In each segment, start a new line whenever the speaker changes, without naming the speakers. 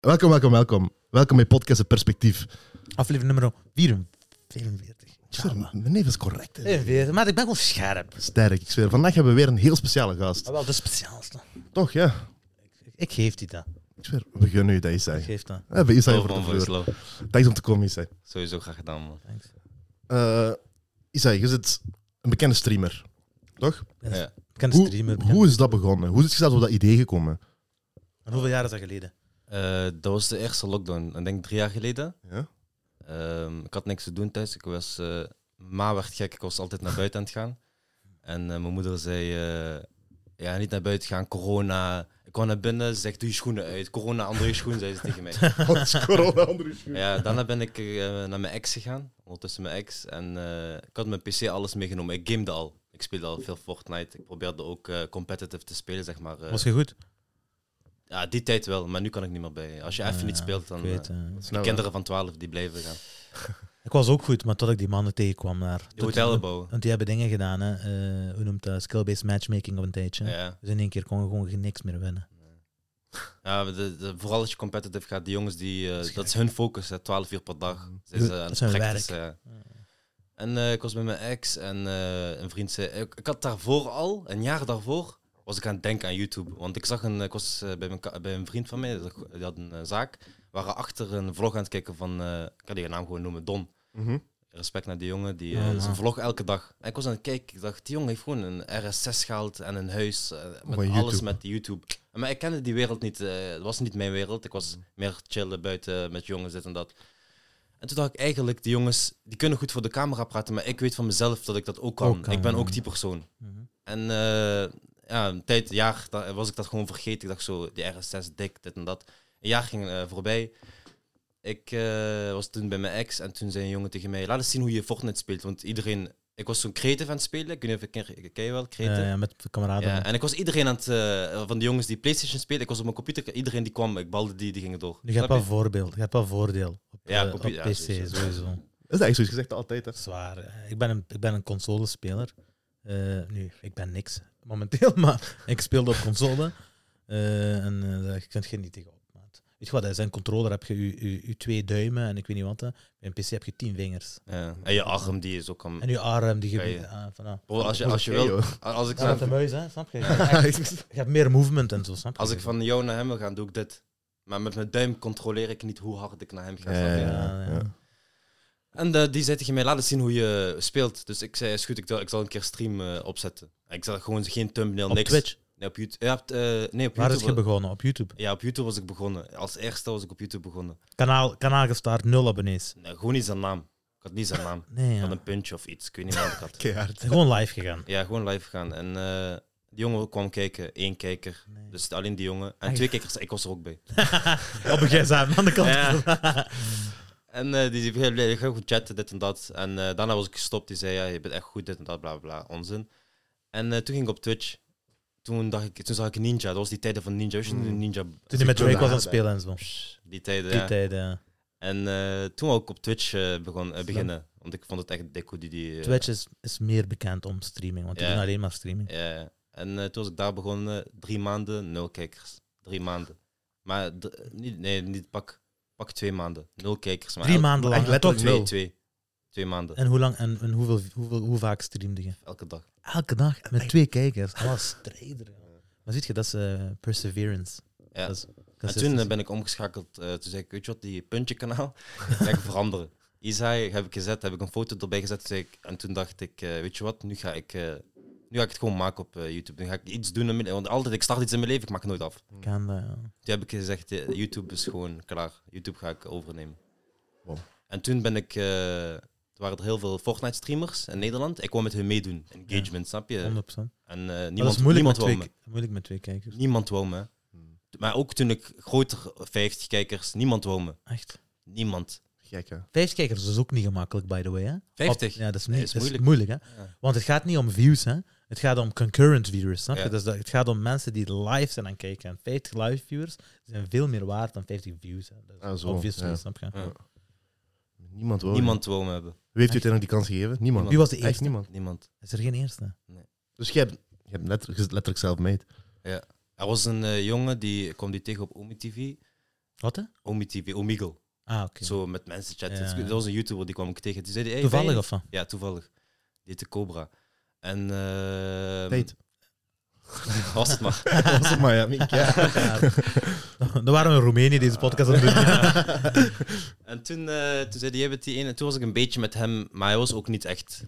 Welkom, welkom, welkom. Welkom bij Podcast Het Perspectief.
Aflevering nummer 44.
Ik zweer, Mijn neef is correct. hè.
44, maar ik ben gewoon scherp.
Sterk, ik zweer. Vandaag hebben we weer een heel speciale gast.
Maar wel de speciaalste.
Toch, ja.
Ik- Ik geef die dat.
Ik zweer, we gunnen u dat
Ik
Isai. Eh,
geef dat.
We hebben Isai
Tof,
voor de
man,
vloer.
Voice Love.
Thanks om te komen, Isai.
Sowieso graag gedaan, man.
Thanks.
Eh Isai, je zit een bekende streamer. Toch?
Yes.
Ja.
Bekende
Hoe,
streamer. bekende-
hoe is dat begonnen? Hoe is je zelf op dat idee gekomen?
En hoeveel jaar is dat geleden?
Eh, dat was de eerste lockdown. Ik denk drie jaar geleden.
Ja?
Ehm, ik had niks te doen thuis. Ik was, eh ma werd gek. Ik was altijd naar buiten aan het gaan. En eh, mijn moeder zei, eh, ja, niet naar buiten gaan, corona. Ik kwam naar binnen, ze zegt, doe je schoenen uit. Corona, andere je schoen, zei ze tegen mij.
Wat is corona, andere schoen?
Ja, daarna ben ik eh, naar mijn ex gegaan, ondertussen mijn ex. En eh, ik had mijn PC alles meegenomen. Ik gamede al. Ik speelde al veel Fortnite. Ik probeerde ook eh, competitive te spelen, zeg maar. eh,
Was je goed?
Ja, die tijd wel, maar nu kan ik niet meer bij. Als je even
Ah,
niet speelt,
Ik
dan... eh,
weet eh,
Snel,
Kinderen van 12 die blijven gaan.
Ik was ook goed, maar tot ik die mannen tegenkwam naar...
De hotellen bouwen.
Want die hebben dingen gedaan, hè. Eh, hoe noemt dat? Skill-based matchmaking op een tijdje.
Ja.
Dus in één keer kon je gewoon geen- niks meer winnen.
Ja, maar de, de- vooral als je competitive gaat, die jongens, die, eh,
Dat is
dat is hun focus, hè, 12 uur per dag. Zijn ze eh,
Mm-hmm. Dat
aan het
is hun
practicen, ja. dus, En eh, ik was met mijn ex en eh, een vriend zei... Ik, ik had daarvoor al, een jaar daarvoor, was ik aan het denken aan YouTube. Want ik zag een... Ik was eh, bij, mijn, ka- bij een vriend van mij, die had een eh, zaak. waren achter een vlog aan het kijken van... eh, ik kan die naam gewoon noemen, Don.
Mhm.
Respect naar die jongen, die
Ja,
eh,
man.
zijn vlog elke dag. En ik was aan het kijken, ik dacht, die jongen heeft gewoon een RS6 gehaald en een huis. eh, met
maar
alles
YouTube.
met YouTube. Maar ik kende die wereld niet, eh, het was niet mijn wereld. Ik was meer chillen buiten met jongens, dit en dat. En toen dacht ik eigenlijk, die jongens, die kunnen goed voor de camera praten, maar ik weet van mezelf dat ik dat ook kan.
Ook kan,
ik ben
ja.
ook die persoon.
Mhm.
En eh, ja, een tijd, een jaar, da- was ik dat gewoon vergeten. Ik dacht zo, die RS6 dik, dit en dat. Een jaar ging eh, voorbij. Ik eh, was toen bij mijn ex en toen zei een jongen tegen mij, laat eens zien hoe je Fortnite speelt. Want iedereen, ik was zo'n creative aan het spelen. Ik weet niet of ik ken, ken je wel,
Ja,
creative?
ja, met de kameraden.
Ja, en ik was iedereen aan het, eh, van de jongens die Playstation spelen, ik was op mijn computer, iedereen die kwam, ik balde die, die gingen door.
Nu gaat
Snap
wel
je?
voorbeeld. Je hebt wel voordeel. Op,
Ja,
eh, op
computer- ja,
PC,
sowieso.
sowieso.
Dat is eigenlijk zoiets gezegd altijd, hè?
Zwaar. eh. Ik ben een, ik ben een consolespeler. Eh, nu, ik ben niks momenteel, maar ik speelde op console. Eh, en eh, daar kun je niet tegenop. maat. Weet je wat, dat is een controller heb je je, je, je twee duimen en ik weet niet wat. hè. Bij een PC heb je tien vingers.
Ja. En je arm, die is ook aan...
En je arm, die
Ja,
gebied.
ja.
Ah, voilà.
Bro, als je, als je
Oké,
wil,
joh.
als ik,
Ja, met de
naar-
muis, hè, snap je? Je hebt echt- je hebt meer movement en zo, snap je?
als ik van jou naar hem wil gaan, doe ik dit. Maar met mijn duim controleer ik niet hoe hard ik naar hem ga.
Ja,
snap je?
ja, ja.
En eh, die zei tegen mij, laat eens zien hoe je speelt. Dus ik zei, is goed, ik, zal- ik zal een keer stream eh, opzetten. Ik zal gewoon geen thumbnail,
Op
niks.
Twitch.
Nee, op YouTube. Ja, op, eh, nee, op
Waar is je
YouTube.
begonnen? Op YouTube.
ja, op YouTube was ik begonnen. Als eerste was ik op YouTube begonnen.
Kanaal, kanaal gestart, nul abonnees.
Nee, gewoon niet zijn naam. Ik had niet zijn naam.
Nee,
Ik
ja.
had een puntje of iets. Ik weet niet meer wat ik had.
Keihard.
Gewoon live gegaan.
Ja, gewoon live gaan. En eh, die jongen kwam kijken. één kijker.
Nee.
Dus alleen die jongen. En
Echt?
twee kijkers. Ik was er ook bij.
Op een gsm, aan de kant.
Ja. En eh, die zei, "Blijf- ga goed chatten, dit en dat. En eh, daarna was ik gestopt. Die zei, ja, je bent echt goed, dit en dat, bla bla, bla onzin. En eh, toen ging ik op Twitch. Toen, dacht ik, toen zag ik Ninja. Dat was die tijden van Ninja. Wist
Mm.
je toen Ninja...
Toen hij met
wilde
Drake was aan het
hebben.
spelen en zo.
Die tijden,
Die
ja.
tijden. ja.
En eh, toen wou ik op Twitch eh, begon, eh, beginnen. Want ik vond het echt dik hoe die... die eh,
Twitch is, is meer bekend om streaming, want die
Ja.
doen alleen maar streaming.
ja. en eh, toen was ik daar begonnen. Drie maanden, nul kijkers. Drie maanden. Maar d- niet, nee, niet pak, pak twee maanden. Nul kijkers. Maar
Drie
elk-
maanden lang.
echt
Toch?
letterlijk
Twee,
nul.
twee. Twee maanden.
En hoe lang en, en hoeveel, hoeveel, hoe vaak streamde je?
Elke dag.
Elke dag met twee kijkers. Dat was strijder. Maar ziet je, dat is eh, perseverance.
Ja.
Dat is dus
En toen eh, ben ik omgeschakeld. eh, toen zei ik, weet je wat, die puntje kanaal ga ik veranderen. Isai heb ik gezet, heb ik een foto erbij gezet. zei ik- en toen dacht ik, eh, weet je wat, nu ga ik, eh, nu ga ik het gewoon maken op eh, YouTube. Nu ga ik iets doen. in mijn- want altijd, ik start iets in mijn leven, ik maak het nooit af.
Kan dat, ja.
Toen heb ik gezegd, eh, YouTube is gewoon klaar. YouTube ga ik overnemen.
Wow.
En toen ben ik... eh, er waren er heel veel Fortnite-streamers in Nederland. Ik wou met hun meedoen. Engagement, snap je?
100%.
En eh, niemand,
dat is moeilijk met,
niemand wou
twee,
me.
ki- moeilijk met twee kijkers.
Niemand wou me.
Hmm.
Maar ook toen ik groter, 50 kijkers, niemand wou me.
Echt.
Niemand.
Gek, hè?
Vijf kijkers is ook niet gemakkelijk, by the way. Hè?
50?
Op- ja, dat is, niet,
Nee,
dat is moeilijk. hè? Want het gaat niet om views, hè? het gaat om concurrent viewers. Snap je?
Ja.
Dus dat, het gaat om mensen die live zijn aan het kijken. En 50 live viewers zijn veel meer waard dan 50 views. Hè? Dat is
Ah, zo,
obviously,
ja.
snap je?
Ja.
Niemand wil.
Niemand wou me hebben.
Wie heeft u uiteindelijk die kans gegeven? Niemand.
Wie was de
Echt
eerste?
niemand.
Niemand.
Is er geen eerste?
Dus jij hebt, jij hebt letterlijk, je zit letterlijk zelf mee.
Er was een eh, jongen die ik kwam die tegen op Omi TV.
Wat hè?
Omi TV, Omegle.
Ah, oké.
Zo met mensen chatten.
Ja.
Dat was een YouTuber, die kwam ik tegen. Die zei, die, hey, ben
Toevallig
je-
of wat?
Ja, toevallig. Die heette Cobra. En... eh,
Tijd.
Was het maar.
Dat was het maar, ja. Miek, ja.
Ja. Dan waren we in Roemenië deze podcast aan het doen.
En toen, eh, toen zei hij, jij bent die ene. En toen was ik een beetje met hem, maar hij was ook niet echt,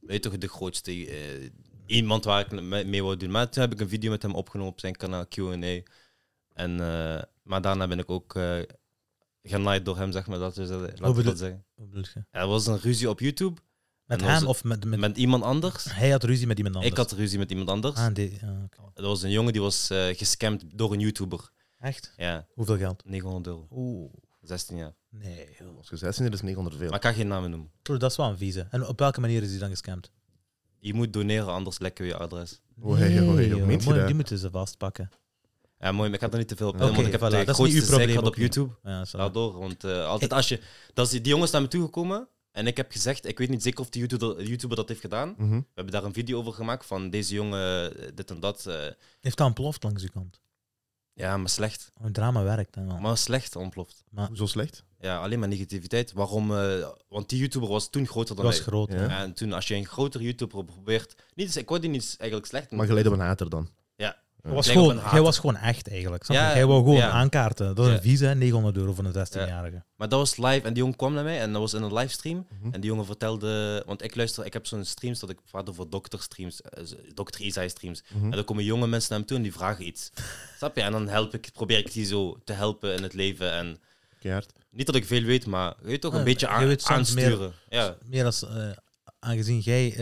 weet toch, de grootste eh, iemand waar ik me- mee wou doen. Maar toen heb ik een video met hem opgenomen op zijn kanaal Q&A. En, eh, maar daarna ben ik ook eh genaaid door hem, zeg maar. Dat, dus, eh, laat ik
bedoel-
dat zeggen.
Wat bedoel je?
Er was een ruzie op YouTube
Met
En was
hem
het-
of met, met,
met, iemand anders.
Hij had ruzie met iemand anders.
Ik had Oh. ruzie met iemand anders.
Ah, die, ah, oké.
Er was een jongen die was eh gescamd door een YouTuber.
Echt?
Ja,
Hoeveel geld?
900 euro.
Oeh.
16 jaar.
Nee, joh.
Als je 16 is, is 900 veel.
Maar ik kan geen namen noemen.
Broer, dat is wel een vieze. En op welke manier is hij dan gescamd?
Je moet doneren, anders lekken we je adres.
Oh, hey, joh, hey, joh.
joh.
Meent je
Mooi,
dat?
die moeten ze vastpakken.
Ja, mooi, maar ik had er niet te veel op.
Oké,
want ik heb
voilà, dat
de
is niet
grootste
uw probleem
zeik gehad
ook
op
niet.
YouTube.
Ja, zo.
Laat door, want eh, altijd als je... Dat is, die jongens naar me toegekomen en ik heb gezegd, ik weet niet zeker of die YouTuber, YouTuber dat heeft gedaan. We
Mhm.
hebben daar een video over gemaakt van deze jongen, eh, dit en dat. eh,
Heeft dat ontploft langs uw kant?
ja, maar slecht.
Oh, drama werkt dan wel.
Maar slecht ontploft.
Zo slecht?
Ja, alleen maar negativiteit. Waarom? eh, want die YouTuber was toen groter
dat
dan
was
wij.
groot. hè.
Ja.
En toen, als je een groter YouTuber probeert... Niet, dus ik word die niet eigenlijk slecht.
Maar geleid op een hater dan.
Dat was
Lijkt op
gewoon,
een haat.
jij was gewoon echt eigenlijk. Snap je?
Ja,
jij wou gewoon
ja.
aankaarten. Dat is
Ja.
een vieze, hè, 900 euro voor een 16-jarige.
Maar dat was live en die jongen kwam naar mij en dat was in een livestream.
Mhm.
En die jongen vertelde, want ik luister, ik heb zo'n streams dat ik praat over dokterstreams, eh, dokter Isai streams. En dan komen jonge mensen naar hem toe en die vragen iets. Snap je? En dan help ik, probeer ik die zo te helpen in het leven. En
Keihard.
niet dat ik veel weet, maar je weet toch een
Ja,
beetje
je
aan,
weet soms meer.
aansturen. Ja.
Meer als, eh, aangezien jij eh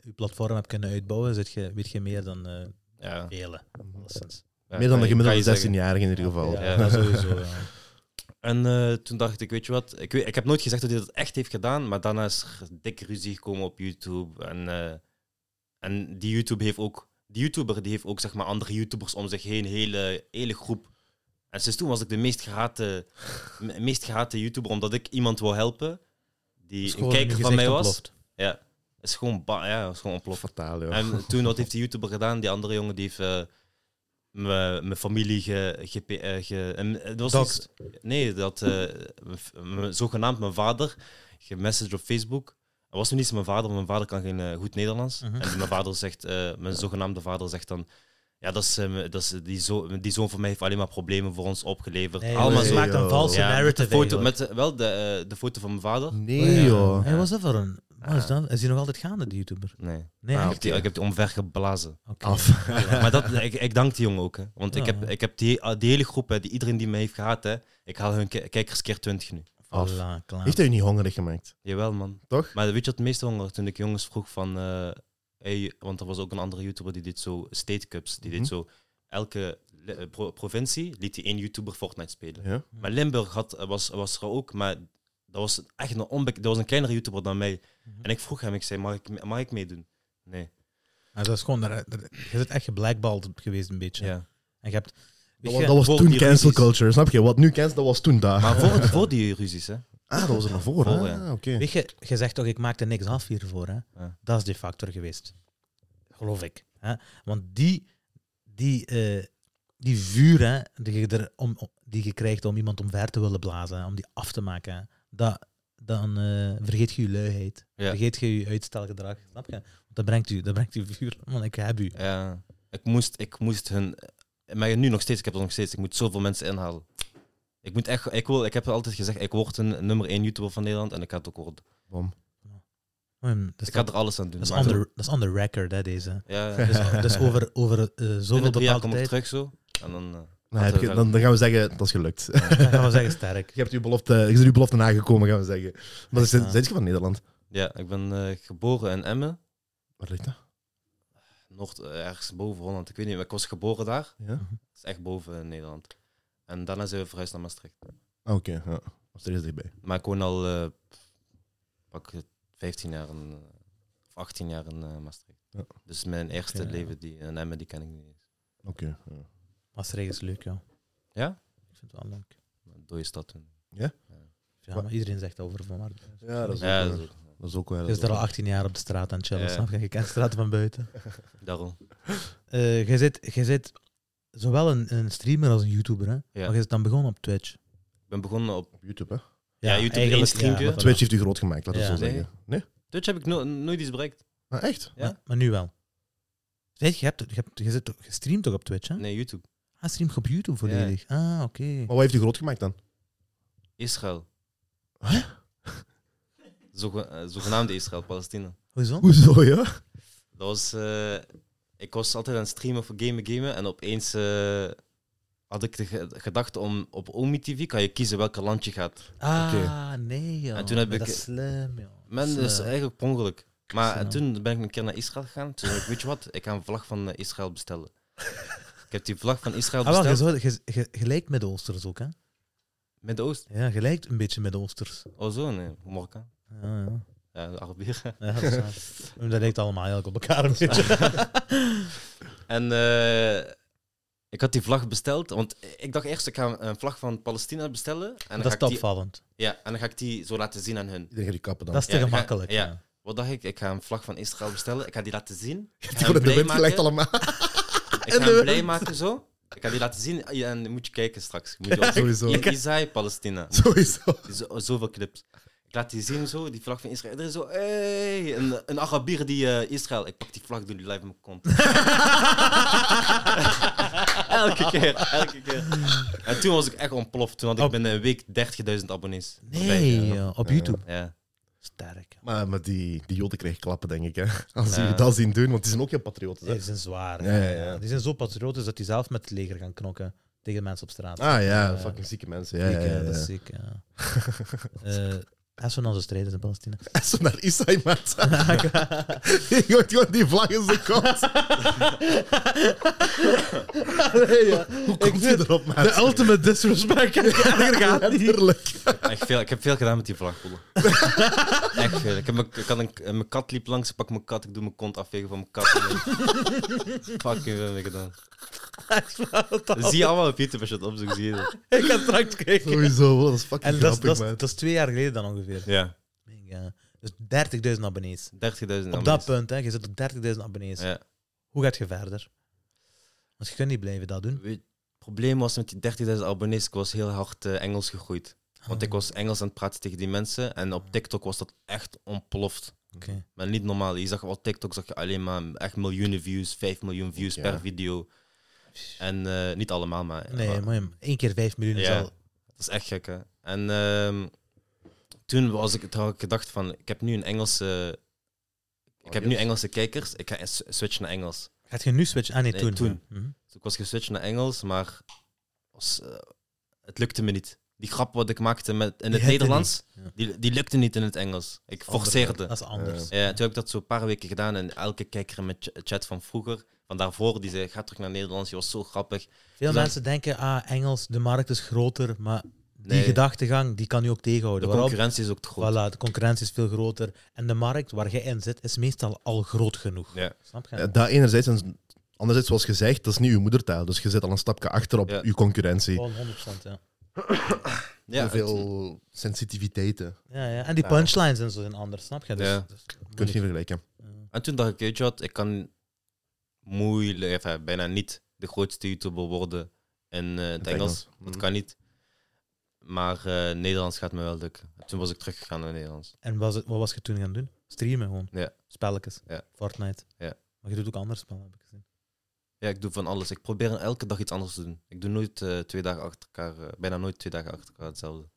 je platform hebt kunnen uitbouwen, zit je, weet je meer dan eh
Ja.
velen. Alleszins.
Meer dan de
Ja, kan je- kan je
gemiddelde
zeggen.
16-jarige in ieder geval.
Ja,
Ja.
sowieso. Ja.
En eh, toen dacht ik, weet je wat, ik, weet, ik heb nooit gezegd dat hij dat echt heeft gedaan, maar daarna is er dikke ruzie gekomen op YouTube. En, eh, en die YouTube heeft ook, die YouTuber die heeft ook zeg maar andere YouTubers om zich heen, hele, hele groep. En sinds toen was ik de meest gehate, me- meest gehate YouTuber, omdat ik iemand wil helpen
Is
die een
gewoon
kijker
je
van mij
gezicht
was.
ontploft.
Ja, is gewoon, ba- ja, is gewoon ontploft.
Fataal, joh.
En toen, wat heeft die YouTuber gedaan? Die andere jongen die heeft eh, me- mijn familie ge... ge, eh, ge- en het was
Doxed.
iets- nee, dat eh, mijn f- mijn- zogenaamd mijn vader gemessaged op Facebook. Het was nog niet eens mijn vader, want mijn vader kan geen eh, goed Nederlands.
Mhm.
En mijn vader zegt, eh, mijn zogenaamde vader zegt dan... Ja, dat is, eh, mijn- dat is die, zo, die zoon van mij heeft alleen maar problemen voor ons opgeleverd.
Nee,
Allemaal
ze
joh.
zo.
maakt een valse
Ja, met de
narrative.
foto,
eigenlijk.
met, eh, wel de, eh, de foto van mijn vader.
Nee, joh.
Hey, wat is dat voor een... Wat is
Ja.
dat? Is die nog altijd gaande, die YouTuber?
Nee,
Nee,
Ah,
ik,
echt?
heb die, ik heb die omvergeblazen.
Oké.
Af.
Ja, maar dat, ik, ik dank die jongen ook. Hè. Want ik
Ja.
heb, ik heb die, ah, die hele groep, hè, die, iedereen die me heeft gehaat, hè, ik haal hun ki- kijkers keer 20 nu.
Af.
Voilà, klaar.
Heeft hij je niet hongerig gemaakt?
Jawel, man.
Toch?
Maar weet je wat het meeste honger? Toen ik jongens vroeg van... eh, hey, want er was ook een andere YouTuber die dit zo... State Cups, die
Mhm.
dit zo... Elke li- eh, pro- provincie liet die één YouTuber Fortnite spelen.
Ja.
Maar Limburg had, was, was er ook, maar dat was echt een onbek... Dat was een kleinere YouTuber dan mij.
Mhm.
En ik vroeg hem, ik zei, mag ik, mag ik meedoen? Nee.
Ja, dat is gewoon... daar- daar- Je bent echt geblackballed geweest een beetje.
Ja.
En je hebt...
Dat
weet
was,
je-
dat was
voor
toen
die
cancel
ruzies.
culture, snap je? Wat nu cancel, dat was toen daar.
Maar voor, voor die ruzies, hè.
ah, dat was er nog voor,
Voor,
hè?
ja.
Ah, oké.
Weet je, je zegt toch, ik maakte niks af hiervoor. Hè?
Ja.
Dat is de factor geweest. Geloof ik. Hè? Want die, die, eh, die vuur hè, die, je er om, om- die je krijgt om iemand omver te willen blazen, hè, om die af te maken, hè, dat, dan eh, vergeet je je luiheid.
Ja.
Vergeet je je uitstelgedrag. Snap je? Want dat brengt u, dat brengt u vuur. Want ik heb u.
Ja, Eh, ik moest, ik moest hun. Maar nu nog steeds, ik heb het nog steeds. Ik moet zoveel mensen inhalen. Ik moet echt, ik wil, ik heb altijd gezegd, ik word een nummer 1 YouTuber van Nederland en ik ga het ook worden.
Bom.
Hm, dat, is,
Ik ga er alles aan doen.
dat, is
Maar-
on the, dat is on the record, hè, deze.
Ja, dus
Dat is over, over eh,
binnen
zoveel
drie jaar
bepaalde
kom ik
tijd.
terug zo. En dan, eh,
Nou, heb je- dan, dan gaan we zeggen, dat is gelukt.
Dan gaan we zeggen sterk.
Je hebt uw belofte, je bent uw belofte nagekomen, gaan we zeggen. Maar dan
Ja.
zijn je van Nederland.
ja, ik ben eh, geboren in Emmen,
Waar ligt dat?
Noord, eh, ergens boven Holland. Ik weet niet, maar ik was geboren daar.
Ja?
Dat is echt boven in Nederland. En daarna zijn we verhuisd naar Maastricht.
Ah, Oké, ja. Was er eens dichtbij.
Maar ik woon al eh, pak het 15 jaar in, eh, of 18 jaar in eh, Maastricht.
Ja.
Dus mijn eerste
Oké.
leven die, in Emmen, die ken ik niet eens.
Oké. ja.
Maastricht is leuk, joh.
Ja?
Ik vind het wel leuk.
Door je stad toen.
Ja, maar iedereen zegt dat over van maar.
Ja, dat is ook
Ja,
wel. Dat is ook wel.
Je is daar al 18 jaar op de straat aan het chillen,
Ja.
snap je? Je kent de straten van buiten.
daarom.
Eh, Je zit, je zit zowel een, een streamer als een YouTuber. Hè?
Ja.
Maar je is dan begonnen op Twitch.
Ik ben begonnen op
Op YouTube, hè?
Ja, YouTube
eigenlijk,
één streampje.
maar voilà.
Twitch heeft u groot gemaakt, laten we
Ja.
zo zeggen. Nee?
Twitch, heb ik no- nooit iets bereikt.
Ah, echt?
Ja.
Maar, maar nu wel. Zeg, je, hebt, je, hebt, je, zit, toch- je streamt toch op Twitch, hè?
Nee, YouTube.
Ah, stream je op YouTube volledig. Ah, oké.
Maar wat heeft u groot gemaakt dan?
Israël.
Hè?
Zoge- eh, zogenaamde Israël, Palestina.
Hoezo?
Hoezo, ja?
Dat was... eh, ik was altijd aan het streamen voor gamen, gamen. En opeens eh, had ik de ge- gedachte om... Op Omi TV kan je kiezen welke land je gaat.
Ah,
Oké.
nee, joh.
En toen heb
Maar
ik-
Dat is slim, joh.
Men,
Dat
dat is
slim.
eigenlijk per ongeluk. Maar en
Dus, eh, Snap.
toen ben ik een keer naar Israël gegaan. Toen dacht ik, weet je wat? Ik ga een vlag van eh, Israël bestellen. ik heb die vlag van Israël
Ah, wel, je
besteld.
zou- je- je- je lijkt Midden-Oosters ook, hè?
Met de Oost.
Ja, je lijkt een beetje Midden-Oosters.
Oh zo, nee. Marokkaan.
Ja, ja.
Ja, de Arabieren.
Ja, dat is waar. Dat lijkt allemaal eigenlijk op elkaar een beetje.
En eh, ik had die vlag besteld, want ik dacht eerst, ik ga een vlag van Palestina bestellen. En dan
dat is
ga
te
ik die,
opvallend.
Ja, en dan ga ik die zo laten zien aan hun.
Iedereen gaat die kappen dan.
Dat is te
Ja, ik ga-
gemakkelijk.
ja.
ja.
Wat dacht ik? Ik ga een vlag van Israël bestellen. Ik ga die laten zien. Ik ga
Die
hem
worden de
blij
wind gelegd
maken.
allemaal. en
Ik
de
ga hem
wind.
blij maken zo. Ik ga die laten zien. Ja, en dan moet je kijken straks. Moet je op-
Sowieso.
In Isai, Palestina.
Sowieso.
Zo, oh, zoveel clips. Ik laat die zien zo, die vlag van Israël. Iedereen zo, hey! Een, een Arabier die eh, Israël. Ik pak die vlag, doe die live in mijn kont. elke keer, elke keer. En toen was ik echt ontploft. Toen had ik
Op-
binnen een week 30.000 abonnees.
Nee,
Ja.
joh, op YouTube.
Ja.
Sterk.
Maar, maar die, die joden kregen klappen, denk ik, hè? Als
Ja.
jullie dat zien doen, want die zijn ook heel patrioten.
Die
Hè?
zijn zwaar.
Ja, ja, ja.
Die zijn zo patriotisch dat die zelf met het leger gaan knokken tegen mensen op straat.
Ah ja,
Ja.
fucking zieke mensen. Ja,
Ziek,
ja,
hè,
ja,
Dat is
ja.
ziek, ja. Eh, als we nou zo strijden in Palestina.
Zo naar Israël, maat. Je gooit gewoon die vlag in zijn kont. Hoe komt je erop, maat?
ultimate disrespect.
Letterlijk.
Echt veel, ik heb veel gedaan met die vlag. broer. Echt veel. Ik heb mijn, ik had een, eh, mijn kat liep langs, ik pak mijn kat, ik doe mijn kont afvegen van mijn kat. Fucking veel heb ik gedaan. Dat zie je allemaal op YouTube als je het opzoekt, zie je dat.
Ik ga straks kijken.
Sowieso, dat is fucking
En dat is,
grappig,
dat, is,
man.
dat is twee jaar geleden dan ongeveer.
Ja,
Ja. Dus 30.000 abonnees.
30.000 abonnees.
Op dat punt, hè. Je zit op 30.000 abonnees.
Ja.
Hoe gaat je verder? Want je kunt niet blijven dat doen.
Weet- Het probleem was met die 30.000 abonnees, ik was heel hard eh, Engels gegroeid. Want
Ah,
ik was Engels aan het praten tegen die mensen en op TikTok was dat echt ontploft.
Oké.
Maar niet normaal. Je zag op TikTok zag je alleen maar echt miljoenen views, 5 miljoen views
Ja.
per video. En eh, niet allemaal, maar,
Nee, maar één keer 5 miljoen is
Ja.
al...
dat is echt gek. Hè? En ehm, toen was ik, toen had ik gedacht van, ik heb nu een Engelse, ik heb nu
Audience.
Engelse kijkers, ik ga s- switchen naar Engels.
Gaat je nu switchen? Ah, nee,
Nee,
toen.
toen.
Ja. Mhm.
Dus ik was geswitcht naar Engels, maar was, eh, het lukte me niet. Die grap wat ik maakte met, in
Die
het
hette
Nederlands,
niet, ja. Ah.
die, die lukte niet in het Engels. Ik
Anders.
forceerde.
Dat is anders.
Ja, toen heb ik dat zo een paar weken gedaan en elke kijker in mijn ch- chat van vroeger, van daarvoor, die zei, ga terug naar Nederlands, je was zo grappig.
Veel
Dus dan-
mensen denken, ah, Engels, de markt is groter, maar die
Nee.
gedachtegang die kan je ook
De
tegenhouden. Waarom?
concurrentie is ook te groot.
Voilà, de concurrentie is veel groter. En de markt waar jij in zit, is meestal al groot genoeg.
Ja.
Snap je?
Ja, dat enerzijds en anderzijds, zoals gezegd, dat is niet uw moedertaal. Dus je zit al een stapje achter op
Ja.
uw concurrentie.
Gewoon 100%, ja.
Ja, het-
Hoeveel sensitiviteiten
Ja, ja. En die punchlines en zo zijn anders, snap je? Dus,
Ja.
dus-
kun je niet vergelijken.
En toen dacht ik, weet je wat, ik kan moeilijk, enfin, bijna niet de grootste YouTuber worden in eh, het
het
Engels.
Engels.
Dat
Mhm.
kan niet. Maar eh, Nederlands gaat me wel lukken. Toen was ik teruggegaan naar Nederlands.
En was het, wat was je toen gaan doen? Streamen gewoon.
Ja.
Spelletjes.
Ja.
Fortnite.
Ja.
Maar je doet ook andere spellen, heb ik gezien.
Ja, ik doe van alles. Ik probeer elke dag iets anders te doen. Ik doe nooit eh, twee dagen achter elkaar, eh, bijna nooit twee dagen achter elkaar hetzelfde.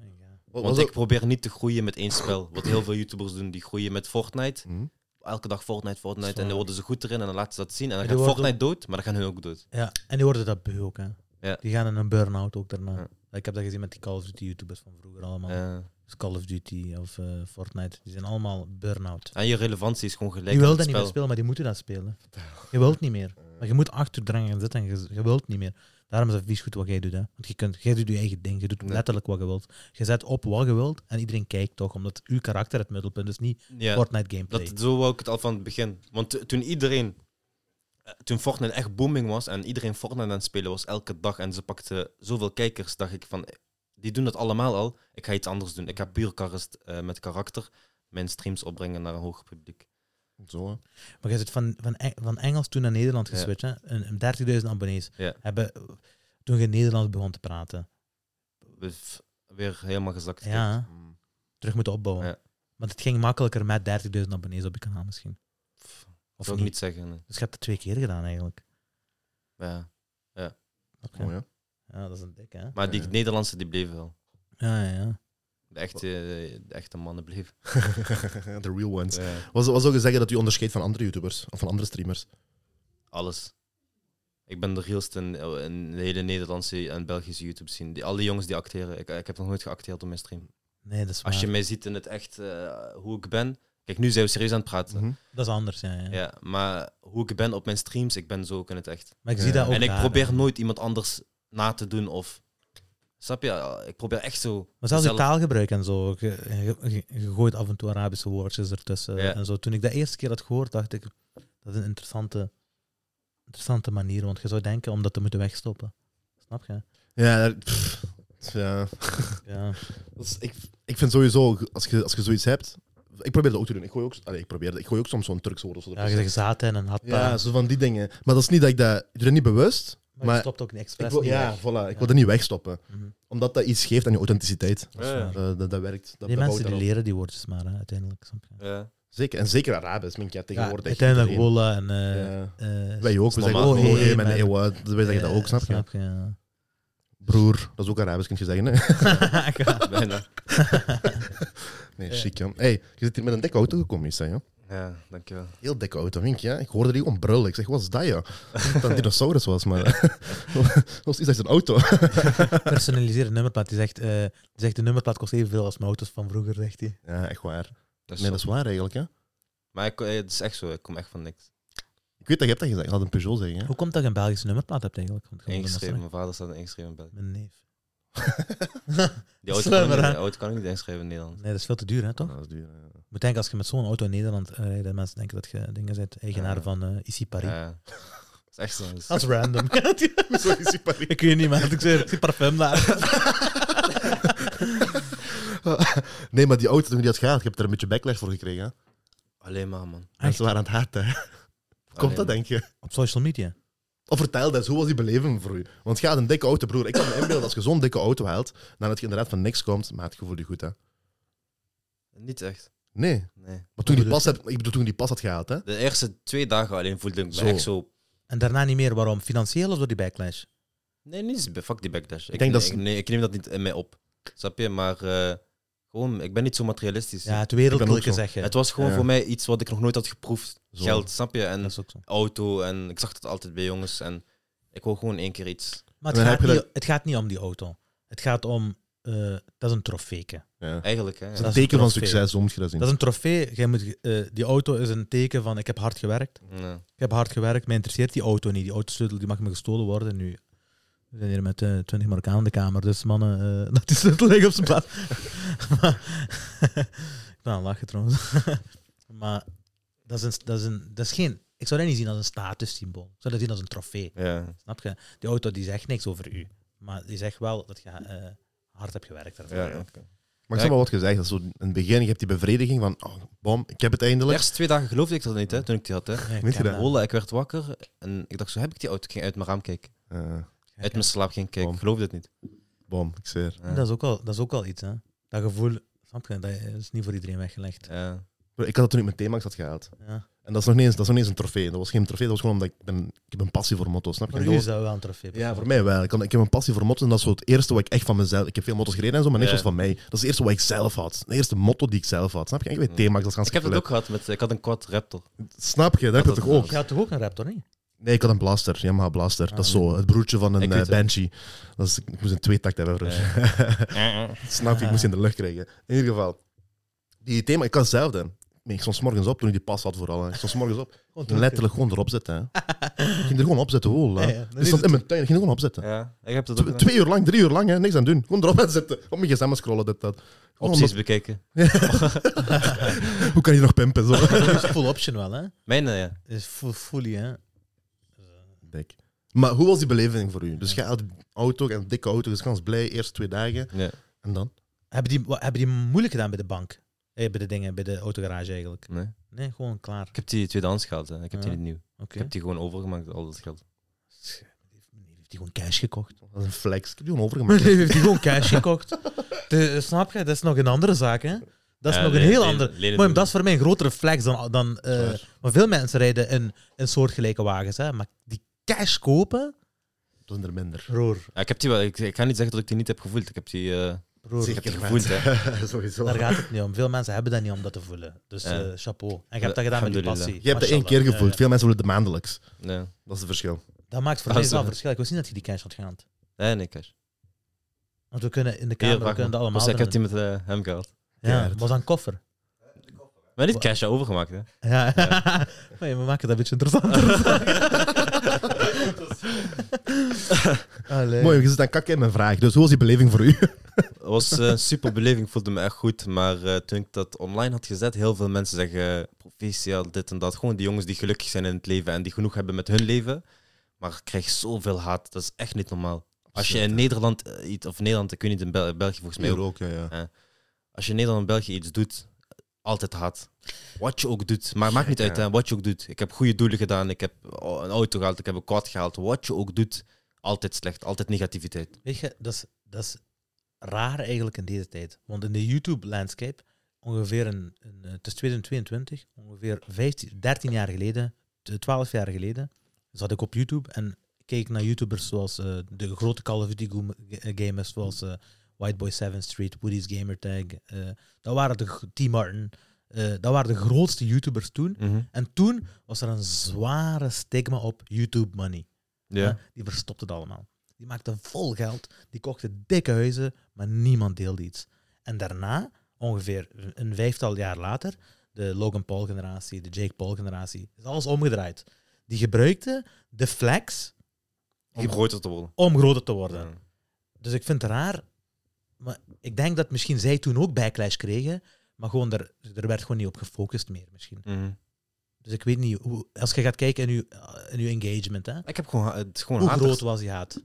Oh
Ja.
Wat
Want
was
ik probeer niet te groeien met één spel. Wat heel veel YouTubers doen, die groeien met Fortnite.
dat? Hm?
Elke dag Fortnite, Fortnite. En
Zwaar.
dan worden ze goed erin en dan laten ze dat zien. En dan
Die
gaat
worden-
Fortnite dood, maar dan gaan hun ook dood.
Ja, en die worden dat beu ook, hè.
Ja.
Die gaan in een burn-out ook daarna.
Ja.
Ik heb dat gezien met die Call of Duty YouTubers van vroeger allemaal.
Eh,
Dus Call of Duty of eh, Fortnite, die zijn allemaal burn-out.
en je relevantie is gewoon gelijk
Je
aan
wilt dat
het
niet meer
spel.
spelen, maar die moeten dat spelen. Je wilt niet meer. Maar je moet achterdrangen en zitten en je, je wilt niet meer. Daarom is dat vies goed wat jij doet. Hè. Want je kunt, jij doet je eigen ding. Je doet
Nee.
letterlijk wat je wilt. Je zet op wat je wilt en iedereen kijkt toch, omdat uw karakter het middelpunt is, niet
Ja.
Fortnite gameplay.
Dat, zo wou ik het al van het begin. Want t- toen iedereen, eh, toen Fortnite echt booming was en iedereen Fortnite aan het spelen was elke dag en ze pakten zoveel kijkers, dacht ik van, eh, die doen dat allemaal al. Ik ga iets anders doen. Ik ga puur karist, eh, met karakter mijn streams opbrengen naar een hoger publiek.
Zo, hè.
Maar je zit van, van, Eng- van Engels toen naar Nederland
Ja.
geswitcht. hè? Een- een 30.000 abonnees.
Ja.
Hebben, toen je Nederlands begon te praten.
We- f- Weer helemaal gezakt.
Ja.
Mm.
Terug moeten opbouwen.
Ja.
Want het ging makkelijker met 30.000 abonnees op je kanaal misschien.
Pff,
Of niet.
zou mm, ik niet zeggen. nee.
Dus je hebt het twee keer gedaan eigenlijk.
Ja.
Oké.
Mooi, hè.
Ja, dat is een dikke, hè?
Maar die
Ja.
Nederlandse die bleven wel.
Ja, ja, ja.
De echte, eh, de echte mannen bleven.
The real ones.
Ja.
Wat zou- wat zou je zeggen dat je onderscheidt van andere YouTubers? Of van andere streamers?
Alles. Ik ben de realste in, in de hele Nederlandse en Belgische YouTube scene. Die, al die jongens die acteren. Ik, ik heb nog nooit geacteerd op mijn stream.
Nee, dat is
Als je
waar.
mij ziet in het echt, eh, hoe ik ben. Kijk, nu zijn we serieus aan het praten.
Mhm.
Dat is anders, ja. ja.
Ja, maar hoe ik ben op mijn streams, ik ben zo ook in het echt.
Maar ik
Ja.
zie dat ook
en ik
daar,
probeer
hè.
nooit iemand anders na te doen of. Snap je? Ik probeer echt zo.
Maar zelfs je
zelf-
taalgebruik en zo. Je, je- je- je gooit af en toe Arabische woordjes ertussen.
Ja.
En zo. Toen ik dat eerste keer had gehoord, dacht ik... Dat is een interessante, interessante manier. Want je zou denken om dat te moeten wegstoppen. Snap je?
Ja, daar- pff, ja.
Ja.
Dat is- ik, ik vind sowieso, als je, als je zoiets hebt... Ik probeer dat ook te doen. Ik gooi ook, allee, ik probeer, dat- ik gooi ook soms zo'n Turks woord of zo.
ja je zegt zaten en had
ja, zo van die dingen. Maar dat is niet dat ik dat... Ik doe dat niet bewust.
Maar, je
maar-
stopt ook niet
Ik
expres.
wil,
niet
ja,
weg.
voilà. Ik
Ja.
wil dat niet wegstoppen.
Mhm.
Omdat dat iets geeft aan je authenticiteit.
Dat is waar.
Eh, dat, dat werkt. Dat,
die
dat
mensen
bouwt
die
daarop.
leren die woordjes maar, hè, uiteindelijk. Snap je?
Ja.
Zeker. En zeker Arabisch, mijn ik ja, tegenwoordig.
Ja, uiteindelijk
Iedereen.
Wolla en... eh
Ja.
eh,
Wij ook. We
is
zeggen
normaal.
ook
Oh,
oh,
hey,
hey,
man.
mijn eeuw. eh, Wij zeggen dat
eh,
ook, snap je?
Snap je, ja.
Broer, dat is ook Arabisch, kun je zeggen. Hè?
Bijna.
Nee,
Ja.
chic, ja. Hey, je zit hier met een dikke auto gekomen, is dat, ja?
Ja, dankjewel.
Heel dikke auto, Wink, ja. Ik hoorde die gewoon brullen. Ik zeg, wat is dat, ja? Dat een dinosaurus was, maar... eh, Dat was iets als een auto.
Personaliseerde nummerplaat. Die zegt, eh, die zegt de nummerplaat kost evenveel als mijn auto's van vroeger, zegt hij.
Ja, echt waar.
Dat
Nee,
is zo.
dat is waar, eigenlijk, ja.
Maar ik, eh, het is echt zo, ik kom echt van niks.
Ik weet dat je hebt dat gezegd. Ik had een Peugeot zeggen, ja.
Hoe komt dat je een Belgische nummerplaat hebt eigenlijk? Want je woont in
Ingeschreven,
Maastricht.
mijn vader staat ingeschreven in België.
Mijn neef.
Die auto,
Slimmer,
kan ik,
hè?
niet- die auto kan ik niet inschrijven in Nederland.
Nee, dat is veel te duur, hè, toch?
Dat is duur, ja.
Je moet denken, als je met zo'n auto in Nederland eh, rijdt, dat mensen denken dat je dingen bent eigenaar
Ja.
van eh IC Paris.
Ja. Dat is echt zo. Dus-
Dat is random.
Zo is die Paris.
ik weet niet, maar ik zeg, die parfum daar.
Nee, maar die auto toen ik die had gehaald, ik heb er een beetje backlash voor gekregen. Hè?
Alleen maar, man.
Mensen waren aan het haten. hè. Komt
Alleen
dat,
maar.
denk je?
Op social media.
Of vertel dat eens, hoe was die beleving voor u? Want je had een dikke auto, broer. Ik kan me inbeelden, als je zo'n dikke auto haalt, dan dat je inderdaad van niks komt, maar het gevoel je goed, hè?
Niet echt.
Nee.
Nee.
Maar toen je die pas had, ik bedoel, toen je die pas had gehaald, hè?
De eerste twee dagen alleen voelde ik me
Zo.
echt zo.
En daarna niet meer. Waarom? Financieel of door die backlash?
Nee, niet eens- fuck die backlash. Ik,
denk dat
nee,
ze-
ik, nee, ik neem dat niet in mij op. Snap je? Maar eh, gewoon, ik ben niet zo materialistisch.
Ja, het
Ik ben
wereldlijke
ook zo.
zeg je.
Het was gewoon
Ja.
voor mij iets wat ik nog nooit had geproefd.
Zo.
Geld, snap je? En
Dat is ook zo.
auto. En ik zag dat altijd bij jongens. En ik wou gewoon één keer iets.
Maar
En
het
dan
gaat,
heb je
niet, het gaat niet om die auto. Het gaat om... eh, dat is een trofeeke.
Ja.
Eigenlijk, hè.
Dat is
dat
een
is
teken van
trofee.
succes, zo moet je dat zien.
Dat is een trofee. Jij moet, eh, die auto is een teken van ik heb hard gewerkt.
Ja.
Ik heb hard gewerkt, mij interesseert die auto niet. Die autosleutel die mag me gestolen worden nu. We zijn hier met eh, 20 Marokkanen in de kamer, dus mannen, eh, laat die sleutel liggen op zijn plaats. Maar- ik ben aan het lachen trouwens. maar dat is, een, dat, is een, dat is geen... Ik zou dat niet zien als een statussymbool. Ik zou dat zien als een trofee,
ja.
snap je? Die auto die zegt niks over u, maar die zegt wel dat je eh, hard hebt gewerkt. daarvoor.
ja, ja.
Maar ik heb wel wat gezegd, dat is zo in het begin, je hebt die bevrediging van, oh, bom, ik heb het
De
eindelijk.
eerste twee dagen geloofde ik dat niet, hè, toen ik die had. Hè.
Ja, ik
Weet je
ken
dat?
Holla, ik werd wakker en ik dacht zo, heb ik die auto? Ik ging uit mijn raam kijken.
Eh,
Ja,
Uit
ik
mijn slaap ging kijken.
Bom.
Ik geloofde het niet.
bom, ik zweer.
Ja.
Dat is, ook al, dat is ook al iets, hè. Dat gevoel, snap je, dat is niet voor iedereen weggelegd.
Ja.
Broer, Ik had het toen ik mijn T-Max had gehaald.
Ja.
En dat is nog niet eens, dat is nog niet eens een trofee. Dat was geen trofee, dat was gewoon omdat ik, ben, ik heb een passie voor motos, snap je?
Voor
En
u
dat
is
was-
dat wel een trofee.
ja, voor mij wel. Ik, had- ik heb een passie voor motos en dat is zo het eerste wat ik echt van mezelf... Ik heb veel motos gereden en zo, maar niks
Ja.
was van mij. Dat is het eerste wat ik zelf had. De eerste motto die ik zelf had, snap je? Ik weet T-Max, dat is gaan
Ik heb dat ook gehad met, ik had een quad Raptor.
Snap je? Dat heb je
Dat
toch ook?
Je had toch ook een Raptor, niet?
Nee, ik had een blaster, Yamaha blaster. dat is
Ah,
zo, het broertje van
Ik
een
weet
eh,
het.
Banshee. Dat is, ik moest een tweetakt hebben, broer. Snap je? Ik moest die in de lucht krijgen. In ieder geval, die thema, ik had hetzelfde. Nee, Ik stond 's morgens op, toen ik die pas had vooral. hè. Ik stond 's morgens op, ik ging letterlijk gewoon erop zitten. Hè. Ik ging er gewoon op zitten, hoor. hè.
Ja, ja.
Ik stond in mijn tuin, ik ging er gewoon op zitten.
Ja, ik heb dat ook
Tw-
gedaan.
twee uur lang, drie uur lang, hè, niks aan doen. Gewoon erop gaan zitten, op mijn gsm scrollen, dit, dat. Gewoon
opties bekijken.
omdat- hoe kan je nog pimpen, zo?
Dat is full option wel, hè?
Mijn, eh, ja.
Dat is full, fully, hè?
Dik. Maar hoe was die beleving voor u? Dus je had een auto, een dikke auto, dus kans blij, eerst twee dagen.
Nee,
En dan?
Hebben die, wat, hebben die moeilijk gedaan bij de bank? Eh, bij de dingen, bij de autogarage eigenlijk.
nee.
Nee, gewoon klaar.
Ik heb die tweedehands gehad, hè. ik heb die
Ja.
niet nieuw.
Oké.
Ik heb die gewoon overgemaakt, al dat geld.
Sch- Meneer heeft die gewoon cash gekocht.
Dat is een flex. Ik heb die gewoon overgemaakt.
Meneer heeft die gewoon cash gekocht. De- snap je? Dat is nog een andere zaak, hè? Dat is
Ja,
nog een
lenen-
heel
lenen-
andere.
lenen
Maar
doen.
dat is voor mij een grotere flex dan. dan eh,
Dat is waar.
maar veel mensen rijden in, in soortgelijke wagens, hè? Maar die cash kopen.
Dat zijn er minder.
Broer,
Ja, ik heb die wel. Ik, ik ga niet zeggen dat ik die niet heb gevoeld. Ik heb die. eh,
broer.
ik heb die gevoeld, hè.
Sowieso.
Daar gaat het niet om. Veel mensen hebben dat niet om dat te voelen. Dus
Ja.
eh, chapeau. En je hebt dat gedaan met je
Alhamdulillah.
passie.
Je hebt dat één keer
Mashallah.
gevoeld.
Ja,
Veel mensen willen het maandelijks.
Nee,
Dat is het verschil.
ja. Dat maakt voor
Dat
mij
is
wel
zo.
verschil. Ik wist niet dat je die cash had gehad.
nee, nee, cash.
Want we kunnen in de
Hier,
kamer we
wacht
kunnen dat
maar.
allemaal
Dus ik heb
doen.
die met eh, hem gehad.
Ja, dat was aan koffer.
Maar niet cash, ja, overgemaakt, hè?
Ja. Maar ja, we maken dat een beetje interessanter. Allee.
Mooi, je zit aan kakken in mijn vraag. Dus hoe was die beleving voor u?
Het was eh, een super beleving, voelde me echt goed. Maar eh, toen ik dat online had gezet, heel veel mensen zeggen proficiat, dit en dat. Gewoon die jongens die gelukkig zijn in het leven en die genoeg hebben met hun leven. Maar ik krijg zoveel haat, dat is echt niet normaal. Als je in Nederland eh, iets, of Nederland, ik weet niet, in Bel- België volgens mij ook.
ook, ja. ja.
Als je in Nederland en België iets doet, altijd haat. Wat je ook doet. Maar maakt niet
Ja.
uit, hè, wat je ook doet. Ik heb goede doelen gedaan, ik heb oh, een auto gehaald, ik heb een quad gehaald. Wat je ook doet, altijd slecht, altijd negativiteit.
Weet je, dat is, dat is raar eigenlijk in deze tijd. Want in de YouTube-landscape, ongeveer een, een, eh, het is 2022, ongeveer 15, 13 jaar geleden, t- 12 jaar geleden, zat ik op YouTube en keek naar YouTubers zoals eh, de grote Call of Duty goem- eh, gamers, zoals eh, Whiteboy 7 Street, Woody's Gamertag. eh, dat waren de g- T. Martin. eh, dat waren de grootste YouTubers toen.
Mhm.
En toen was er een zware stigma op YouTube money.
Ja.
Hè? Die verstopte het allemaal. Die maakten vol geld, die kochten dikke huizen, maar niemand deelde iets. En daarna, ongeveer een vijftal jaar later, de Logan Paul-generatie, de Jake Paul-generatie, is alles omgedraaid. Die gebruikten de flex
Om groter te worden.
om groter te worden.
Ja.
Dus ik vind het raar. Maar ik denk dat misschien zij toen ook backlash kregen, maar gewoon er, er werd gewoon niet op gefocust meer misschien.
Mhm.
Dus ik weet niet, hoe, als je gaat kijken in je, eh, in uw engagement, hè,
Ik heb gewoon, ha- het is gewoon
hoe
haters.
groot was die haat?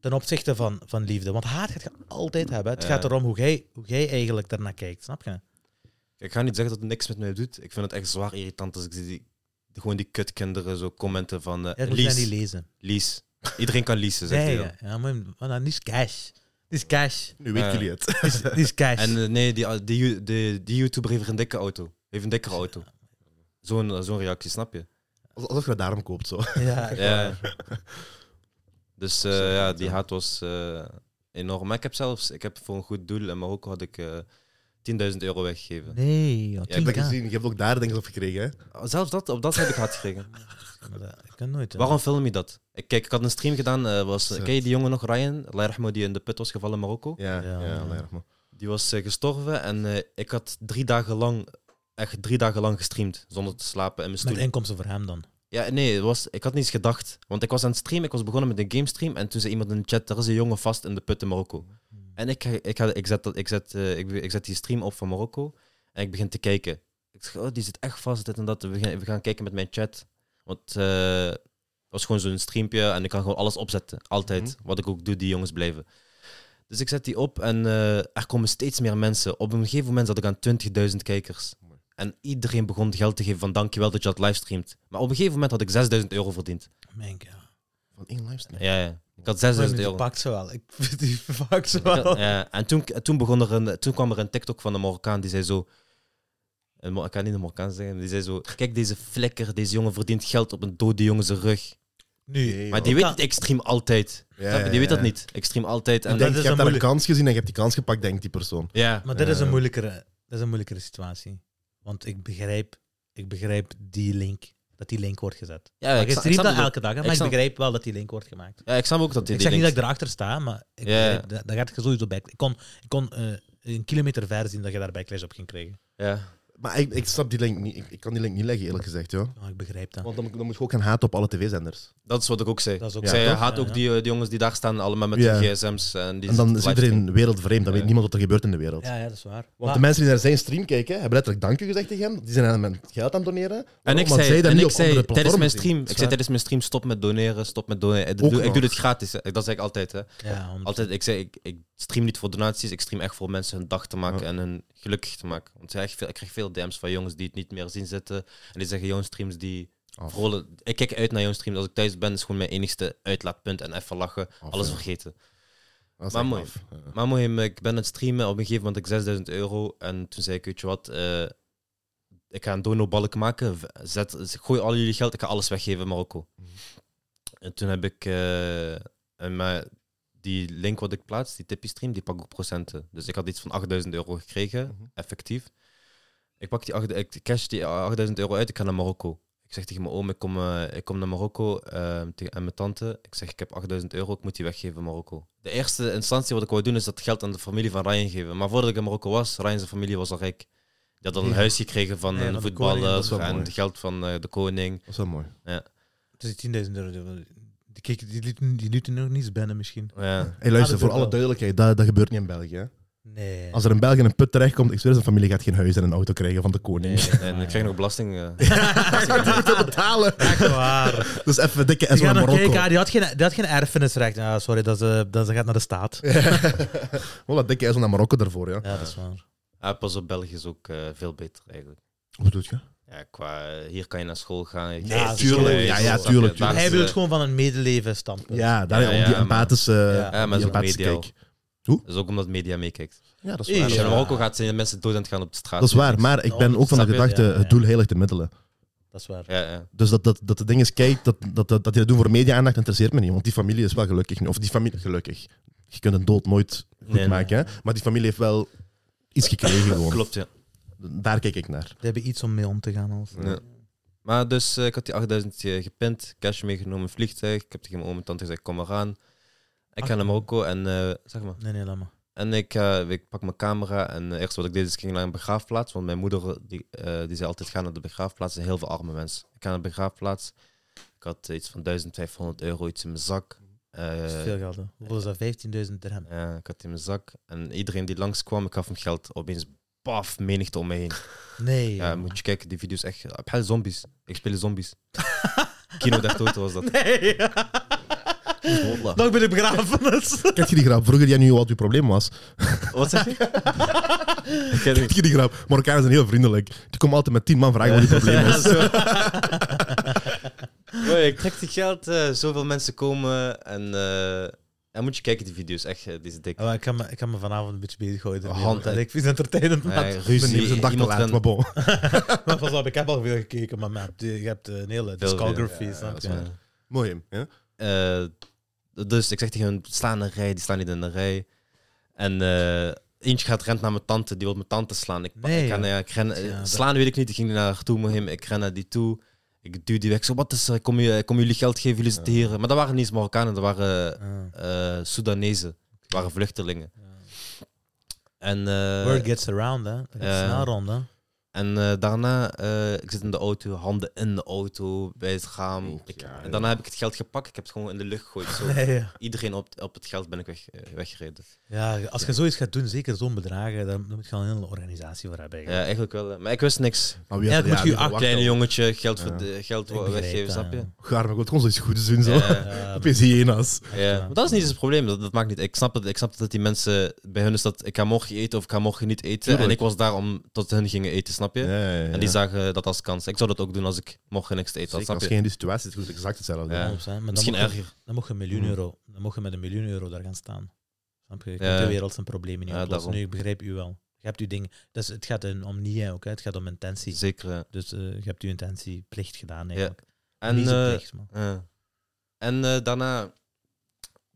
Ten opzichte van, van liefde. Want haat gaat je altijd hebben. Het
Ja.
gaat erom hoe jij, hoe jij eigenlijk daarnaar kijkt, snap je?
Ik ga niet zeggen dat het niks met mij doet. Ik vind het echt zwaar irritant als ik zie die, gewoon die kutkinderen zo commenten van eh,
Ja, dat moet je dat
Lies,
niet lezen.
Lies. Iedereen kan Lies, zegt
Ja,
hij dan.
ja, ja, maar maar dat is cash. Dit is cash.
Nu weten
Ja.
jullie het.
Dit is, dit is cash.
En eh, nee, die, die, die, die YouTuber heeft een dikke auto. Heeft een dikkere auto. Zo'n eh, zo'n reactie, snap je?
Alsof je het daarom koopt, zo.
ja,
Ja. Dus eh,
Zo,
ja,
ja.
die haat was eh, enorm. Maar ik heb zelfs, ik heb voor een goed doel in Marokko had ik eh, 10.000 euro weggegeven.
Nee, joh,
Ja, ik
Dat
10k.
je, gezien, je hebt ook daar dingen op gekregen, hè?
Zelfs dat, op dat heb ik haat gekregen.
Maar dat- ik kan nooit. hè.
Waarom film je dat? Ik, kijk, ik had een stream gedaan. eh, was,
Zet.
ken je die jongen nog, Ryan? Allah yarhamo, die in de put was gevallen in Marokko.
Ja,
Ja,
ja,
ja.
allee, maar.
Die was eh, gestorven en eh, ik had drie dagen lang, echt drie dagen lang gestreamd. Zonder te slapen in mijn
Met
stoel.
inkomsten voor hem dan.
Ja, nee, het was, ik had niets gedacht. Want ik was aan het streamen, ik was begonnen met een gamestream. En toen zei iemand in de chat: er is een jongen vast in de put in Marokko. En ik, ik, had, ik, zet, dat- ik, zet, eh, ik, ik zet die stream op van Marokko. En ik begin te kijken. Ik zeg: oh, die zit echt vast, dit en dat. We gaan, we gaan kijken met mijn chat. Want eh, het was gewoon zo'n streampje en ik kan gewoon alles opzetten. Altijd.
Mhm.
Wat ik ook doe, die jongens blijven. Dus ik zet die op en eh, er komen steeds meer mensen. Op een gegeven moment zat ik aan 20.000 kijkers. En iedereen begon geld te geven van dankjewel dat je dat livestreamt. Maar op een gegeven moment had ik 6000 euro verdiend.
Mijn god.
Van één livestream.
Ja, ja. Ik had 6000
Die
euro.
pakt ze wel. Ik vind die pakt ze
Ik had-
wel.
ja, en toen, toen, begon er een, toen kwam er een TikTok van een Marokkaan die zei zo... een Mo- Ik kan niet een Marokkaan zeggen, maar die zei zo... Kijk, deze flikker, deze jongen verdient geld op een dode jongen zijn rug.
Nu,
Maar die weet
Ja.
het extreem altijd.
Ja,
Snap je? Die
ja,
weet dat
ja.
niet. Extreem altijd. En
Ik
dat
denk, je hebt
is een
daar een
moeilijk-
kans gezien en je hebt die kans gepakt, denkt die persoon.
ja.
Maar dat is, een
Ja.
moeilijkere, dat is een moeilijkere situatie. Want ik begrijp, ik begrijp die link, dat die link wordt gezet.
ja,
Maar
ik,
je
sta- ik
streamt
snap
dat
het ook.
elke dag, hè,
Ik
maar ik
snap-
begrijp wel dat die link wordt gemaakt.
Ja, ik snap ook dat die
Ik zeg
die
niet dat
links-
ik erachter sta, maar ik
Ja.
begrijp, dat, dat gaat je sowieso back. Ik kon, ik kon eh, een kilometer ver zien dat je daar backlash op ging krijgen.
Ja.
Maar ik, ik snap die link niet. Ik, ik kan die link niet leggen, eerlijk gezegd, joh.
Maar ik begrijp dat.
Want dan, dan moet je ook gaan haten op alle tv-zenders.
Dat is wat ik ook zei.
Dat is ook
Ik
Ja,
zei,
toch?
haat
Ja,
ook
ja.
Die, eh, die jongens die daar staan, allemaal met
Ja.
hun gsm's. En, die
En dan is
zitten
iedereen wereldvreemd, dan
Ja.
weet niemand wat er gebeurt in de wereld.
Ja, ja, dat is waar.
Want
Maar-
de mensen die naar zijn stream kijken, hebben letterlijk dank u gezegd tegen hem. Die zijn aan hem geld aan het doneren.
En
Waarom?
ik
Omdat
zei,
zij dat
en
niet
ik
op
zei
andere
tijdens
platformen
mijn
zien.
stream, ik zei
Zwaar.
tijdens mijn stream, stop met doneren, stop met doneren. Ik
Ook
doe, ik
nog.
doe dit gratis, hè. dat zeg ik altijd. Hè.
Ja, want-
altijd ik, zei, ik, ik stream niet voor donaties, ik stream echt voor mensen hun dag te maken
Ja.
en hun gelukkig te maken. Want ja, echt veel, ik krijg veel DM's van jongens die het niet meer zien zitten. En die zeggen, jouw streams die
Af.
rollen. Ik kijk uit naar jouw streams. Als ik thuis ben, is gewoon mijn enigste uitlaatpunt. En even lachen,
Af,
alles
ja.
vergeten.
Dat is
maar
echt
mooi.
af. Ja.
Maar mooi, ik ben aan het streamen. Op een gegeven moment had ik 6000 euro. En toen zei ik, weet je wat, eh, ik ga een donobalk maken. V- Zet, gooi al jullie geld, ik ga alles weggeven in Marokko. En toen heb ik... eh, en maar die link wat ik plaats, die tippie stream, die pak ik procenten. Dus ik had iets van 8000 euro gekregen,
Mhm.
effectief. Ik pak die acht, ik cash die 8000 euro uit, ik ga naar Marokko. Ik zeg tegen mijn oom, ik kom, eh, ik kom naar Marokko eh, tegen- en mijn tante. Ik zeg, ik heb 8000 euro, ik moet die weggeven in Marokko. De eerste instantie wat ik wou doen, is dat geld aan de familie van Ryan geven. Maar voordat ik in Marokko was, Ryan zijn familie was al rijk. Die had al een
Ja.
huis gekregen van
Ja,
een
van de koning,
voetballer
dat
is wel
en
mooi.
het geld van eh, de koning.
Dat is wel mooi.
Dus die 10.000 euro, die, keken- die, lieten- die lieten nog niets binnen misschien.
Ja.
Hey, luister,
Ah, dat
voor
doet
alle
wel.
duidelijkheid, dat, dat gebeurt niet in België. hè.
Nee.
Als er in België een put terechtkomt, ik zweer, zijn familie gaat geen huis en een auto krijgen van de koning.
Nee, en ik krijg nog belasting. eh.
niet te betalen.
Echt waar.
Dus even dikke
Die
S naar
gaan nog
Marokko.
kijken, ah, die had geen, die had geen erfenisrecht. Ah, sorry, dat, ze, dat ze gaat naar de staat. Ja,
Voilà, dikke S naar Marokko daarvoor, ja.
dat is waar.
Ja, pas op, België is ook eh, veel beter eigenlijk.
Hoe doet je?
Ja, qua, eh, hier kan je naar school gaan. je
Ja,
krijgt iets
tuurlijk.
gelezen,
Ja, ja,
snap je?
tuurlijk,
Daar
tuurlijk.
is,
Hij wil
eh,
het gewoon van een medeleven standpunt.
Ja, daar,
Ja,
om
ja,
die
maar-
empathische,
Ja,
eh, maar dat is
die
ook
empathische
mediaal.
kijk.
Dat is ook omdat media meekijkt.
Ja, dat
Ja.
is
Als je
waar.
naar Marokko gaat, zijn de mensen dood aan het gaan op de straat.
Dat is waar, maar ik ben ook van de
Snap je?
gedachte,
Ja, ja.
het doel heiligt de middelen.
Dat is waar.
Ja, ja.
Dus dat, dat, dat de ding is, kijk, dat, dat, dat, dat die dat doen voor media-aandacht interesseert me niet, want die familie is wel gelukkig nu. Of die familie, gelukkig. Je kunt een dood nooit goed
Nee, nee.
maken, hè. Maar die familie heeft wel iets gekregen gewoon.
Klopt, ja.
Daar kijk ik naar.
Ze hebben iets om mee om te gaan. Als...
Ja. Maar dus, eh, ik had die 8000 eh, gepint, cash meegenomen, vliegtuig. Ik heb tegen mijn oom en tante gezegd, kom maar aan. Ik ga naar Marokko en, eh, zeg maar.
Nee, nee, laat maar.
En ik, eh, ik pak mijn camera en eh, eerst wat ik deed is ik ging naar een begraafplaats. Want mijn moeder eh, die, eh, die zei altijd gaan naar de begraafplaats. En heel veel arme mensen. Ik ga naar de begraafplaats. Ik had eh, iets van 1500 euro iets in mijn zak. Eh,
Dat is veel geld. hè. Hoeveel is dat? 15.000 dirham.
ja, Eh, ik had het in mijn zak. En iedereen die langskwam, ik gaf hem geld. Opeens, paf, menigte om me heen.
Nee.
Ja, moet je kijken, die video's echt... Ik heb zombies. Ik speel zombies. Kino der Toto was dat.
Nee.
Wallah.
Nog bij de begrafenis. Ah,
Kijk je die grap? Vroeger jij nu wat je probleem was.
Wat zeg je? ik ken
Kijk je die grap? Marokkanen zijn heel vriendelijk. Die komen altijd met tien man vragen wat je probleem is.
Oei, ik trek die geld, eh, zoveel mensen komen en, eh, en moet je kijken die video's, echt, eh, die is dik.
Oh, ik, kan me, ik kan me vanavond een beetje bezighouden.
Oh, hand,
want ik vind het entertainend, maat.
Mijn
Nee,
neef is een
Eh, ruzie,
dag te
iemand
laat, maar
kan...
bon.
Maar pas op, ik heb al veel gekeken, maar maat, je hebt eh, een hele
Veel
discography,
video, ja,
snap
dat
je?
is waar. Mooi, hè? Nou,
Eh, dus ik zeg tegen hun, sla in een rij, die staan niet in een rij. En eh, eentje gaat rent naar mijn tante, die wil mijn tante slaan. Ik,
Nee,
ik, ga-
joh.
nee, ik ren, eh,
Ja, dat-
slaan weet ik niet, ik ging naar haar toe met hem, ik ren naar die toe. Ik duw die weg, ik zo, wat is er, ik kom, je- ik kom jullie geld geven, jullie zitten hier. Maar dat waren niet eens Marokkanen, dat waren
Ah.
eh Soedanezen. Het waren vluchtelingen. En, eh,
Word gets around, hè? Het is
ja.
snel rond, hè?
en eh, daarna, eh, ik zit in de auto, handen in de auto, bij het raam.
Ja,
Ik,
ja.
en daarna heb ik het geld gepakt, ik heb het gewoon in de lucht gegooid. Zo.
Nee, ja.
Iedereen op, op het geld ben ik weg, eh, weggereden.
ja, als je zoiets gaat doen, zeker zo'n bedragen, dan moet je al een hele organisatie voor hebben.
Ja, eigenlijk wel. eh, Maar ik wist niks.
Maar wie
Ja,
had-
dat moet je
Ah, die
act-
verwacht
Kleine
al.
jongetje, geld, voor
Ja.
de, geld
Ik
wa-
begrijp
weggeven,
dat,
snap je?
ja.
Gaar, maar ik wil gewoon zoiets goeds doen, zo.
Ja.
Ja,
Opeens hyena's.
Ja, maar dat is niet eens het probleem. Dat, dat maakt niet. Ik snap, het, ik snap dat die mensen bij hun is dat ik ga morgen eten of ik ga morgen niet eten. En
Tuurlijk.
ik was daar om tot hun gingen eten, snap je? En die zagen dat als kans. Ik zou dat ook doen als ik morgen niks te eten had,
Zeker,
snap
als
je?
je in die situatie zit, is het exact hetzelfde.
Ja.
Ja, op zijn, maar dan
Misschien
mocht je-
erger. Mm.
Dan mocht je een miljoen
Mhm.
euro, dan mocht je met een miljoen euro daar gaan staan. Snap je? Je
Ja.
kunt de wereld zijn problemen niet
Ja,
oplossen.
daarom.
Nu, ik begrijp u wel. Je hebt uw ding. Dus het gaat een- om niet hè, ook, hè. het gaat om intentie.
Zeker. ja.
Dus eh, je hebt uw intentie plicht gedaan eigenlijk.
En,
niet
eh,
zo plicht, man.
ja. en eh, daarna een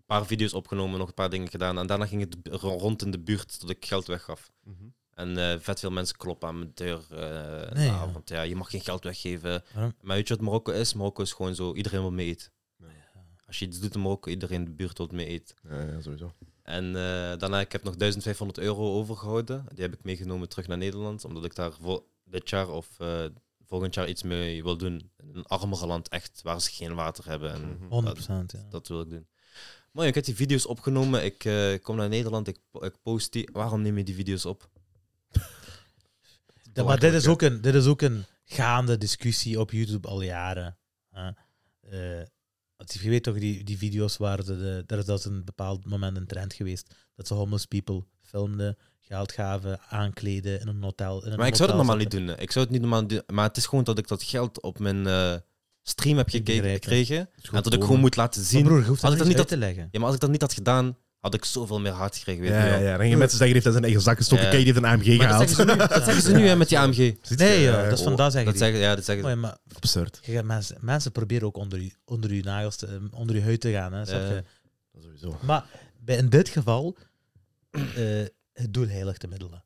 paar video's opgenomen, nog een paar dingen gedaan. En daarna ging het b- ro- rond in de buurt tot ik geld weggaf.
Mhm.
En eh, vet veel mensen kloppen aan mijn deur. eh in
Nee,
de
ja.
avond. Ja, je mag geen geld weggeven.
Waarom?
Maar weet je wat Marokko is? Marokko is gewoon zo, iedereen wil mee eten. Als je iets doet in Marokko, iedereen in de buurt wil mee eten.
Ja, ja, sowieso.
En eh, daarna, ik heb nog 1500 euro overgehouden. Die heb ik meegenomen terug naar Nederland, omdat ik daar voor dit jaar of eh, volgend jaar iets mee wil doen. In een armer land echt, waar ze geen water hebben. En
Mhm.
100 ja.
dat wil ik doen. Mooi, ik heb die video's opgenomen. Ik eh, kom naar Nederland, ik, po- ik post die. Waarom neem je die video's op?
Ja, maar dit is, ook een, dit is ook een gaande discussie op YouTube al jaren. hè. Eh, want je weet toch, die, die video's waren, de, de, daar is dat een bepaald moment een trend geweest. Dat ze homeless people filmden, geld gaven, aankleden in een hotel. In een
Maar ik zou
motel
dat normaal niet
zetten.
doen. hè. Ik zou het niet normaal doen. Maar het is gewoon dat ik dat geld op mijn eh, stream heb gekeken,
Begrijpen.
gekregen.
is
En dat ik
bomen.
gewoon moet laten zien.
Maar broer, je hoeft
Had
dat
ik
niet,
dat
uit
niet
te leggen.
Ja, maar als ik dat niet had gedaan, had ik zoveel meer hard gekregen. Weet
Ja,
je
ja,
wel.
ja. Dan gingen mensen zeggen, die heeft dat in zijn eigen zak gestoken.
Ja.
Kijk, die heeft een AMG
Maar dat
gehaald.
zeggen ze nu, dat zeggen ze nu hè, met die AMG.
Ziet je?
Nee, joh,
Ja,
dat is
oh,
vandaag zeggen
eh,
die. Oh
Dat zeggen, ja, dat zeggen ze.
Mooi, maar
Absurd.
je gaat mensen, mensen proberen ook onder je, onder je nagels, te, eh, onder je huid te gaan. Hè, snap
Ja.
je?
Dat sowieso.
Maar bij, in dit geval, eh, het doel heiligt de middelen.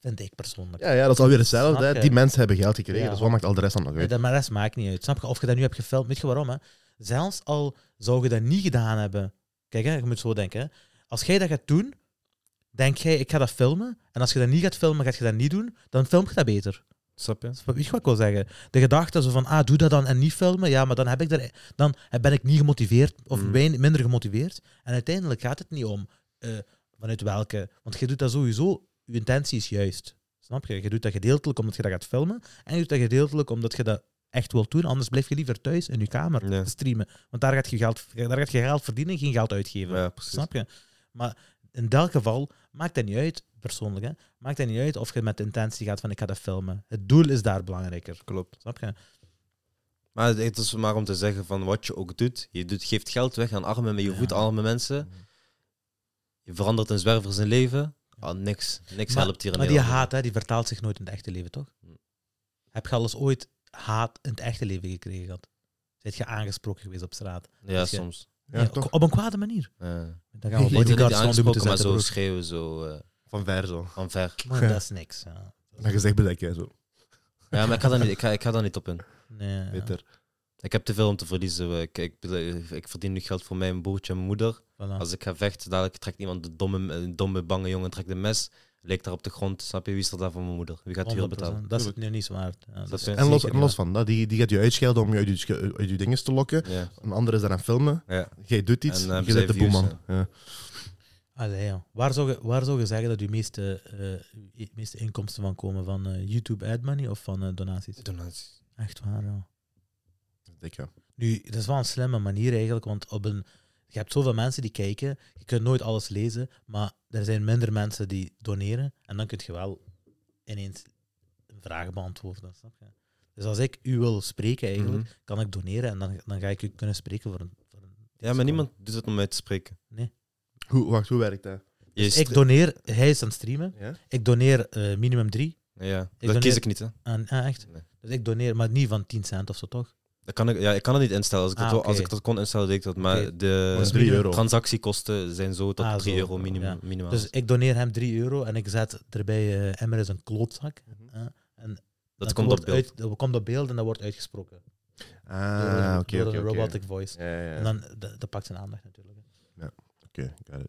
Vind ik persoonlijk.
Ja, ja, dat is alweer hetzelfde.
Snap
hè.
je?
Die mensen hebben geld gekregen,
Ja.
dus wat maakt al de rest dan nog
Nee,
uit?
dat, maar dat maakt niet uit. Snap je? Of je dat nu hebt gefilmd, weet je waarom? Hè? Zelfs al zou je dat niet gedaan hebben. Kijk, hè, je moet zo denken. Hè? Als jij dat gaat doen, denk jij, ik ga dat filmen. En als je dat niet gaat filmen, gaat je dat niet doen, dan film je dat beter.
Snap je?
Weet je wat ik wil zeggen? De gedachte zo van, ah, doe dat dan en niet filmen. Ja, maar dan, heb ik er, dan ben ik niet gemotiveerd of
Mm.
wein- minder gemotiveerd. En uiteindelijk gaat het niet om eh, vanuit welke... Want je doet dat sowieso, je intentie is juist. Snap je? Je doet dat gedeeltelijk omdat je dat gaat filmen. En je doet dat gedeeltelijk omdat je dat echt wilt doen. Anders blijf je liever thuis in je kamer
Ja.
te streamen. Want daar gaat je geld, daar gaat je geld verdienen, geen geld uitgeven.
Ja, precies.
Snap je? Maar in dat geval maakt het niet uit, persoonlijk, hè, maakt het niet uit of je met de intentie gaat van ik ga dat filmen. Het doel is daar belangrijker.
Klopt.
Snap je?
Maar het is maar om te zeggen van wat je ook doet. Je doet, geeft geld weg aan arme, je
Ja.
voedt arme mensen. Je verandert een zwerver zijn leven. Ah, niks. Niks helpt hier in
maar die
Nederland.
haat, hè, die vertaalt zich nooit in het echte leven, toch?
Hm.
Heb je al eens ooit haat in het echte leven gekregen gehad? Zit je aangesproken geweest op straat?
Ja,
Dus je-
soms.
Ja,
Ja,
toch?
Op een kwade manier.
Eh,
Dan gaan we
Die
niet
bodyguards rond je moeten
aangesproken, maar
zetten.
zo
broer.
schreeuwen, zo eh,
Van ver zo.
van ver.
Maar dat is niks. Ja.
Mijn gezicht bedekken, zo.
Ja, maar ik ga daar niet, ik ga, ik ga daar niet op in.
Nee, ja.
Beter.
Ik heb te veel om te verliezen. Ik, ik, eh, ik verdien nu geld voor mijn broertje en mijn moeder.
Voilà.
Als ik ga vechten, dadelijk trekt iemand de domme, een domme bange jongen trekt een mes. Leek daar op de grond. Snap je, wie is er daar voor mijn moeder? Wie gaat die heel
100%.
betalen?
Dat is het nu niet waard. Ja,
Dat
dat is
is-
En los,
zeker
en los van dat, die, die gaat je uitschelden om je uit je, sche- uit je dinges te lokken.
Ja.
Een ander is daar aan het filmen.
Ja.
Jij doet iets,
En, eh,
je zet de
zij views,
boeman. Ja.
Allee, joh. waar, zou je, waar zou je zeggen dat je meeste, eh, je meeste inkomsten van komen? Van eh, YouTube ad money of van eh, donaties?
Donaties.
Echt waar, joh.
Dik, ja.
Nu, dat is wel een slimme manier eigenlijk, want op een, je hebt zoveel mensen die kijken, je kunt nooit alles lezen, maar er zijn minder mensen die doneren en dan kun je wel ineens een vraag beantwoorden. Snap je? Dus als ik u wil spreken eigenlijk, kan ik doneren en dan, dan ga ik u kunnen spreken voor een... Voor een
Ja, maar niemand doet het om mij te spreken.
Hoe, wacht, hoe werkt dat?
Je
Dus
st-
ik doneer, hij is aan het streamen,
Ja?
ik doneer eh, minimum drie.
ja, dat
doneer-
kies ik niet, hè.
Aan, ah, echt?
Nee.
Dus ik doneer, maar niet van 10 cent of zo, toch?
Dat kan ik, ja, ik kan het niet instellen. Als ik, dat,
Ah,
wil-
oké.
als ik dat kon instellen, deed ik dat. Maar
Oké.
Dat is
de
3 euro.
transactiekosten zijn zo tot
Ah,
3
zo.
euro minimum.
Ja.
minimaal.
Dus ik doneer hem 3 euro en ik zet erbij eh Emmer is een klootzak.
Mhm.
eh, en
dat komt op
wordt
beeld.
Uit, dat komt op beeld en dat wordt uitgesproken.
Ah,
door
oké,
door
oké,
een
oké.
robotic voice.
Ja, ja,
En
ja.
dan dat, dat pakt zijn aandacht natuurlijk. hè.
Oké, got it.
Dus,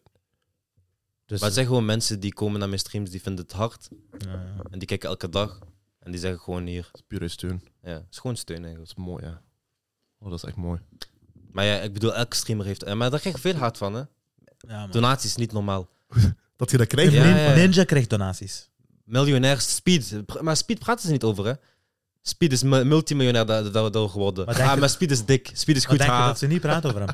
eh,
Maar het zijn gewoon mensen die komen naar mijn streams, die vinden het hard.
ja, ja.
En die kijken elke dag. En die zeggen gewoon hier.
Dat is pure steun.
Ja, het is gewoon steun
Dat
eigenlijk.
is mooi, ja. Oh, dat is echt mooi.
Maar ja, ik bedoel, elke streamer heeft... eh, Maar daar krijg je veel hard van, hè.
Ja, man.
Donaties is niet normaal.
Dat je dat krijgt,
Ja,
nee.
Nin-
ja, ja.
Ninja krijgt donaties.
miljonair Speed. Pr- Maar Speed praten ze niet over, hè? Speed is mu- multimiljonair da- da- da- door geworden.
Maar
Maar,
denk
ah,
je-
maar Speed is dik. Speed is
maar
goed.
denk je
ha.
dat ze niet praten over hem?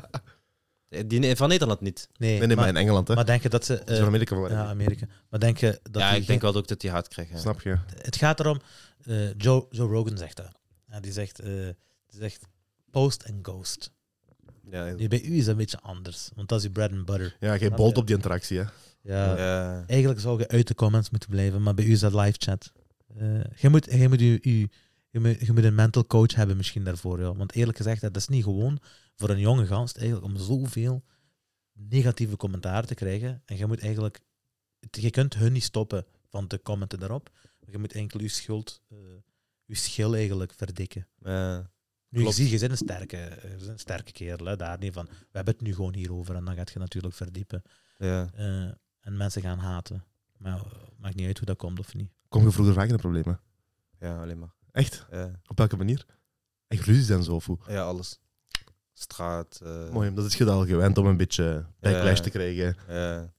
Die ne- van Nederland niet.
Nee,
Nee, nee, maar
maar,
in Engeland, hè.
maar denk je dat ze...
Dat is
eh,
van Amerika wel.
ja, Amerika. Maar denk je dat
ja,
die
ik denk wel ook dat die haat krijgt. Ja.
Snap je?
Het gaat erom, eh, Joe, Joe Rogan zegt dat. Ja, die, zegt, eh, die zegt post en ghost.
Ja,
Nu, bij u is dat een beetje anders, want dat is je bread and butter.
Ja, jij
Snap
bolt
je?
op die interactie, hè.
Ja,
Ja.
Eigenlijk zou je uit de comments moeten blijven, maar bij u is dat live chat. Eh, je, moet, je, moet, je, je, je moet, je moet een mental coach hebben misschien daarvoor. Ja. Want eerlijk gezegd, dat is niet gewoon voor een jonge gast eigenlijk om zoveel negatieve commentaar te krijgen. En je moet eigenlijk... het- Je kunt hun niet stoppen van te commenten daarop. Maar je moet enkel je schuld, eh, je schil eigenlijk verdikken.
Ja.
Nu, je
Klopt.
ziet, je bent een sterke, eh, je bent een sterke kerel, hè, daar niet van. We hebben het nu gewoon hierover en dan gaat je natuurlijk verdiepen.
Ja.
Eh, en mensen gaan haten. Maar eh, maakt niet uit hoe dat komt of niet.
Kom je vroeger vaak in de problemen?
ja, alleen maar.
Echt?
Ja,
Op welke manier? Echt ruzies en zo, of hoe?
ja alles. Straat. eh,
Mooi, dat is je al gewend om een beetje backlash
Ja.
te krijgen.
ja.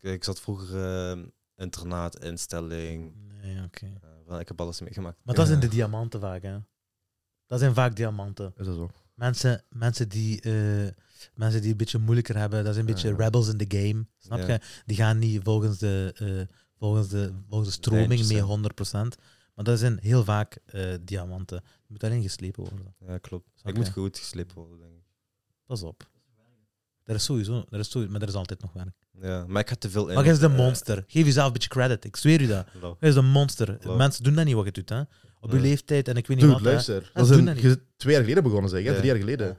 Ik, ik zat vroeger eh, internaat, instelling.
Nee, oké.
eh, wel, ik heb alles meegemaakt.
Maar dat
Ja.
zijn de diamanten vaak, hè. Dat zijn vaak diamanten.
Is dat zo?
Mensen, mensen, die, eh, mensen die een beetje moeilijker hebben, dat zijn een beetje
Ja.
rebels in the game. Snap
Ja.
je? Die gaan niet volgens de, eh, volgens de, volgens de stroming
100%.
mee 100%. Maar dat zijn heel vaak eh, diamanten. Je moet alleen geslepen worden.
Ja, klopt.
Snap
ik moet
je?
goed geslepen worden, denk ik.
Pas op. Er is sowieso, er is sowieso, maar er is altijd nog werk.
Ja, maar ik had te veel in.
Maar jij is een
eh,
monster. Geef jezelf een beetje credit. Ik zweer u dat.
love.
Jij is een monster.
Klopt.
Mensen doen dat niet wat je doet, hè. Op je
Nee.
leeftijd en ik weet niet
Dude,
wat. hè.
luister. Dat is
doen dat
een,
niet.
je bent twee jaar geleden begonnen, zeg. hè?
Ja.
Drie jaar geleden.
Ja.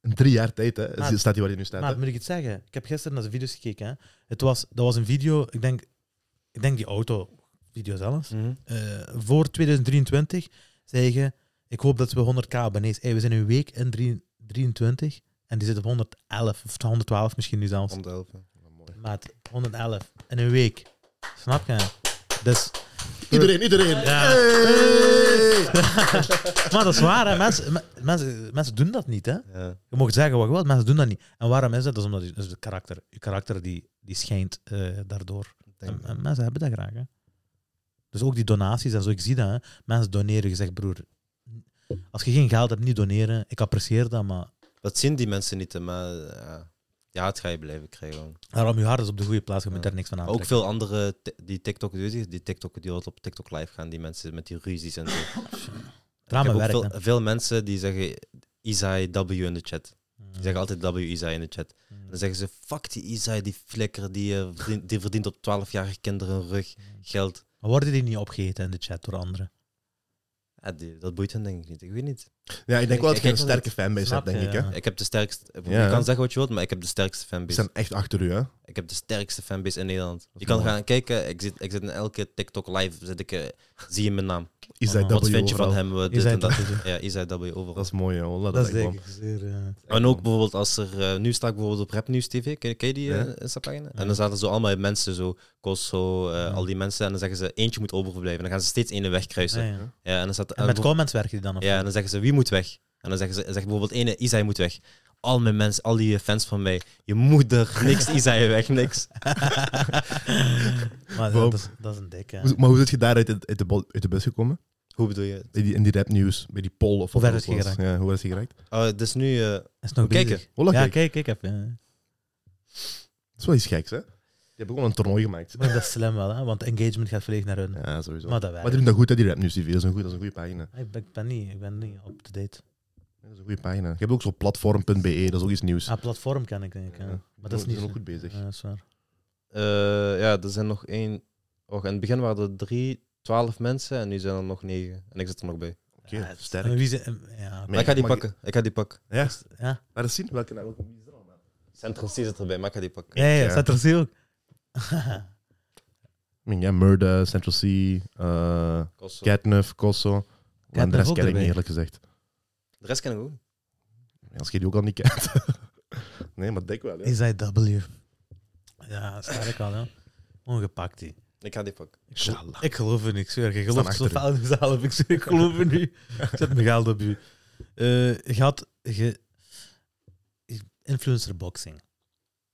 In drie jaar tijd, hè?
Maar-
staat hij waar hij nu staat.
Maar
hè?
moet ik het zeggen? Ik heb gisteren naar zijn video's gekeken. Hè. Het was, dat was een video, ik denk, ik denk die auto, video
Mm.
zelfs.
Mhm.
Eh, voor 2023 zei je, ik hoop dat we 100k abonnees. Hey, we zijn een week in drie- 23 en die zit op 111 of 112 misschien nu zelfs.
Om te helpen.
Maat, 111 in een week. Snap je? Dus,
Iedereen, iedereen.
Ja.
Hey!
maar dat is waar, hè. Mensen, me- mensen, mensen doen dat niet, hè?
Ja.
Je mag zeggen wat je wilt, mensen doen dat niet. En waarom is dat? Dat is omdat je, dat is het karakter, je karakter die, die schijnt eh, daardoor.
ik Denk,
En- en mensen hebben dat graag. Hè. Dus ook die donaties en zo. Ik zie dat. Hè. Mensen doneren. Je zegt, broer, als je geen geld hebt, niet doneren. Ik apprecieer dat, maar
Dat zien die mensen niet, hè, maar ja. ja, het ga je blijven krijgen. gewoon.
daarom je hart is op de goede plaats. Je moet
Ja.
daar niks van aan
Ook veel andere ti- die TikTok die TikTok die wat op TikTok live gaan, die mensen met die ruzies en zo. Ik heb
Drama
ook
werkt. hè.
veel, veel mensen die zeggen Isai W in de chat. Die
Ja.
zeggen altijd W Isai in de chat. Dan zeggen ze fuck die Isai, die flikker die eh, verdient, die verdient op 12-jarige kinderen hun rug geld.
Maar worden die niet opgegeten in de chat door anderen?
Ja, die- dat boeit hen denk ik niet. Ik weet niet.
Ja, ik denk wel dat
Ik-
je
ik-
een sterke fanbase
Snap
hebt, denk
je,
ik. Hè?
ja.
Ik heb de sterkste.
Ja.
Je kan zeggen wat je wilt, maar ik heb de sterkste
Ze
fanbase.
zijn echt achter u, hè?
Ik heb de sterkste fanbase in Nederland. Je
is
kan
mooi.
gaan kijken. Ik zit, ik zit in elke TikTok live. Zit ik, eh, zie je mijn naam.
Is
Oh,
dat
Wat vind je van
overal?
hem? eh,
Is
Dit
hij
en
dat?
dat.
te doen?
Ja, Isai W overal.
Dat is mooi, hoor. Dat,
Dat
is
is
echt
denk
bom.
ik zeer... eh,
En ook bijvoorbeeld als er, eh, nu sta ik bijvoorbeeld op Rap News TV, ken, ken je die
Ja.
eh, Insta-pagina? En
Ja.
dan zaten zo allemaal mensen, zo Kosso, eh,
Ja.
al die mensen, en dan zeggen ze eentje moet overblijven. En dan gaan ze steeds ene wegkruisen.
Ah, ja,
Ja.
ja.
en, dan staat, eh,
En met comments werken die dan? Of
ja, en dan zeggen ze wie moet weg. En dan zeggen ze zegt bijvoorbeeld ene, Isai moet weg. Al mijn mensen, al die eh, fans van mij, je moeder, niks Isai weg, niks.
maar
Wow.
dat, is, dat is een dikke. hè.
Hoe- Maar hoe zit je daar uit de, uit de, bol- uit de bus gekomen?
Hoe bedoel je?
In die, in die rapnieuws, bij die poll of
Hoe
wat
ver
het ook
is je
was.
geraakt?
Ja, hoe is je geraakt?
Oh, het is nu... eh,
Is nog
Kijken.
bezig.
Hoe lang
Ja,
kijk?
kijk, kijk even. hè.
Dat is wel iets geks, hè? Die hebben gewoon een toernooi gemaakt.
Maar dat is slim wel, hè? want engagement gaat vliegen naar hun.
Ja, sowieso. Maar,
Maar dat
die
werkt. Ah,
doen dat goed, hè, die rapnieuws-tv. Dat is een goeie- dat is een goede pagina.
Ik ben- ik ben niet, ik ben niet op de date.
Dat is een goede pagina. Je hebt ook zo'n platform.be, dat is ook iets nieuws.
Ah, platform ken ik denk ik. hè.
Ja.
Maar dat is
Die
niet
zijn ook goed bezig.
Ja, dat is waar.
Eh, ja, er zijn nog één. Och, in het begin waren er drie, twaalf mensen en nu zijn er nog negen. En ik zit er nog bij.
Oké,
Ja, het-
sterk.
en wie ze- en- ja,
Nee.
Maar ik ga die
mag je-
pakken. Ik ga die pakken.
Ja,
ja.
laat eens zien welke welke wie is er allemaal.
Central C zit erbij, maar ik ga die pakken.
ja, ja,
Ja.
staat er zie ook.
I mean, ja, Murder, Central C, eh
Kosso.
Catnuf, Kosso. En
Catnuf
de rest
ook
ken ik
erbij.
niet, eerlijk gezegd.
De rest ken ik ook.
Als je die ook al niet kent. nee, maar dik wel. Ja.
Is hij W? Ja, sterk al, hè. Ongepakt, die.
Ik ga die pakken.
Ik geloof- Ik geloof in u, ik zweer. Je gelooft zo
achter u.
fout in zelf. Ik zweer, ik geloof in u. Ik zet mijn geld op u. Eh, je had ge... influencer boxing.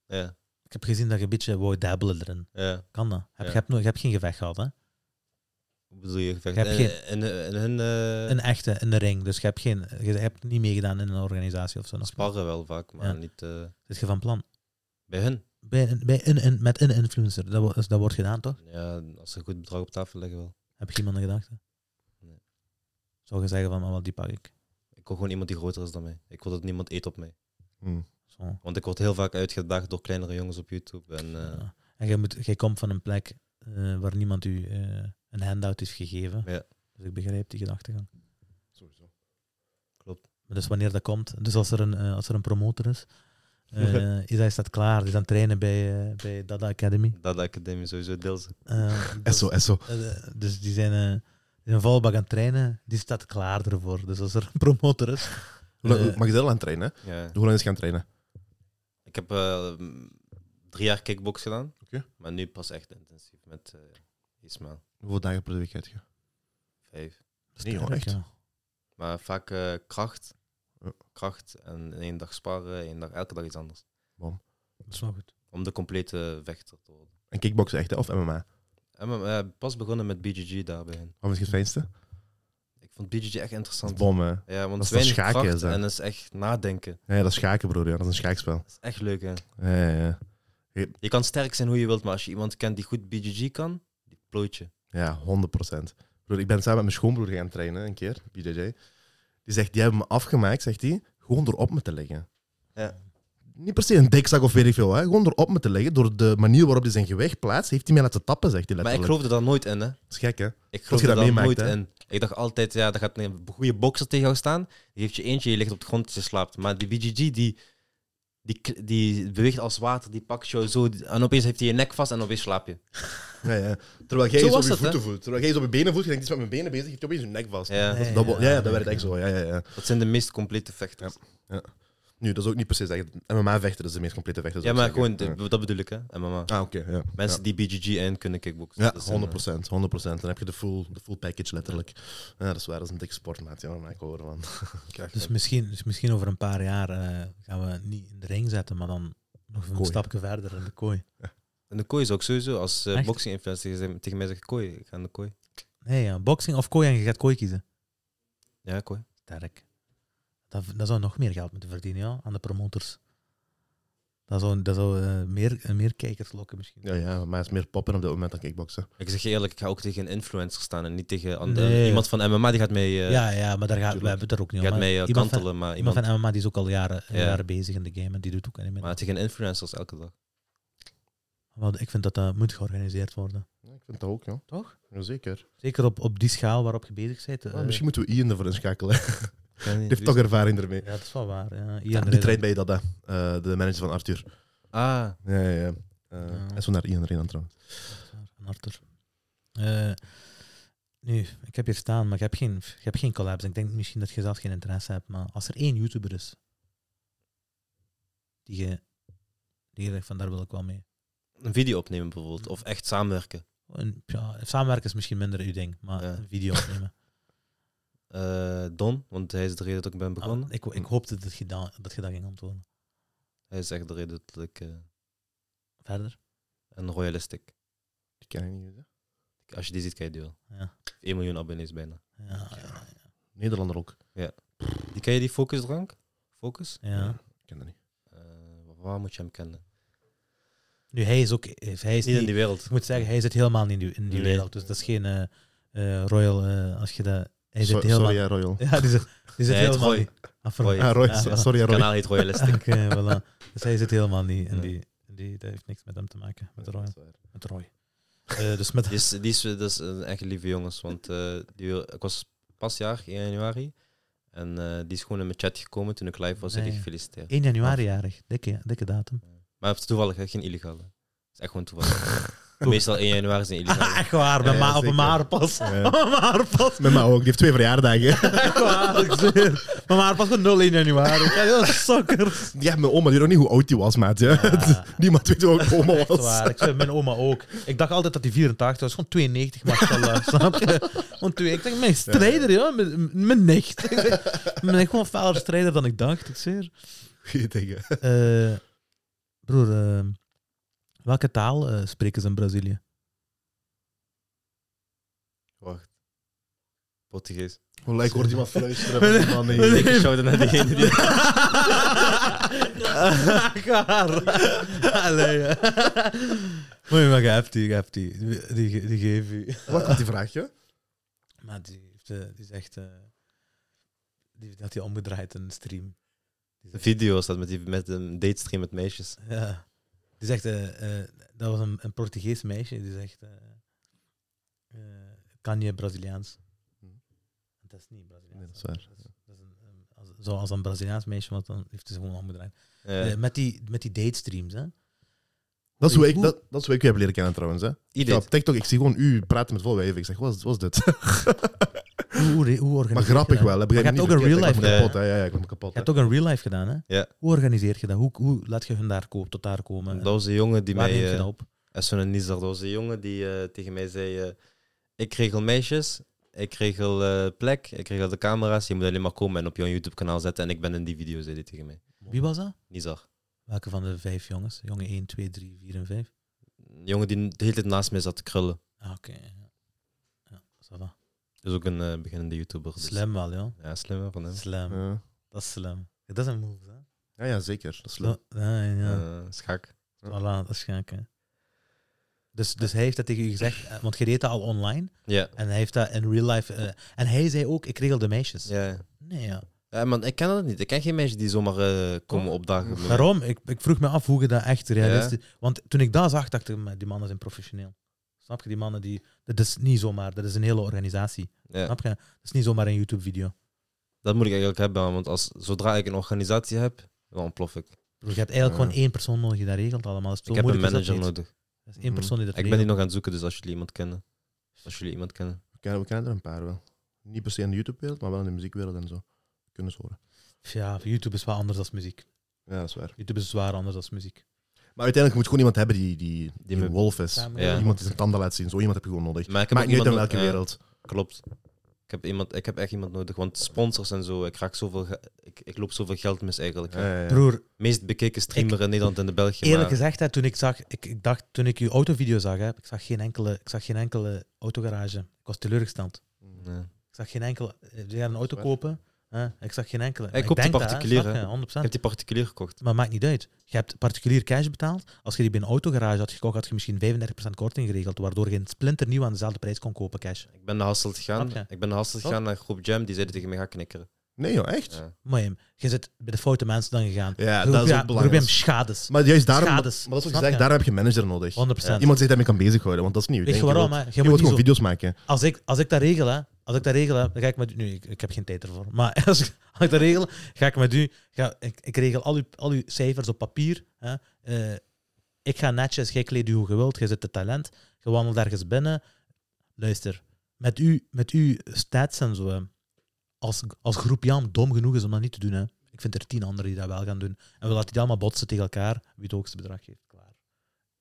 Ja,
Ik heb gezien dat je een beetje wou dabbelen erin.
ja.
Kan dat? Heb,
Ja.
je, hebt nooit- je hebt geen gevecht gehad, hè?
Hoe bedoel je? gevecht?
Ik
In,
heb
in, in hun eh,
Een echte, in de ring. Dus je hebt, geen, je hebt niet meegedaan in een organisatie of zo. Dan
sparren wel vaak, maar
Ja.
niet eh,
zit je van plan.
bij hun.
Bij, een- bij een, een- met een influencer, dat, wo- is- dat wordt gedaan toch?
Ja, als ze een goed bedrag op tafel leggen wel.
Heb je iemand in gedachten?
Nee.
Zou je zeggen van, ah, wel, die pak ik.
Ik wil gewoon iemand die groter is dan mij. Ik wil dat niemand eet op mij.
Hm.
Zo.
Want ik word heel vaak uitgedaagd door kleinere jongens op YouTube. En, eh,
Ja. En jij, moet, jij komt van een plek eh, waar niemand u eh, een handout heeft gegeven.
Ja.
Dus ik begrijp die gedachtegang.
Sowieso.
Maar Dus wanneer dat komt, dus als er een, eh, als er een promotor is, eh is hij staat klaar, die is aan het trainen bij, eh bij Dada Academy.
Dat academie sowieso deels.
Eh, dus-
SO, SO.
Eh, dus die zijn, eh, die zijn volbak aan het trainen, die staat klaar ervoor. Dus als er een promotor is.
Hoe lang-
eh,
Mag je dat al aan trainen? hè?
Ja.
Hoe lang is je gaan trainen?
Ik heb eh, m, drie jaar kickbox gedaan.
Oké.
Maar nu pas echt intensief met eh Ismail.
Hoeveel dagen per week heb je?
Vijf.
Dat is
Nee, joh,
pijnlijk,
echt.
ja.
Maar vaak eh, kracht.
Ja.
Kracht en één dag sparen, één dag, elke dag iets anders.
Dat is wel goed.
Om de complete vechter te worden.
En kickboksen echt, hè, of MMA?
En we eh, pas begonnen met BJJ daarbij.
Wat is het fijnste?
Ik vond BJJ echt
Dat is
interessant.
bom, hè. Ja,
Ja, want
Dat is
het is
dat
weinig
schaken,
kracht
is dat?
en het is echt nadenken.
dat is schaken, broer. Ja. Dat is een schaakspel.
Dat is echt leuk, hè.
Ja, ja, ja.
Je kan sterk zijn hoe je wilt, maar als je iemand kent die goed BJJ kan, die plooit je.
Ja, 100%. Broer, ik ben samen met mijn schoonbroer gaan trainen, een keer, BJJ. Die zegt, die hebben me afgemaakt, zegt hij, gewoon door op me te leggen.
Ja.
Niet per se een dikzak of weet ik veel, hè. gewoon door op me te leggen. Door de manier waarop hij zijn gewicht plaatst, heeft hij mij laten tappen, zegt hij
Maar ik
letterlijk.
geloofde daar nooit in, hè.
Dat is gek, hè?
Ik
Dat je
geloofde
dat
daar
meemaakt,
nooit
hè?
in. Ik dacht altijd, ja, daar gaat een goede bokser tegen jou staan. Die heeft je eentje, je ligt op de grond, je slaapt. Maar die BJJ, die, die, k- die beweegt als water, die pakt jou zo. En opeens heeft hij je nek vast en opeens slaap je.
Ja, ja. Terwijl jij
Zo
eens op
was
je
dat, hè?
voeten voelt. Terwijl jij eens op je benen voelt, je denkt, die is met mijn benen bezig, je hebt opeens je nek vast.
Ja.
Nee.
Dat wo- ja,
Ja,
dat werkt
ja.
echt zo. Ja, ja, ja.
Dat zijn de meest complete vechters. Ja,
Nu, dat is ook niet per se zeggen. MMA-vechter is de meest complete vechter. zou ik
maar gewoon,
zeggen.
dat bedoel ik, hè. MMA.
Ja. Ah, oké. ja.
Mensen die BJJ en kunnen kickboxen.
Ja,
Dat eh, zijn,
100 procent. 100 Dan heb je de full, de full package letterlijk. Ja, dat is waar. Dat is een dikke sportmaat. Ja, maar ik hoor ervan.
Dus misschien, dus misschien over een paar jaar eh, gaan we het niet in de ring zetten, maar dan nog een
Kooi.
stapje verder in de kooi.
eh, En de kooi is ook sowieso, als eh
Echt?
boxing-influencer tegen- tegen mij zegt kooi, ik ga in de kooi.
Nee, ja, boxing of kooi en je gaat kooi kiezen.
Ja, kooi.
Sterk. Dat, dat zou nog meer geld moeten verdienen ja, aan de promoters. Dat zou, dat zou eh, meer, meer kijkers lokken misschien.
Ja, ja, maar het is meer poppen op dit moment dan kickboksen.
Ik zeg je eerlijk, ik ga ook tegen een influencer staan en niet tegen andere,
Nee.
iemand van MMA, die gaat mee, eh,
ja, ja, maar daar gaat, we
tuurlijk.
hebben het er ook niet
gaat
over.
mee eh,
iemand, van,
kantelen, maar
iemand
iemand...
van MMA die is ook al jaren,
Ja.
jaren bezig in de game en die doet ook niet meer.
Maar tegen influencers elke dag.
Want ik vind dat dat moet georganiseerd worden.
Ja, ik vind dat ook, ja.
Toch?
Jazeker.
Zeker op, op die schaal waarop je bezig bent.
Ja,
eh,
misschien moeten we Ian ervoor inschakelen. Die
Die
heeft toch ervaring ermee.
Ja, dat is wel waar. Ja. Ian
Ja, die
Redden.
treedt bij dat, hè. Eh, de manager van Arthur.
Ah,
Ja, ja, ja. Eh,
Ja.
En zo naar Ian erin aan trouwens.
Van Arthur. Eh, nu, ik heb hier staan, maar ik heb geen, ik heb geen collabs. Ik denk misschien dat je zelf geen interesse hebt, maar als er één YouTuber is die je, die je zegt van daar wil ik wel mee.
een video opnemen bijvoorbeeld, of echt samenwerken.
Een, ja, samenwerken is misschien minder uw ding, maar
Ja.
een video opnemen.
Eh, Don, want hij is de reden dat ik ben begonnen.
Ah, ik, ik hoopte dat je, da- dat je dat ging antwoorden.
Hij is echt de reden dat ik... eh,
Verder?
en Royalistic.
Die ken ik niet. hè.
Als je die ziet, kan je die wel.
Ja.
1 miljoen abonnees bijna.
Ja, ja,
Nederlander ook.
Die, ken je die focusdrank? Focus?
ja.
Ik ken dat niet.
Eh, waar moet je hem kennen?
Nu, hij is ook... eh, Hij is
Niet in
niet-
die wereld.
Ik moet zeggen, hij zit helemaal niet in die, in die
Nee.
wereld. Dus dat is geen eh, eh, Royal... eh, als je dat... Hij
So-
zit helemaal...
Sorry, hè, Royal.
Ja, die zit, die zit
Nee, het
helemaal
Roy.
niet... Ah, voor-
Roy.
Ah, Roy.
Ja,
so-
ja.
Sorry, hè,
Het
Roy.
kanaal heet Royalistic.
Oké, voilà. Dus hij zit helemaal niet in
Ja.
die... in die dat heeft niks met hem te maken, met
Ja,
Roy.
dat is waar.
Met Roy. Eh, dus met...
Die is, die is, dat is een echt lieve jongens, want eh, die, wil- ik was pas jaar, 1 januari. En eh, die is gewoon in mijn chat gekomen toen ik live was en
Nee.
die gefeliciteerd.
1 januari jarig. Dikke, dikke datum.
Maar het is toevallig, hè, geen illegale. Het is echt gewoon toevallig. Meestal 1 januari is een illegale.
Ah, echt waar, bij
Ja,
ma- op
zeker.
een maarpas.
Ja.
Op een maarpas.
Met mij ook. Die heeft twee verjaardagen.
Echt waar, ik zweer. Mijn maarpas gewoon 0 in januari. Ja, heel sokkers.
Die heeft mijn oma, die weet nog niet hoe oud die was, maat. Ja.
Ja.
Niemand weet hoe oud mijn oma
Echt
was.
waar. Ik zei, mijn oma ook. Ik dacht altijd dat die 84 was. Gewoon 92, mashallah. snap je? Want twee, ik dacht, mijn strijder, ja. Mijn, mijn nicht. Ik zeg, Mijn echt gewoon feller strijder dan ik dacht. Ik zeer.
Goeie dingen.
Eh, broer, eh, welke taal eh, spreken ze in Brazilië?
Wacht. Portugees.
Oh, ik hoorde iemand fluisteren. Man, nee.
Ik shout naar diegene die.
Gaar. Allee. ja. Moet je maar, je hebt die, je hebt die. Die, die, die geef je.
Wat was die vraagje?
Maar die, heeft, eh, die is echt... eh, die had hij omgedraaid in een stream. Die
De
zegt-
video was dat met, die, met een datestream met meisjes.
ja. Die zegt... eh, eh, dat was een, een Portugees meisje. Die zegt... eh eh, kan je Braziliaans?
Hm.
Dat is niet Braziliaans.
Nee, dat is waar.
Dat is- dat is een, een- als, zoals een Braziliaans meisje, want dan heeft hij ze gewoon omgedraaid.
Eh,
Eh, met, die, met die datestreams, hè.
Dat is hoe ik,
Hoe-
dat, dat is hoe ik u heb leren kennen trouwens. Hè. Ik ga
Idit.
op TikTok, ik zie gewoon u praten met volwijven. Ik zeg, wat is, wat is dit?
Hoe, hoe, re- hoe organiseer
Maar
je
grappig
dat?
wel. Hè.
Maar
Begrijp
je
me
hebt ook
niet
een real
verkeerd,
life
ik word
life,
kapot, hè. Ja, ja, ik word kapot.
Je
hè.
hebt ook een real life gedaan, hè?
Ja.
Hoe organiseer je dat? Hoe, hoe laat je hun daar ko- tot daar komen?
Dat was de jongen die
Waar
mij.
neem je
eh,
dat op?
Esson en Nizar, dat was een jongen die eh, tegen mij zei: eh, Ik regel meisjes ik regel eh, plek, ik regel de camera's. Je moet alleen maar komen en op jouw YouTube-kanaal zetten. En ik ben in die video, zei hij tegen mij.
Wie was dat?
Nizar.
Welke van de vijf jongens? Jongen 1, 2, 3, 4 en 5?
Een jongen die de hele tijd naast mij zat te krullen.
Ah, oké. ja. Ja, ça va.
Is ook een eh, beginnende YouTuber. dus-
Slim wel, joh.
Ja, slim hè, van hem.
Slim.
Ja.
Dat is slim. Dat is een move, hè?
Ja, ja, zeker. Dat is leuk.
Ja, ja. ja.
Eh, schak.
Voilà, dat is gek, hè. Dus, dus hij heeft dat tegen u gezegd, eh, want je deed dat al online.
Ja.
En hij heeft dat in real life... eh, en hij zei ook, ik regel de meisjes.
Ja.
Nee, ja.
Ja, man, ik ken dat niet. Ik ken geen meisjes die zomaar eh,
Oh.
komen opdagen. bij mij.
Daarom, ik, ik vroeg me af hoe je dat echt realistisch... Want toen ik dat zag, dacht ik, "Maar die mannen zijn professioneel. Snap je? Die mannen, die, dat is niet zomaar, dat is een hele organisatie.
Ja.
Snap je? Dat is niet zomaar een YouTube-video.
Dat moet ik eigenlijk hebben, man, want als, zodra ik een organisatie heb, dan ontplof ik.
Je hebt eigenlijk
Ja.
gewoon één persoon nodig die dat regelt allemaal. Dus zo
ik heb een
moeilijk is dat
manager
niet.
nodig.
Dat is één persoon Mm. die dat
Ik ben die nog aan het zoeken, dus als jullie iemand kennen. Als jullie iemand kennen.
We, kennen, we kennen er een paar wel. Niet per se in de YouTube-wereld, maar wel in de muziekwereld en zo. Kunnen ze horen.
Ja, YouTube is wel anders dan muziek.
Ja, dat is waar.
YouTube is zwaar anders dan muziek.
Maar uiteindelijk moet je gewoon iemand hebben die, die, die
met-
een wolf is.
Ja, maar-
Ja.
Iemand die zijn tanden laat zien. Zo iemand heb je gewoon nodig.
Maar ik heb
Maakt
ook
niet uit in
iemand
welke
no-
wereld.
Ja, klopt. Ik heb, iemand, ik heb echt iemand nodig, want sponsors en zo, ik, raak zoveel ge- ik, ik loop zoveel geld mis eigenlijk. hè.
Ja, ja, ja.
Broer,
Meest bekeken streamer in Nederland en de België.
Eerlijk
maar-
gezegd, hè, toen ik zag, ik, ik dacht, toen ik uw autovideo zag, hè, ik zag geen enkele, ik zag geen enkele autogarage. Ik was teleurgesteld.
Nee.
Ik zag geen enkele. eh, Die gaan een auto
Waar?
kopen. Hè, ik zag geen enkele. Maar
koop die
denk dat, hè,
particulier,
snap
hè.
je, 100%.
Ik heb die particulier gekocht.
Maar maakt niet uit. Je hebt particulier cash betaald. Als je die bij een autogarage had gekocht, had je misschien 35% korting geregeld, waardoor je een splinter nieuw aan dezelfde prijs kon kopen cash.
Ik ben naar Hasselt gegaan.
Snap je?
Ik ben naar Hasselt
Toch?
gegaan naar groep Jam, die zeiden tegen mij, ga knikkeren.
Nee, joh, echt.
Ja.
Maar je, je zit bij de foute mensen dan gegaan.
Ja,
Je
dat is
roept-
ook
je roept hem
belangrijk.
schades. 100%.
Maar juist daarom, maar dat
Schades.
is wat ik
Snap
zeg,
je?
daarom heb je een manager nodig. Iemand zich daarmee kan bezighouden, want dat is niet uw
Weet je
ding.
waarom?
wilt-
hè? Je
Je wilt
moet niet
gewoon
zo-
video's maken.
Als ik, als ik dat regel, hè, als ik dat regel, hè, dan ga ik met u. Nu, ik, ik heb geen tijd ervoor. Maar als ik, als ik dat regel, ga ik met u. Ga, ik, ik regel al uw, al uw cijfers op papier. Hè, Eh, ik ga netjes, jij kleed u hoe je wilt. Jij zit de talent. Je wandelt ergens binnen. Luister, met u, met uw stats en zo. hè, Als, als groep Jam dom genoeg is om dat niet te doen, hè. ik vind er tien anderen die dat wel gaan doen. En we laten die allemaal botsen tegen elkaar. Wie het hoogste bedrag geeft, klaar.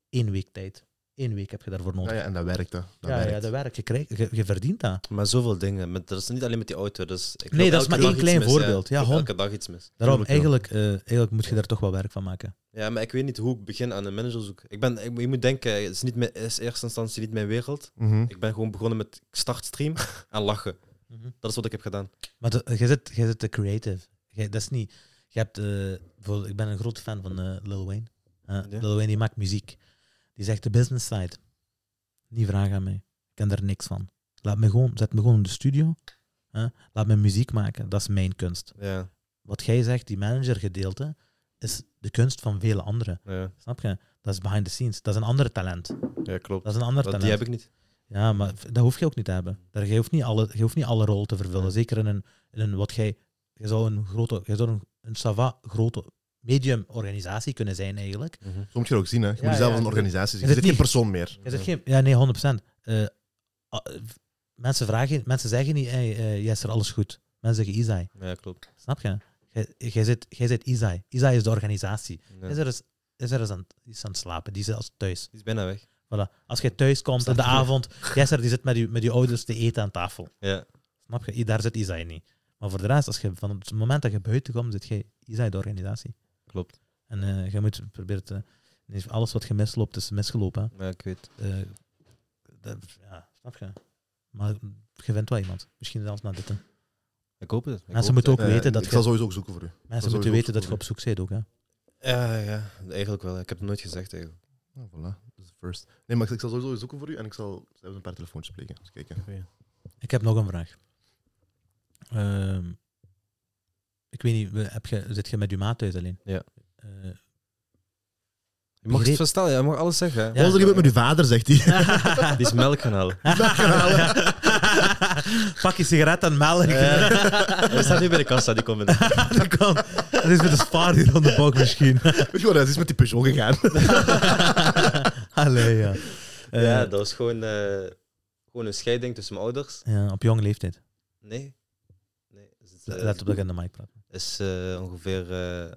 Eén week tijd. Eén week heb je daarvoor nodig.
Ja, ja, en dat werkt, hè. Dat
Ja,
werkt.
ja, dat werkt. Je, krijgt, je, je verdient dat.
Maar zoveel dingen. Met, dat is niet alleen met die auto. Dat is, ik
Nee,
loop
dat is
elke
maar
dag
één
iets
klein
mis,
voorbeeld. Ja,
Ik loop
hon-
elke dag iets mis.
Daarom,
Tuurlijk wel.
eigenlijk, eh, eigenlijk moet je daar toch wel werk van maken.
Ja, maar ik weet niet hoe ik begin aan een manager zoeken. Ik ben, ik, je moet denken, het is, niet mijn, het is in eerste instantie niet mijn wereld.
Mhm.
Ik ben gewoon begonnen met ik start stream en lachen. Dat is wat ik heb gedaan.
Maar de- jij zit, jij zit de creative. Jij, dat is niet... Je hebt, eh, bijvoorbeeld, ik ben een groot fan van eh, Lil Wayne. Eh,
Ja.
Lil Wayne die maakt muziek. Die zegt de business side. Niet vragen aan mij. Ik ken daar niks van. Laat me gewoon, zet me gewoon in de studio. Eh, laat me muziek maken. Dat is mijn kunst.
Ja,
Wat jij zegt, die managergedeelte, is de kunst van vele anderen.
ja,
Snap je? Dat is behind the scenes. Dat is een ander talent.
ja klopt.
Dat is een ander
Dat,
talent.
die heb ik niet.
Ja, maar v- dat hoef je ook niet te hebben. Daar, je, hoeft niet alle, je hoeft niet alle rol te vervullen.
Nee.
Zeker in een, in een wat jij... Je zou een grote... Je zou een, een sava grote medium organisatie kunnen zijn eigenlijk.
Zo moet je het ook zien, hè. Je
Ja,
moet zelf
ja.
als een organisatie zien.
Is
Je
het
zit geen
niet-
persoon meer.
Je zegt geen... Ja, nee, 100 procent. Eh, mensen, vragen, mensen zeggen niet, hey, eh, Jesser, alles goed. Mensen zeggen Isai.
Ja, klopt.
Snap je? Jij- Jij zit, jij zit Isai. Isai is de organisatie.
Ja.
Is er eens, is er eens aan, die is aan het slapen. Die is als thuis.
Die is bijna weg.
Voilà. Als je thuis komt in de avond, Jesser die zit met je, met je ouders te eten aan tafel.
Ja,
Snap je? I- Daar zit Isai niet. Maar voor de rest, als je, van het moment dat je buiten komt, zit je Isai de organisatie.
klopt.
En eh, je moet proberen te... nee, Alles wat je misloopt, is misgelopen. hè.
Ja, ik weet.
Eh, dat, ja, snap je? Maar je vindt wel iemand. Misschien zelfs naar dit. hè.
Ik hoop het. Ik
Mensen
hoop
moeten ook
het.
Eh,
weten dat
ik
je-
zal sowieso ook zoeken voor u.
Mensen
is
moeten
sowieso
weten dat je op zoek bent ook. Hè.
Ja, ja, eigenlijk wel. Ik heb het nooit gezegd eigenlijk.
Nou, voilà. Dat is de first. Nee, maar ik, ik zal sowieso zoeken voor u en ik zal zelfs een paar telefoontjes plegen. Eens kijken.
Ik heb nog een vraag. Ehm, ik weet niet, we- heb je, zit je met je maat thuis alleen?
Ja.
Eh,
Je mag
Begreep-
het verstellen, je mag alles zeggen. hè.
Ja.
Als er iemand met uw vader, zegt hij.
Die is melk gaan halen.
Pak je sigaret en melk.
Hij staat Eh, nu bij de kassa, die komt binnen.
dat kan. Dat is met de spaar hier aan de bak misschien.
Weet je wat, hij is met die Peugeot gegaan.
Allee, ja. Eh,
ja, dat was gewoon, eh, gewoon een scheiding tussen mijn ouders.
ja, Op jonge leeftijd.
Nee. Nee. Is het, eh,
Let op dat ik aan de mic praat.
is eh, ongeveer eh,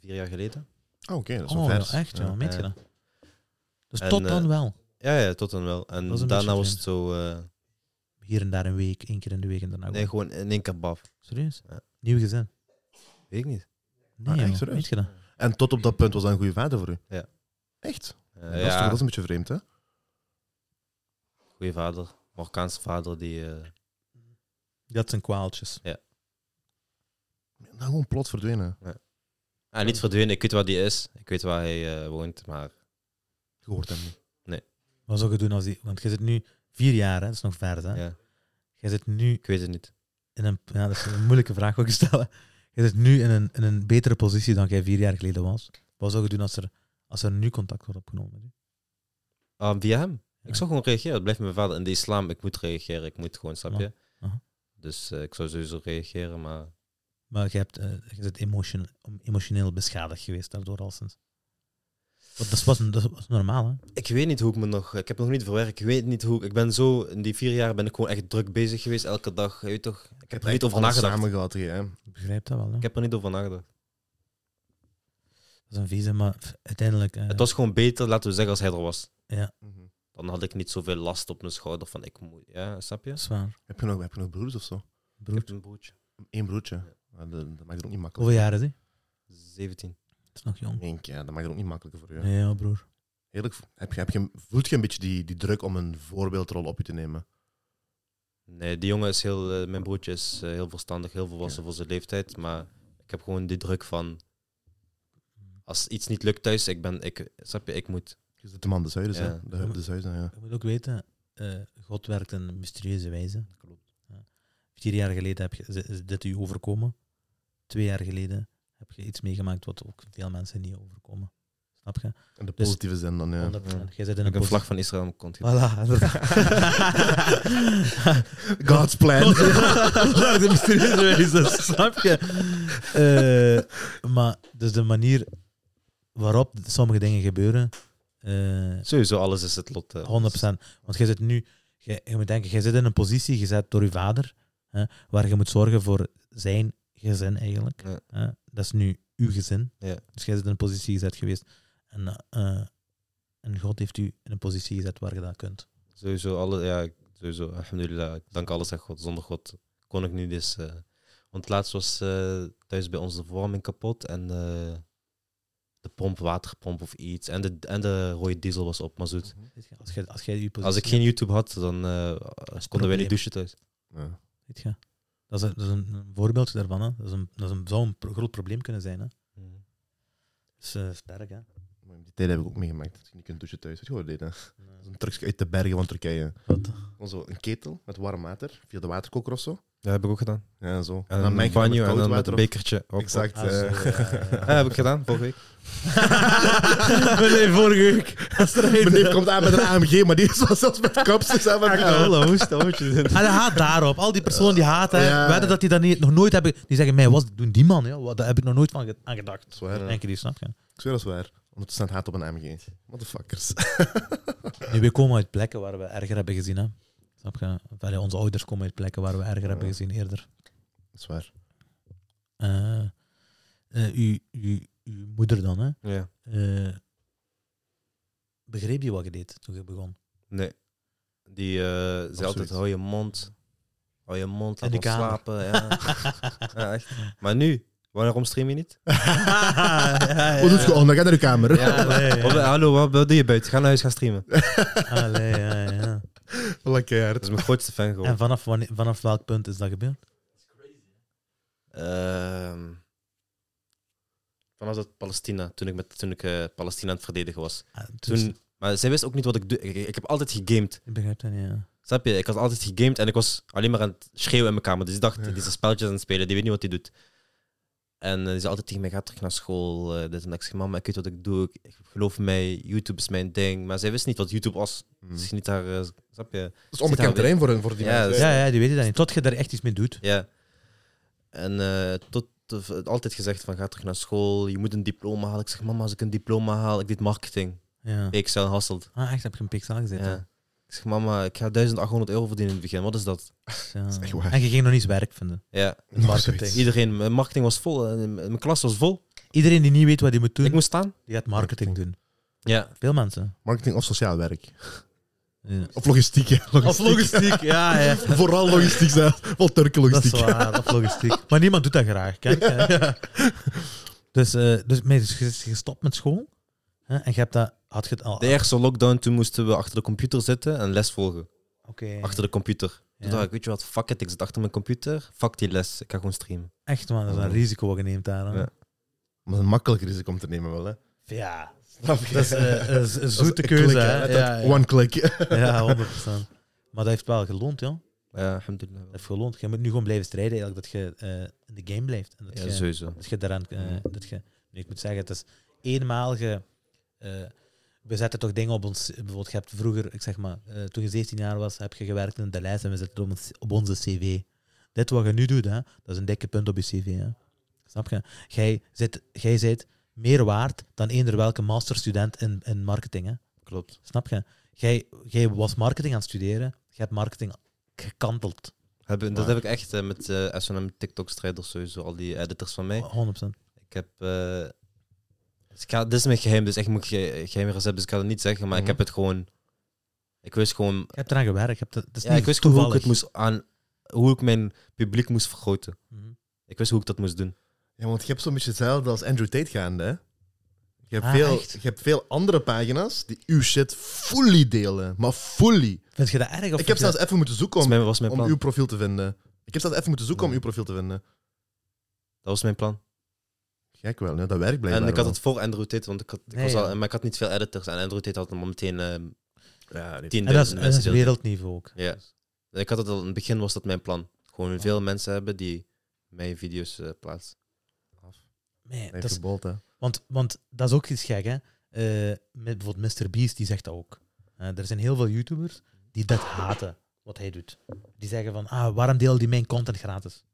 vier jaar geleden.
Oh, oké, dat is wel
Oh,
vers.
ja, echt, ja.
Ja.
Meet
ja.
je dat? Dus
En,
tot dan
eh,
wel.
Ja, ja, tot dan wel. En
Dat is een
daarna
beetje
was het zo... eh,
hier en daar een week, één keer in de week en daarna
Nee,
gewoon.
gewoon in één keer baf.
Serieus?
Ja.
Nieuw gezin.
Weet ik niet.
Nee,
Ah, echt
joh,
serieus?
weet je dat?
En tot op dat punt was dat een goede vader voor u?
Ja.
Echt?
Eh,
dat, is toch,
ja,
dat is een beetje vreemd, hè?
goede vader. Marokkaanse vader die... eh,
Dat zijn kwaaltjes.
Nou, gewoon plot verdwenen.
Ah, niet verdwenen. Ik weet waar die is. Ik weet waar hij eh, woont. Maar
Je hoort hem niet.
Wat zou je doen als die... Want je zit nu vier jaar, hè? dat is nog ver, hè?
ja,
Je zit nu
ik weet het niet.
in een... Ja, dat is een moeilijke vraag wat ik stellen. Je zit nu in een, in een betere positie dan jij vier jaar geleden was. Wat zou je doen als er, als er nu contact wordt opgenomen? met u?
Ah, via hem?
Ja.
Ik zou gewoon reageren. Het blijft mijn vader. In de islam, ik moet reageren. Ik moet gewoon,
Oh,
snap je?
Ja. Aha.
Dus eh, ik zou sowieso reageren, maar...
Maar je, hebt, eh, je bent emotion, emotioneel beschadigd geweest daardoor al sinds. Want dat was, dat was normaal, hè?
Ik weet niet hoe ik me nog. Ik heb nog niet verwerkt. Ik weet niet hoe. Ik ben zo. In die vier jaar ben ik gewoon echt druk bezig geweest. Elke dag. Je weet toch? Ik heb er niet over nagedacht.
samen gehad hier, hè?
Ik begrijp dat wel, hè?
Ik heb er niet over nagedacht.
Dat is een vieze, maar pff, uiteindelijk... eh,
Het was gewoon beter, laten we zeggen, als hij er was.
Mhm.
Dan had ik niet zoveel last op mijn schouder van ik moet. Ja, snap je?
Zwaar,
Heb, je nog, heb je nog broers of zo?
Ik
broer.
heb een broertje.
Eén broertje. Nou, dat, dat maakt het ook niet makkelijk.
Hoeveel jaar is hij?
17.
Het is nog jong.
Denk je, ja, dat maakt het ook niet makkelijker voor u. hè?
Nee, ja, broer.
Eerlijk, heb je, heb je, voelt je een beetje die, die druk om een voorbeeldrol op je te nemen?
Nee, die jongen is heel. eh, mijn broertje is eh, heel verstandig, heel volwassen voor zijn leeftijd. Maar ik heb gewoon die druk van. Als iets niet lukt thuis, ik ben. Ik, snap je? Ik moet.
Je zit de man de zuiden,
Ja.
hè? De hub de zuiden, ja.
Je moet ook weten, eh, God werkt in een mysterieuze wijze. Ja. Vier jaar geleden heb je, is dit u overkomen. Twee jaar geleden heb je iets meegemaakt wat ook veel mensen niet overkomen. Snap je?
In de
Dus-
positieve zin dan, ja.
100%. Jij zit in
Ik
een
een
positie-
vlag van Israël komt.
Voilà, inderdaad.
God's plan.
Daar de mysterieuze wezens, snap je? Eh, maar dus de manier waarop sommige dingen gebeuren, eh,
Sowieso, alles is het lot. eh.
100%. Want jij zit nu, jij, je moet denken, jij zit in een positie gezet door je vader, hè, waar je moet zorgen voor zijn gezin eigenlijk.
Ja.
Hè. Dat is nu uw gezin.
Ja.
Dus jij zit in een positie gezet geweest. En, eh, en God heeft u in een positie gezet waar je dat kunt.
Sowieso, alle, ja, ik- sowieso, alhamdulillah. Ik dank alles aan God. Zonder God kon ik nu dus... eh, want laatst was eh, thuis bij ons de verwarming kapot en eh, de pomp, waterpomp of iets. En de, en de rode diesel was op, maar zoet.
Weet je, Als jij, als jij uw positie
Als ik geen YouTube had, dan eh, konden wij
probleem.
niet douchen thuis.
Ja.
Weet je? Dat is, een, dat is een een voorbeeldje daarvan. Hè. Dat, is een, dat is een, zou een pro- groot probleem kunnen zijn. Hè. Dus eh, sterk, hè?
Maar Die tijd heb ik ook meegemaakt. Dat je niet kunt douchen thuis. Weet je wat we deden? Dat is een trucje uit de bergen van Turkije.
Wat?
Gewoon zo een ketel met warm water via de waterkoker of zo.
Dat heb ik ook gedaan.
Ja, zo.
En dan
meng
mijn
je dat
banjo en
koud
dan met een
op.
bekertje. Ook
Exact.
Ah, zo,
eh.
ja, ja,
Ja, heb ik gedaan, vorige week.
Meneer, vorige week. Dat is er
Mijn neef
een.
komt aan met een AMG, maar die is wel zelfs met kapsels aan. met-
Hallo, hoe staat je?
Hij haat daarop. Al die personen die haten, hè,
Ja.
wedden dat die dat niet, nog nooit hebben... Die zeggen, mij, wat doen die man? Ja, wat, daar heb ik nog nooit van ge- aan gedacht.
Dat is waar, hè.
Denk je die, snap je?
Ik zweer dat is waar. Ondertussen het haat op een AMG. Motherfuckers.
Nu, we komen uit plekken waar we erger hebben gezien, hè. Snap je? Of, allee, onze ouders komen uit plekken waar we erger hebben
Ja.
gezien eerder.
Dat is waar.
eh eh, uw, uw, uw moeder dan, hè?
Ja,
Eh, begreep je wat je deed toen je begon?
nee. Die eh zei altijd,
zoiets.
hou je mond. Hou je mond, laat
de
ons
kamer.
slapen. Ja. ja, echt. Maar nu, waarom stream je niet?
ja, ja,
Hoe doet je om? Dan ga naar de kamer.
Ja,
Allee, ja.
Wat- eh, hallo, wat, wat doe je buiten? Ga naar huis gaan streamen. Dat
Allee, ja, ja.
Lekker hard.
is mijn grootste fan
En
geworden.
vanaf, wanneer, vanaf welk punt is dat gebeurd?
Ehm, vanaf dat Palestina, toen ik, met, toen ik eh, Palestina aan het verdedigen was.
Ah, dus-
Toen, maar zij wist ook niet wat ik doe. Ik, ik- ik heb altijd gegamed.
Ik begrijp dat niet, ja.
Snap je? Ik had altijd gegamed en ik was alleen maar aan het schreeuwen in mijn kamer. Dus ik dacht,
Ja.
die is een spelletjes aan het spelen, die weet niet wat hij doet. En eh, die zei altijd tegen mij, ga terug naar school. eh, dit en dat. Ik zei, mama, ik weet wat ik doe. Ik, ik geloof mij, YouTube is mijn ding. Maar zij wist niet wat YouTube was.
Mm.
Dus
Dat
niet haar... eh, snap je?
is onbekend terrein voor, voor die
Ja,
mensen.
dat is-
Ja, ja, die weten dat niet. Tot je daar echt iets mee doet.
Ja. En eh, tot de- altijd gezegd van ga terug naar school, je moet een diploma halen. Ik zeg mama, als ik een diploma haal, ik deed marketing.
Ja.
Excel hasselt.
Ah, echt, heb je een pixel gezet? hè?
Ja. Ik zeg mama, ik ga 1800 euro verdienen in het begin. Wat is dat?
Dus Ja.
is echt waar.
En je ging nog niet eens werk vinden.
Ja.
in
Nog
marketing.
zoiets.
Iedereen, mijn marketing was vol. eh, Mijn klas was vol.
Iedereen die niet weet wat hij moet doen,
Ik moest staan.
die gaat marketing doen.
Ja.
Veel mensen.
Marketing of sociaal werk.
Ja.
Of logistiek, hè.
Of logistiek, ja, ja.
Vooral logistiek, hè. Vooral Turken
Dat is
logistiek.
waar, of logistiek. Maar niemand doet dat graag. Kijk, hè. Dus, eh dus, nee, dus je is gestopt met school. Hè, en je hebt dat, had je het al...
De eerste lockdown, toen moesten we achter de computer zitten en les volgen.
Oké.
Achter de computer. Toen
Ja.
dacht ik, weet je wat, fuck it, ik zit achter mijn computer. Fuck die les, ik ga gewoon streamen.
Echt, man, dat is een risico wat je neemt daar. hè.
Ja.
Maar een makkelijker is het om te nemen wel, hè.
Ja.
Snap je?
Dat is eh, een z- een
Dat is
zoete
een
keuze,
klik,
hè.
Dat-
Ja, ja.
One click.
Ja, 100%. Maar dat heeft wel geloond, joh.
Ja, alhamdulillah.
Dat heeft geloond. Je moet nu gewoon blijven strijden, eigenlijk, dat je eh, in de game blijft. En dat
Ja, Mm.
je-
sowieso.
Dat je daaraan. eh, dat je, nee, ik moet zeggen, het is eenmalige. eh we zetten toch dingen op ons. Bijvoorbeeld, je hebt vroeger, ik zeg maar, eh, toen je 17 jaar was, heb je gewerkt in de lijst en we zetten het op, ons, op onze CV. Dit wat je nu doet, hè, dat is een dikke punt op je CV. Hè. Snap je? Jij zit, jij zit meer waard dan eender welke masterstudent in, in marketing. Hè.
Klopt.
Snap je? Jij, jij was marketing aan het studeren, je hebt marketing gekanteld.
Heb, dat
Waar.
heb ik echt eh, met eh SNM TikTok-strijders sowieso, al die editors van mij.
100%.
Ik heb. eh, dus ik ga, dit is mijn geheim, dus echt moet ik ge- geheim recept, dus ik ga het niet zeggen, maar ik
Mhm.
heb het gewoon. Ik wist gewoon.
Je hebt eraan gewerkt. Je hebt, dat dat is
Ja,
niet
ik wist gewoon
toevallig.
hoe ik het moest aan. Hoe ik mijn publiek moest vergroten.
Mhm.
Ik wist hoe ik dat moest doen.
Ja, want je hebt zo'n beetje hetzelfde als Andrew Tate gaande, hè. Je hebt,
Ah,
veel,
echt?
je hebt veel andere pagina's die uw shit fully delen. Maar fully.
Vind je dat erg? Of
ik heb
vind
zelfs
je
even moeten zoeken
Dat is
om,
mijn- was mijn
om
plan.
uw profiel te vinden. Ik heb zelfs even moeten zoeken om
Ja.
uw profiel te vinden.
Dat was mijn plan.
Gek wel, hè? dat werkt blijkbaar
En ik had
wel.
het voor Andrew Tate, want ik, had, ik
Nee,
was al,
Ah, ja.
maar ik had niet veel editors. En Andrew Tate had hem al meteen eh
Ja, dit-
10.000
En dat is, en dat
mensen.
is
die dat-
wereldniveau ook.
Ja. Ik had het al in het begin, was dat mijn plan. Gewoon veel mensen hebben die mijn video's eh, plaatsen.
Nee,
Nee,
dat is,
gebold, hè.
want, want dat is ook iets gek, hè. Eh, met bijvoorbeeld Mr. Beast, die zegt dat ook. Eh, er zijn heel veel YouTubers die dat haten, wat hij doet. Die zeggen van, ah, waarom deelt die mijn content gratis?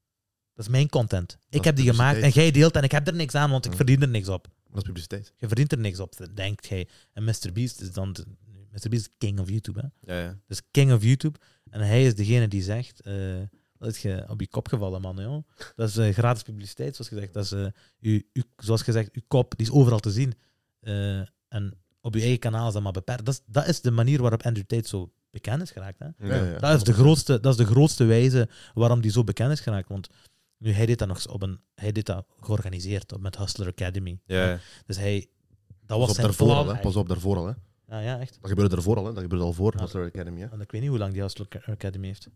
Dat is mijn content. Ik
is
heb die
dus
gemaakt en
publiciteit.
jij deelt en ik heb er niks aan, want ik
Mm.
Ja.
verdien er niks op.
Dat is publiciteit.
Je verdient er niks op, denkt jij. En Mr. Beast is dan... de- Mr. Beast is king of YouTube, hè.
Ja, ja.
Dus king of YouTube. En hij is degene die zegt... eh dat is je op je kop gevallen, man. Joh. Dat is eh, gratis publiciteit, zoals gezegd. Dat is, eh, uw- uw- zoals gezegd, uw kop die is overal te zien. Eh, en op je eigen kanaal is dat maar beperkt. Dat is, dat is de manier waarop Andrew Tate zo bekend is geraakt. Hè?
Ja, ja, ja.
Dat, is de grootste, dat is de grootste wijze waarom die zo bekend is geraakt. Want nu, hij deed dat nog eens op een... Hij deed dat georganiseerd op, met Hustler Academy.
Ja, ja.
Dus hij... Dat
Pas
was
op
zijn
daarvoor al,
plan.
hè. Pas op daarvoor al, hè.
Ja, ja, echt.
Dat gebeurde daarvoor al, hè. Dat gebeurde al voor
Ja.
Hustler Academy, hè.
En ik weet niet hoe lang die Hustler Academy heeft.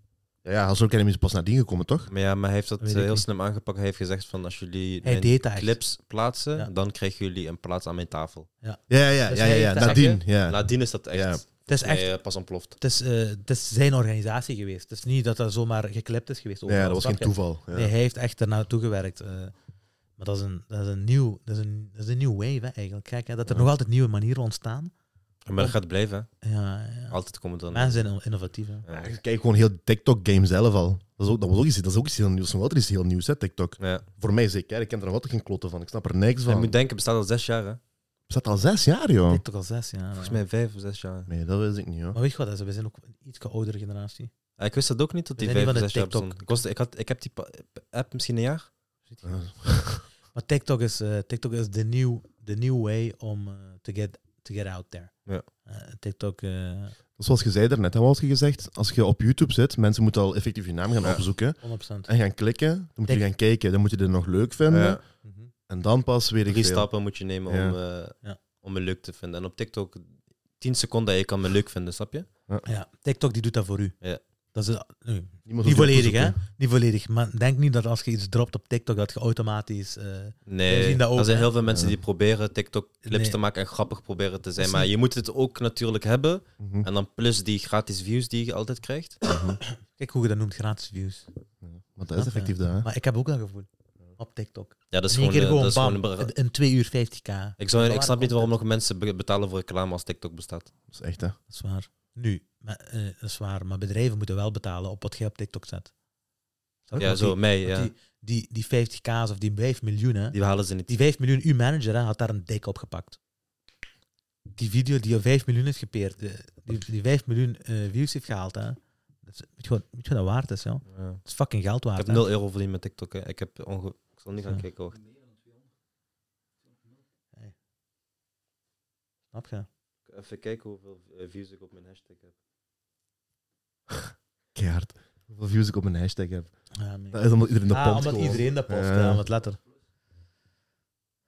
Ja, ja, Hustler Academy is pas nadien gekomen, toch?
Maar ja, maar hij heeft dat
Weet
eh,
ik
heel
niet.
slim aangepakt. Hij heeft gezegd van als jullie
Hij
mijn
deed dat echt.
clips plaatsen,
Ja.
dan krijgen jullie een plaats aan mijn tafel.
Ja, ja, ja,
Dus
ja, ja,
hij
ja.
heeft daar-
nadien. Ja.
Nadien is dat echt,
Ja.
Het is echt
mij, eh, pas ontploft.
Het is, eh, het is zijn organisatie geweest. Het is niet dat dat zomaar geklipt is geweest.
ja,
overal,
dat was
snap
geen
je?
toeval. Ja.
Nee, hij heeft echt ernaartoe gewerkt. eh. maar dat is een, dat is een, nieuw, dat is een, dat is een nieuw wave hè, eigenlijk. Kijk, hè, dat er
Ja.
nog altijd nieuwe manieren ontstaan.
Maar dat gaat blijven.
Ja, ja.
hè. Altijd komen dan.
Mensen zijn innovatief. Hè.
Ja.
Ik kijk gewoon heel TikTok-game zelf al. Dat is ook, dat was ook, iets, dat is ook iets heel nieuws. Nog altijd is heel nieuws, hè, TikTok.
Ja.
Voor mij zeker. Ik ken er nog altijd geen kloten van. Ik snap er niks
Je
van.
moet
Het
denken, bestaat al zes jaar, hè?
staat al zes jaar, joh.
TikTok al zes, ja.
Volgens mij vijf of zes jaar.
Nee, dat weet ik niet, hoor.
Maar weet je wat, dat is? we zijn ook een iets oudere generatie.
Ah, Ik wist dat ook niet, dat
We
die
zijn
vijf
niet
of
van de
zes
TikTok.
jaar bestond. Ik, was, ik, had, ik heb die pa- app misschien een jaar.
Maar TikTok is, eh, TikTok is de nieuw, de new way om eh, to, get, to get out there.
Ja.
Eh, TikTok... eh,
Zoals je zei daarnet, hè, wat had je gezegd? Als je op YouTube zit, mensen moeten al effectief je naam gaan
Ja.
opzoeken
100%.
en gaan klikken. Dan moet je
Tik-
gaan kijken. Dan moet je dit nog leuk vinden.
Ja.
Mhm.
En dan pas weet ik
Drie
veel.
stappen moet je nemen
Ja.
om, eh,
Ja.
om me leuk te vinden. En op TikTok, tien seconden en je kan me leuk vinden, snap je?
Ja, TikTok die doet dat voor u.
Ja.
Dat is, eh, nee,
Niemand
Niet
hoeft je
volledig, hè?
opzoeken.
Niet volledig. Maar denk niet dat als je iets dropt op TikTok, dat je automatisch... eh,
Nee,
We zien dat ook,
er zijn
hè?
heel veel mensen
Ja.
die proberen TikTok-clips
Nee.
te maken en grappig proberen te zijn.
is
Maar
niet-
je moet het ook natuurlijk hebben.
Mhm.
En dan plus die gratis views die je altijd krijgt.
kijk hoe je dat noemt, gratis views.
Ja, Want dat is effectief dat, hè?
Maar ik heb ook dat gevoel. Op TikTok.
Ja, dat is
In één keer
gewoon, eh,
gewoon,
dat is
bam,
gewoon een ber-
in- in 2 uur 50k.
ik, zou, ik
Waar
snap niet
komt
waarom nog mensen be- betalen voor reclame als TikTok bestaat.
Dat is echt, hè?
Dat is waar. Nu, maar, eh, dat is waar. Maar bedrijven moeten wel betalen op wat jij op TikTok zet. Snap je?
Ja,
Want
zo,
Die,
mij, ja.
die, die, die 50k's of die 5 miljoen, hè.
Die halen ze niet.
Die 5 miljoen, uw manager hè, had daar een dik op gepakt. Die video die je 5 miljoen heeft gepeerd, eh, die, die 5 miljoen eh, views heeft gehaald, hè. Dat is, weet, je wat, weet je wat dat waard is, joh?
Ja.
Het is fucking geld
Ik heb
waard. hè.
0 euro verdiend met TikTok. Hè. Ik, heb onge... ik zal niet gaan
Ah, Ja.
kijken hoor.
Snap je?
Even kijken hoeveel eh, views ik op mijn hashtag heb.
keihard. Hoeveel views ik op mijn hashtag heb.
Ja, mega.
Dat is omdat iedereen de
ah,
pompt
omdat
gewoon.
iedereen dat post,
Ja.
ja, ja wat letter.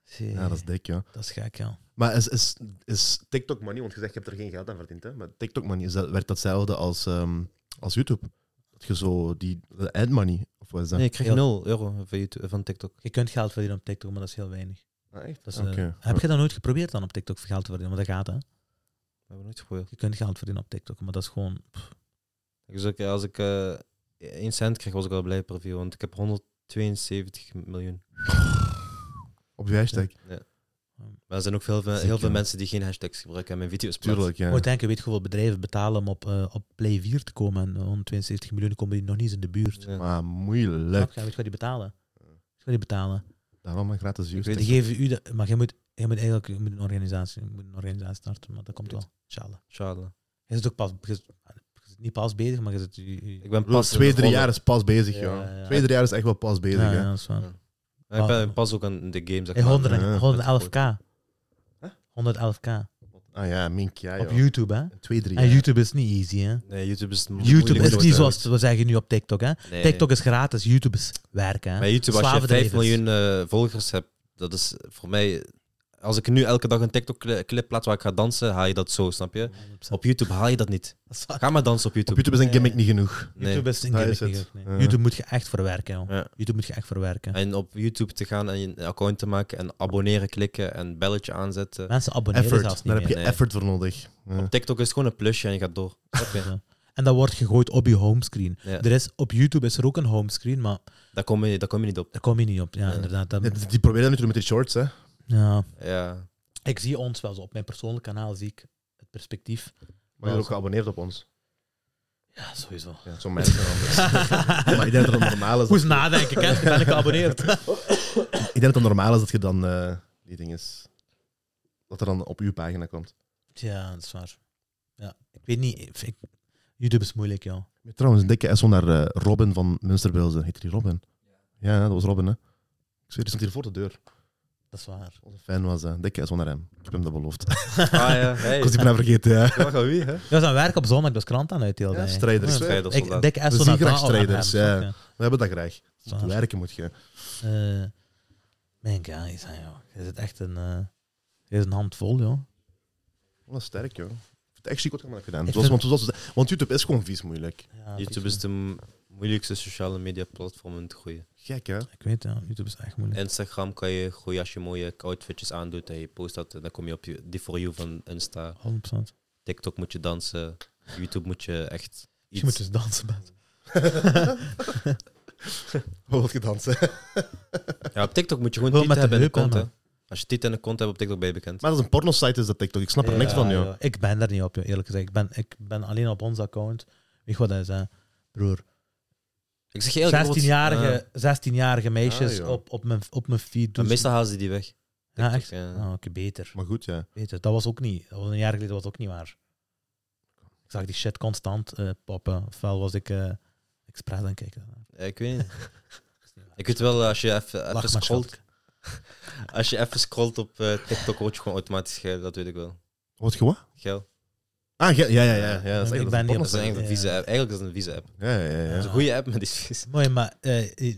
Zie.
Ja, dat is dik, ja.
dat is gek, ja.
Maar is, is, is TikTok money, want je zegt je hebt er geen geld aan verdiend, hè? maar TikTok money is dat, werkt datzelfde als, ehm, als YouTube. Dat je zo die de ad money, of wat is dat?
Nee, ik krijg
Ja.
0 euro van, YouTube, van TikTok.
Je kunt geld verdienen op TikTok, maar dat is heel weinig.
Ah, echt?
Dat is, eh,
Oké.
Heb je dat nooit geprobeerd dan op TikTok geld te verdienen? Want dat gaat, hè?
Dat hebben we nooit geprobeerd.
Je kunt geld verdienen op TikTok, maar dat is gewoon...
Dus ook, eh, als ik eh 1 cent kreeg, was ik al blij per view, want ik heb 172 miljoen.
Op je hashtag,
Um,
Maar er zijn ook heel veel,
Ziek,
heel veel
ja.
mensen die geen hashtags gebruiken en mijn video's plaatsen.
tuurlijk, ja.
Moet denken, weet je hoeveel bedrijven betalen om op, eh, op Play 4 te komen? En 172 miljoen komen die nog niet eens in de buurt.
Ja.
Maar
Snap
moeilijk.
je? Weet je wat die betalen? Weet je wat die betalen?
Daarom maar gratis views.
Ik weet
Die geven u de, maar je moet, je moet eigenlijk je moet een, organisatie, je moet een organisatie starten, maar dat komt wel. Inshallah.
Inshallah.
Je zit ook pas, je zit, je zit niet pas bezig, maar je zit... je- je-
Ik ben
Ik bedoel,
pas
twee, drie
begonnen.
jaar is pas bezig,
Ja,
joh.
ja.
Twee, drie jaar is echt wel pas bezig,
ja,
hè.
ja, dat is waar.
Ja. Ik ben pas ook aan de games.
Ah.
zeg
Hey,
maar.
100 en-
Ja, ja.
111k. 111k.
Ah ja, mink, ja,
Op
joh.
YouTube, hè?
Twee, drie
En
jaar.
YouTube is niet easy, hè?
Nee, YouTube is
YouTube is
moeilijk
niet
nooit
zoals we zeggen nu op TikTok, hè? TikTok is gratis, YouTube is werken, hè?
Bij YouTube, als je 5
Slavendrijvers.
miljoen eh, volgers hebt, dat is voor mij. Als ik nu elke dag een TikTok-clip plaats waar ik ga dansen, haal je dat zo, snap je?
100%.
Op YouTube haal je dat niet.
Dat is waar.
Ga maar dansen op
Op
YouTube.
YouTube is een gimmick niet genoeg.
Nee.
YouTube is een
Daar
gimmick,
is het.
denk ik, nee.
Ja.
YouTube moet je echt verwerken, joh.
Ja.
YouTube moet je echt verwerken.
En op YouTube te gaan en je een account te maken en abonneren klikken en belletje aanzetten.
Mensen abonneren zelfs
Effort.
niet
Daar heb je
meer.
Nee.
effort voor nodig. Ja.
TikTok is gewoon een plusje en je gaat door. Snap je?
Zo. En dat wordt gegooid op je homescreen.
Ja.
Er is, op YouTube is er ook een homescreen, maar
Daar, kom je, daar kom je niet op.
daar kom je niet op. Ja,
Ja.
inderdaad. dat-
Die die proberen dat nu te doen met die shorts, hè.
ja.
Ja.
Ik zie ons wel zo. Op mijn persoonlijk kanaal zie ik het perspectief.
Maar je bent ook geabonneerd op ons.
Ja, sowieso.
Ja, Zo'n mensen anders. maar ik denk dat het normaal is.
Goed nadenken, hè? Ben ik geabonneerd?
Ik denk dat het normaal is dat je dan eh, die ding is. Dat er dan op uw pagina komt.
ja, dat is waar. Ja, ik weet niet. ik- ik- YouTube is moeilijk, joh.
Trouwens, een dikke SO naar eh, Robin van Münsterbilzen. Heet die Robin? Ja, dat was Robin, hè? Ik zweer, die stond hier voor de deur.
Dat is waar.
Onze fan was eh, dikke SO naar hem. Ik heb hem dat beloofd.
Ah ja, hey.
Ik was die bijna vergeten, ja.
Wacht, aan wie, hè?
Je was aan het werk op zondag, dus krant aan uitdeelde.
Ja,
hè.
strijders.
Ja.
Strijders,
Ik,
soldaat.
dik
We
Esso
zien
naar
graag
taal- oh,
strijders,
ja,
ja.
dat is
We hebben dat graag. Als
waar.
het werken moet je.
ook, ja. Eh, mijn guys, hè, joh. Je zit echt een, eh, je is een handvol, joh.
Wat een Oh, sterk, joh. Ik vind het echt chic wat je hebt gedaan.
Ik
Zoals,
vind-
want, zoals, want YouTube is gewoon vies moeilijk.
Ja,
YouTube is de m- moeilijkste sociale media platform om te groeien.
Gek, hè?
Ik weet ja, YouTube is echt moeilijk.
Instagram kan je groeien als je mooie outfitjes aandoet en je post dat. En dan kom je op je, die For You van Insta.
100%.
TikTok moet je dansen. YouTube moet je echt
Je moet dus
iets...
dansen met.
Wat wil je dansen?
Ja, op TikTok moet je gewoon
Wel met de
titel hebben en een
heup,
kont.
hè,
hè. Als je titel en een kont hebt op TikTok ben je bekend.
Maar dat is een pornosite, is dat TikTok. Ik snap er niks van, joh.
Ja, Ik ben daar niet op, joh, eerlijk gezegd. Ik ben, ik ben alleen op ons account. Weet je wat dat is, hè? Broer.
Ik zeg je eerlijk, bijvoorbeeld,
16-jarige 16-jarige meisjes
Ah, joh.
op, op, mijn, op mijn feed
eh,
doen.
maar meestal halen ze die weg. eh,
Ja, echt?
TikTok,
Ah, Oké, beter.
Maar goed, ja.
Beter. Dat was ook niet. Dat was een jaar geleden was het ook niet waar. Ik zag die shit constant eh, poppen. Ofwel was ik eh expres aan het kijken.
Eh, Ik weet niet. Ik weet wel, als je even,
Lach
even
maar,
scrolt...
schat.
Als je even scrolt op eh, TikTok word je gewoon automatisch geil. Dat weet ik wel.
Wat gewoon?
Geil.
Ah, ja, ja, ja. ja, ja dat is
Ik
eigenlijk
ben niet op-
Dat is eigenlijk een
Ja.
vieze app. Eigenlijk is het een vieze app.
Ja, ja, ja.
Het is
ja.
een goede app, maar die is vies.
Mooi, maar eh,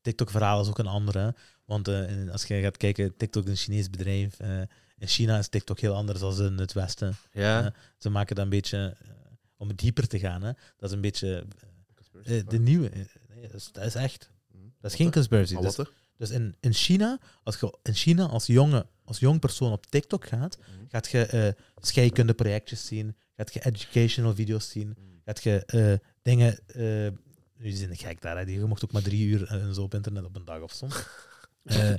TikTok-verhaal is ook een andere. hè. Want eh, in- als je gaat kijken, TikTok is een Chinees bedrijf. eh, in China is TikTok heel anders dan in het Westen.
Ja.
Ja. Ze maken dat een beetje, eh, om het dieper te gaan, hè, dat is een beetje eh, de nieuwe. eh, nee, dat, is, dat is echt. Dat is geen conspiracy.
Mm. Maar
Dus,
wat, hè?
dus in, in, China, als je in China als jonge als jong persoon op TikTok gaat,
Mhm.
gaat je eh scheikunde projectjes zien, gaat je educational video's zien, gaat je eh, dingen. eh nu zijn de gek daar, hè. die- je mocht ook maar drie uur eh, en zo op internet op een dag of soms. Eh,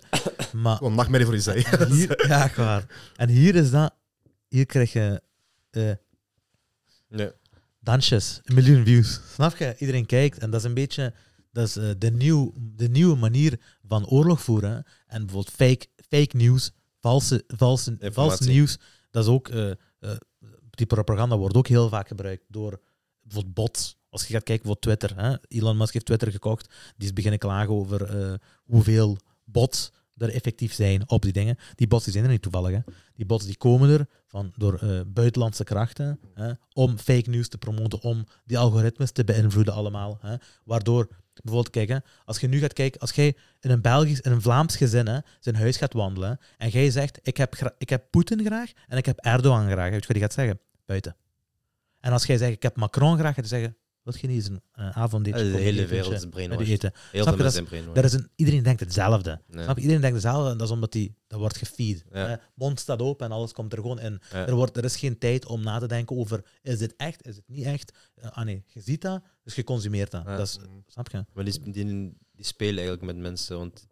maar
Gewoon Ah, nachtmerrie voor je zij.
en hier, ja, echt waar. En hier is dat, hier krijg je eh,
Nee.
dansjes, een miljoen views. Snap je? Iedereen kijkt en dat is een beetje dat is, eh, de, nieuw, de nieuwe manier van oorlog voeren. hè. En bijvoorbeeld fake, fake nieuws, valse, valse, vals
Informatie.
nieuws, dat is ook, eh, eh, die propaganda wordt ook heel vaak gebruikt door bijvoorbeeld bots. Als je gaat kijken voor Twitter, hè? Elon Musk heeft Twitter gekocht, die is beginnen klagen over eh, hoeveel bots er effectief zijn op die dingen. Die bots die zijn er niet toevallig. Hè. Die bots die komen er van, door eh, buitenlandse krachten hè, om fake news te promoten, om die algoritmes te beïnvloeden allemaal. Hè. Waardoor, bijvoorbeeld, kijk, hè, als je nu gaat kijken, als jij in een Belgisch, in een Vlaams gezin hè, zijn huis gaat wandelen hè, en jij zegt, ik heb, gra- ik heb Poetin graag en ik heb Erdogan graag, weet je wat die gaat zeggen? Buiten. En als jij zegt, ik heb Macron graag, gaat hij zeggen, wil je niet eens een eh, avondje
Ah, De hele wereld is brainwashed.
eten?
Heel
Snap
veel
je,
mensen zijn
Daar
brainwashed.
is een, iedereen denkt hetzelfde.
Nee.
Snap je? Iedereen denkt hetzelfde en dat is omdat die, dat wordt gefeed.
Ja.
Hè? Mond staat open en alles komt er gewoon in.
Ja.
Er, wordt, er is geen tijd om na te denken over is dit echt, is het niet echt. Eh, ah nee, je ziet dat, dus je consumeert dat.
Ja.
dat is, snap je?
Maar die, die, die spelen eigenlijk met mensen. Want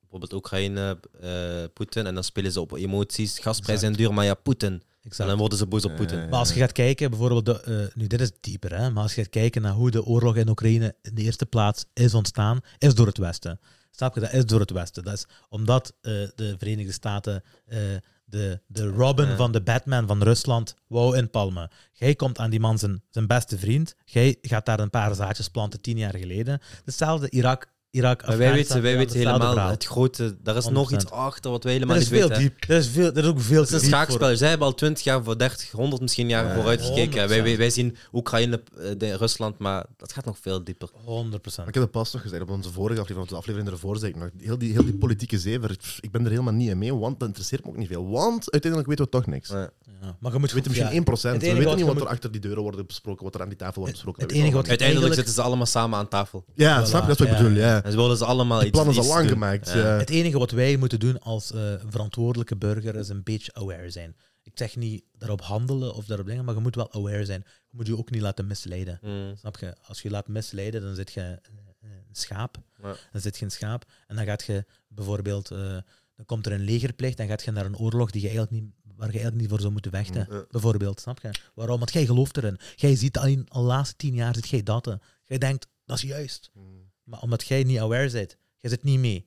bijvoorbeeld Oekraïne, eh Poetin, en dan spelen ze op emoties. Gasprijzen zijn duur, maar ja, Poetin. En
Exact.
dan worden ze boos op Poetin.
Maar als je gaat kijken, bijvoorbeeld, de, eh, nu dit is dieper, hè, maar als je gaat kijken naar hoe de oorlog in Oekraïne in de eerste plaats is ontstaan, is door het Westen. Snap je? Dat is door het Westen. Dat is omdat eh, de Verenigde Staten eh, de, de Robin
Ja.
van de Batman van Rusland wou inpalmen. Jij komt aan die man zijn, zijn beste vriend, jij gaat daar een paar zaadjes planten tien jaar geleden. Hetzelfde Irak, Irak,
Maar wij
Afghanistan,
weten, wij weten
hetzelfde
helemaal
verhaal.
het grote. Daar is nog iets
100%.
achter wat wij helemaal
Er is
niet
veel
weten. hè.
diep. Er is, veel, er is ook veel
Het is
te
een
diep voor.
schaakspel. Zij hebben al 20 jaar, voor 30, 100 misschien jaar
Ja.
vooruit gekeken. Wij,
100%.
wij, wij zien Oekraïne, eh, de- Rusland, maar dat gaat nog veel dieper.
100%.
Ik heb het pas nog gezegd op onze vorige aflevering, of de aflevering ervoor, zei ik nog, heel die, heel die politieke zever, pff, ik ben er helemaal niet in mee, want dat interesseert me ook niet veel. Want uiteindelijk weten we toch niks.
Ja.
Ja. Maar je moet
We weten
goed- ja.
misschien 1%.
Het
We
enige
weten
wat
niet
je
wat er
moet-
achter die deuren wordt besproken, wat er aan die tafel wordt besproken.
het
dat weten we
enige wat
allemaal
je-
Uiteindelijk
Eigenlijk-
zitten ze allemaal samen aan tafel.
niet. Ja, snap je? Dat is wat ik
Ja.
bedoel, ja.
En ze willen ze allemaal
Die
iets
plannen is al
iets
lang
doen.
gemaakt.
Ja.
ja.
Het enige wat wij moeten doen als eh, verantwoordelijke burger is een beetje aware zijn. Ik zeg niet daarop handelen of daarop dingen, maar je moet wel aware zijn. Je moet je ook niet laten misleiden.
Mm.
Snap je? Als je je laat misleiden, dan zit je eh, een schaap.
Ja.
Dan zit je een schaap. En dan gaat je bijvoorbeeld, eh, dan komt er een legerplicht, dan gaat je naar een oorlog die je eigenlijk niet, waar je eigenlijk niet voor zou moeten vechten.
Ja.
Bijvoorbeeld, snap je? Waarom? Want jij gelooft erin. Jij ziet al in de laatste tien jaar zit jij dat. hè. Jij denkt, dat is juist.
Mm.
Maar omdat jij niet aware bent, jij zit niet mee.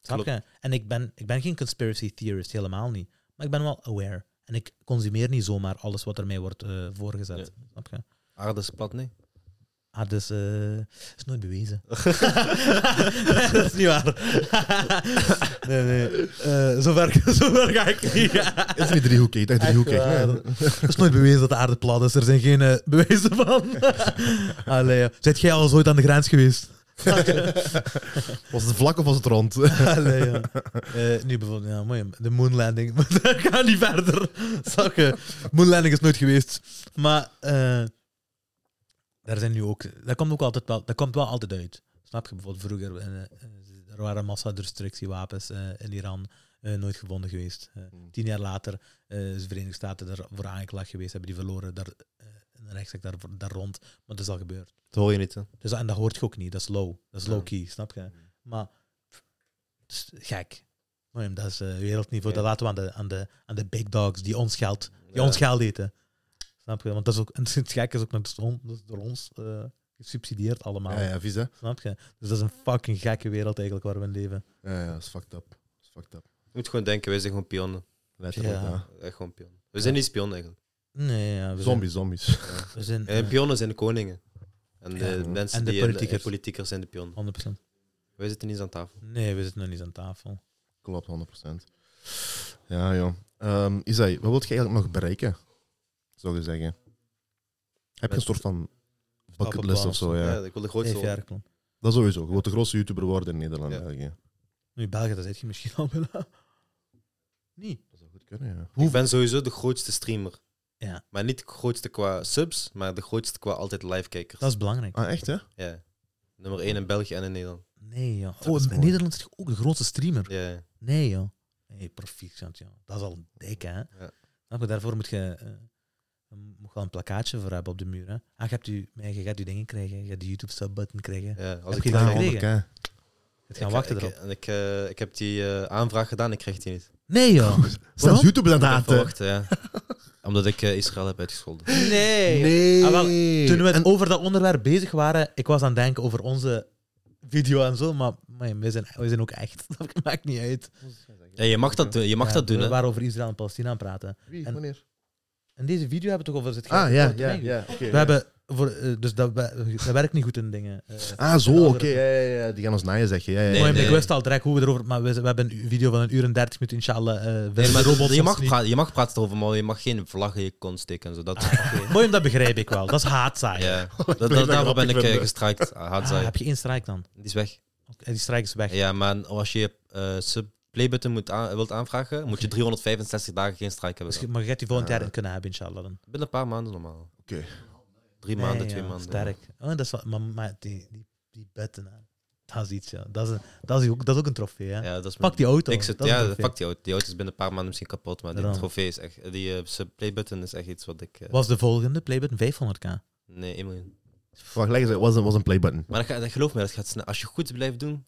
Snap
Klopt.
je? En ik ben, ik ben geen conspiracy theorist, helemaal niet. Maar ik ben wel aware. En ik consumeer niet zomaar alles wat er mij wordt eh, voorgezet.
Ja.
Snap je?
Aarde is plat, nee.
Ah, dus eh is nooit bewezen. dat is niet waar. nee, nee. Eh, zover, zover ga ik niet.
Het is niet driehoekig, ik dacht
Echt
driehoekig.
waar.
Nee.
Het is nooit bewezen dat de aarde plat is. Er zijn geen eh, bewijzen van. Allee, ja. Zijt jij al eens ooit aan de grens geweest?
Was het vlak of was het rond?
Allee, ja. Eh, nu bijvoorbeeld, ja, mooi, de moonlanding. Maar dat gaat niet verder. Snap je? Moonlanding is nooit geweest. Maar eh, daar zijn nu ook... Dat komt ook altijd wel, dat komt wel altijd uit. Snap je? Bijvoorbeeld vroeger, eh, eh, er waren massadestructiewapens eh, in Iran eh, nooit gevonden geweest. Eh, tien jaar later eh, is de Verenigde Staten daarvoor aangeklaagd geweest. Hebben die verloren daar, eh, een rechtszaak daar, daar rond. Maar dat is al gebeurd.
Dat hoor je niet, hè?
Dus, en dat hoort je ook niet. Dat is low. Dat is
Ja.
low key, snap je?
Mm.
Maar pff, het is gek. Mooi, dat is eh, wereldniveau. Dat
Ja.
laten we aan de, aan, de, aan de big dogs die ons geld, die
Ja.
ons geld eten. Snap je? Want dat is ook, en het gekke is ook met ons, dat is door ons eh, gesubsidieerd allemaal.
Ja, ja, vies hè?
Snap je? Dus dat is een fucking gekke wereld eigenlijk waar we in leven.
Ja, ja, dat is fucked up. Dat is fucked up.
Je moet gewoon denken, wij zijn gewoon pionnen.
Letterlijk,
Ja.
ja.
Echt gewoon pionnen. We zijn niet spionnen eigenlijk.
Nee, ja, we
Zombies, zombies.
Zijn, we zijn
En
eh,
pionnen zijn de koningen. En de
Ja.
mensen
En de
die en
politiekers.
politiekers zijn de pionnen.
100%.
Wij zitten niet eens aan tafel.
Nee, we zitten nog niet aan tafel.
Klopt, 100%. Ja, joh. Ehm Isai, wat wil je eigenlijk nog bereiken? Zou je zeggen? Heb je een soort van bucketlist of zo? Ja.
Ja, ik wil de grootste worden.
Vijfjarig plan.
Dat sowieso. Je wilt de grootste YouTuber worden in Nederland.
Ja.
België.
Nu, in België, dat zit je misschien al wel. Niet.
Dat zou goed kunnen, ja.
Ik ben sowieso de grootste streamer.
Ja.
Maar niet de grootste qua subs, maar de grootste qua altijd live-kijkers.
Dat is belangrijk.
Ah, echt, hè?
Ja. Nummer 1 in België en in Nederland.
Nee, joh.
is
Oh, in
mooi.
Nederland is ook de grootste streamer.
Ja, ja.
Nee, joh. Nee, proficiat, joh. Dat is al een dikke, hè.
Ja.
Snap je? Daarvoor moet je, eh, moet je wel een plakkaatje voor hebben op de muur, hè. Ah, je, hebt je, je gaat je dingen krijgen. Je gaat de YouTube-subbutton krijgen.
ja. Als
Heb
ik
je
daar-
dat
ik-
gekregen?
oké.
Het gaan wachten
ik,
erop.
En ik, eh, ik heb die eh, aanvraag gedaan, ik kreeg die niet.
Nee, joh.
Zelfs YouTuber aan het
Ik heb
haten.
verwacht, ja. Omdat ik eh, Israël heb uitgescholden.
Nee.
Nee.
Ah, wel, Toen we
En-
over dat onderwerp bezig waren, ik was aan het denken over onze video en zo, maar man, wij, zijn, wij zijn ook echt. Dat maakt niet uit.
Ja, je mag dat, doen- je mag
Ja,
dat doen,
We
hè.
waren over Israël en Palestina aan het praten.
Wie?
en-
Wanneer?
In deze video hebben we toch over het
Ah, ja,
geld-
ja, ja. oké,
We
ja.
hebben voor, eh, dus dat, we- dat werkt niet goed in dingen. eh.
Ah, zo,
En
oké.
andere-
ja, ja, ja, die gaan ons naaien, zeg je. Ja, ja,
Nee,
ja.
Maar
nee.
Ik wist al direct hoe we erover... Maar we, we hebben een video van een uur en dertig minuten, inshallah. eh
Nee, maar
robots
je,
ons
mag
niet.
praten, je mag praten over, maar je mag geen vlaggen in je kont steken en zo. Dat, oké.
Mooi, dat begrijp ik wel. Dat is haatzaai.
ja. dat,
dat
dat,
ik
daarvoor ben ik
grappig
eh,
vind.
gestrikt. Ah,
Ah,
hardzaai.
heb je één strijk dan?
Die is weg.
Oké, die strijk is weg.
Ja, maar als je eh sub playbutton moet aan- wilt aanvragen, moet je 365 dagen geen strijk hebben.
Dus
dan.
je- maar je gaat die volgend
Ah.
jaar in kunnen hebben, inshallah. Dan.
Binnen een paar maanden normaal.
Oké.
Drie maanden,
Nee,
twee
ja,
maanden.
Sterk. Oh, dat is wat, maar, maar die, die, die betten, hè. dat is iets, ja. Dat is, een- dat is, ook, dat is ook een trofee, hè.
Ja, dat is mijn-
Pak die auto.
Ik zit,
dat is een
ja,
trofee.
fuck die auto. Die auto is binnen een paar maanden misschien kapot, maar die
Daarom.
trofee is echt... Die eh, sub playbutton is echt iets wat ik... eh,
Was de volgende Playbutton 500k?
nee, 1 miljoen.
Wacht, leg eens, uit, wat is een- wat is een playbutton?
Maar dat gaat- dat, geloof me, dat gaat snel. Als je goed blijft doen...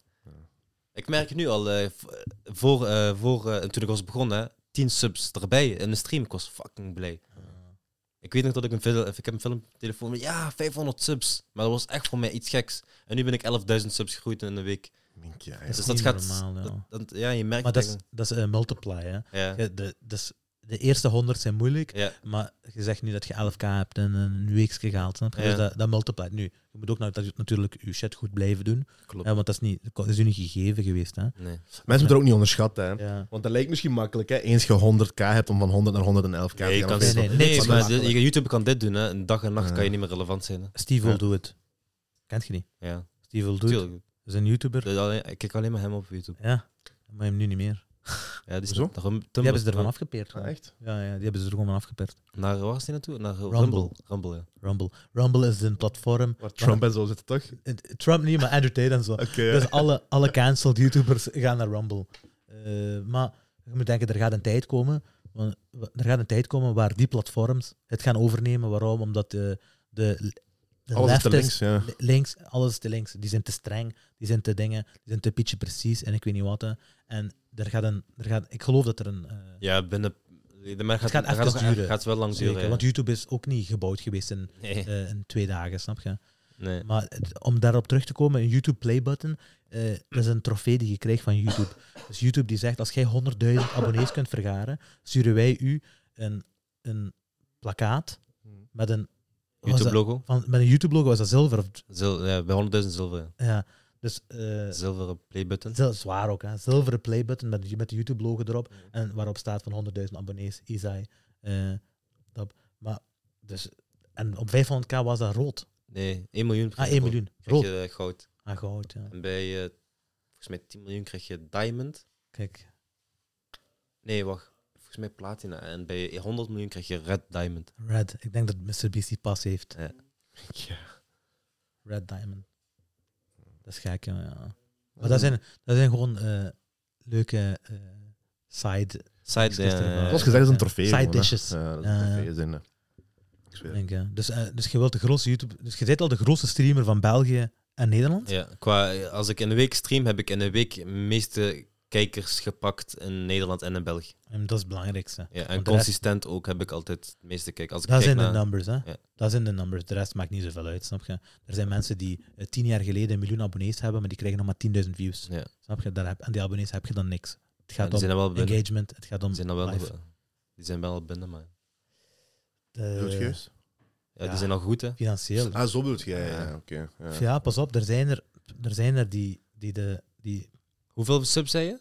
Ik merk het nu al, eh, v- voor, eh, voor, eh, toen ik was begonnen, 10 subs erbij in de stream. Ik was fucking blij. Ik weet nog dat ik een film, ik heb een filmtelefoon met ja, 500 subs. Maar dat was echt voor mij iets geks. En nu ben ik 11.000 subs gegroeid in een week.
Mink, ja, ja.
Dat is
Dus dat
niet
gaat.
normaal, ja.
dat- dat- ja, je merkt
Maar dat is,
eigenlijk-
dat is eh, multiply, hè.
Ja.
Ja, de, dus de eerste 100 zijn moeilijk,
Ja.
maar je zegt nu dat je 11k hebt en een weekje gehaald. Snap je?
Ja.
Dus dat, dat multiplied. Nu, je moet ook nou, dat, natuurlijk je shit goed blijven doen,
Klopt.
hè, want dat is, niet, dat is u niet gegeven geweest. Hè?
Nee.
Mensen moeten er ook niet onderschatten, hè.
Ja.
Want dat lijkt misschien makkelijk, hè. Eens je 100k hebt om van 100 naar 111k
Nee, je
te gaan.
kan
of
nee,
zo.
nee,
nee,
niks
is
maar
makkelijk.
je- YouTube kan dit doen, hè? Een dag en nacht
Ja.
kan je niet meer relevant zijn. Hè?
Steve Will
Ja.
doet het. Kent je niet?
Ja,
Steve Will doet het.
tuurlijk.
is een YouTuber.
Dat is alleen- Ik kijk alleen maar hem op YouTube.
Ja, maar hem nu niet meer.
Ja, dus die is
Hoezo?
naar Rum-
Die
Tumblr-
hebben ze ervan afgepeerd.
Ah, echt?
Ja, ja, die hebben ze er gewoon van afgepeerd.
Naar waar is die naartoe? Naar Rumble.
Rumble.
Rumble, ja.
Rumble. Rumble is een platform.
Waar Trump en zo zitten, toch? Oké,
Eh, Trump niet, maar Andrew Tate en zo.
ja.
Dus alle, alle cancelled YouTubers gaan naar Rumble. Eh, maar je moet denken, er gaat een tijd komen. want Er gaat een tijd komen waar die platforms het gaan overnemen. Waarom? Omdat de, de, de
Alles is te
leftists-
links, ja.
li- links, alles te links. Die zijn te streng, die zijn te dingen, die zijn te pitje precies en ik weet niet wat. hè. En er gaat een, er gaat, ik geloof dat er een. eh,
Ja, binnen. de- Maar het
gaat even
nog-
duren.
gaat wel lang
zeker,
duren. ja.
want YouTube is ook niet gebouwd geweest in,
Nee,
eh, in twee dagen, snap je?
nee.
Maar het- om daarop terug te komen, een YouTube playbutton, eh dat is een trofee die je krijgt van YouTube. Dus YouTube die zegt, als jij 100.000 abonnees kunt vergaren, sturen wij u een, een plakkaat met een was dat-
YouTube-logo?
Van, met een YouTube-logo, was dat zilver? Of,
Zil- ja, bij 100.000 zilver.
ja, dus eh,
Zilveren playbutton.
zil- zwaar ook, hè. Zilveren playbutton met, met de YouTube-logo erop, en waarop staat van 100.000 abonnees, Isai. eh, dat. Maar, dus, en op 500k was dat rood.
Nee, 1 miljoen.
Ah, 1 miljoen. Rood.
Krijg je eh, goud.
Ah, goud, ja.
En bij, eh, volgens mij 10 miljoen krijg je diamond.
Kijk.
Nee, wacht. Volgens mij platina. En bij 100 miljoen krijg je red diamond.
Red. Ik denk dat Mr. BC pas heeft.
Ja.
Ja.
Red Diamond.
Hmm.
Dat is gek, ja. ja. Maar dat zijn, dat zijn gewoon eh, leuke eh, side
Side,
Extra's
eh,
erbij.
Zoals gezegd, dat is een trofee.
Side
gewoon, hè.
dishes.
Ja, dat is
Ja,
een
ja.
trofee. zin, hè. Ik zweer.
denk ja. Dus, eh, dus je wilt de grootste YouTube... Dus je bent al de grootste streamer van België en Nederland.
Ja, qua, eh, als ik in een week stream, heb ik in een week meeste kijkers gepakt in Nederland en in België.
En dat is het belangrijkste.
Ja,
Want
en
de rest-
consistent ook heb ik altijd het meeste kijkers. Als ik
Dat
kijk
zijn
naar,
de numbers, hè.
Ja.
Dat zijn de numbers. De rest maakt niet zoveel uit, snap je? Er zijn mensen die eh, tien jaar geleden een miljoen abonnees hebben, maar die krijgen nog maar 10.000 views.
Ja.
Snap je? Daar heb, en die abonnees heb je dan niks. Het
ja,
gaat
die
om
zijn er wel binnen.
engagement, het gaat om
Die zijn er wel,
live.
die zijn wel binnen, maar...
Eh,
Bedoelt je juist?
Ja,
Ja.
die zijn al goed, hè?
financieel.
Ah, zo bedoelt jij.
Ja.
Ja, oké. ja.
Ja, pas op, er zijn er, er, zijn er die, die, de, die.
Hoeveel subs zei je?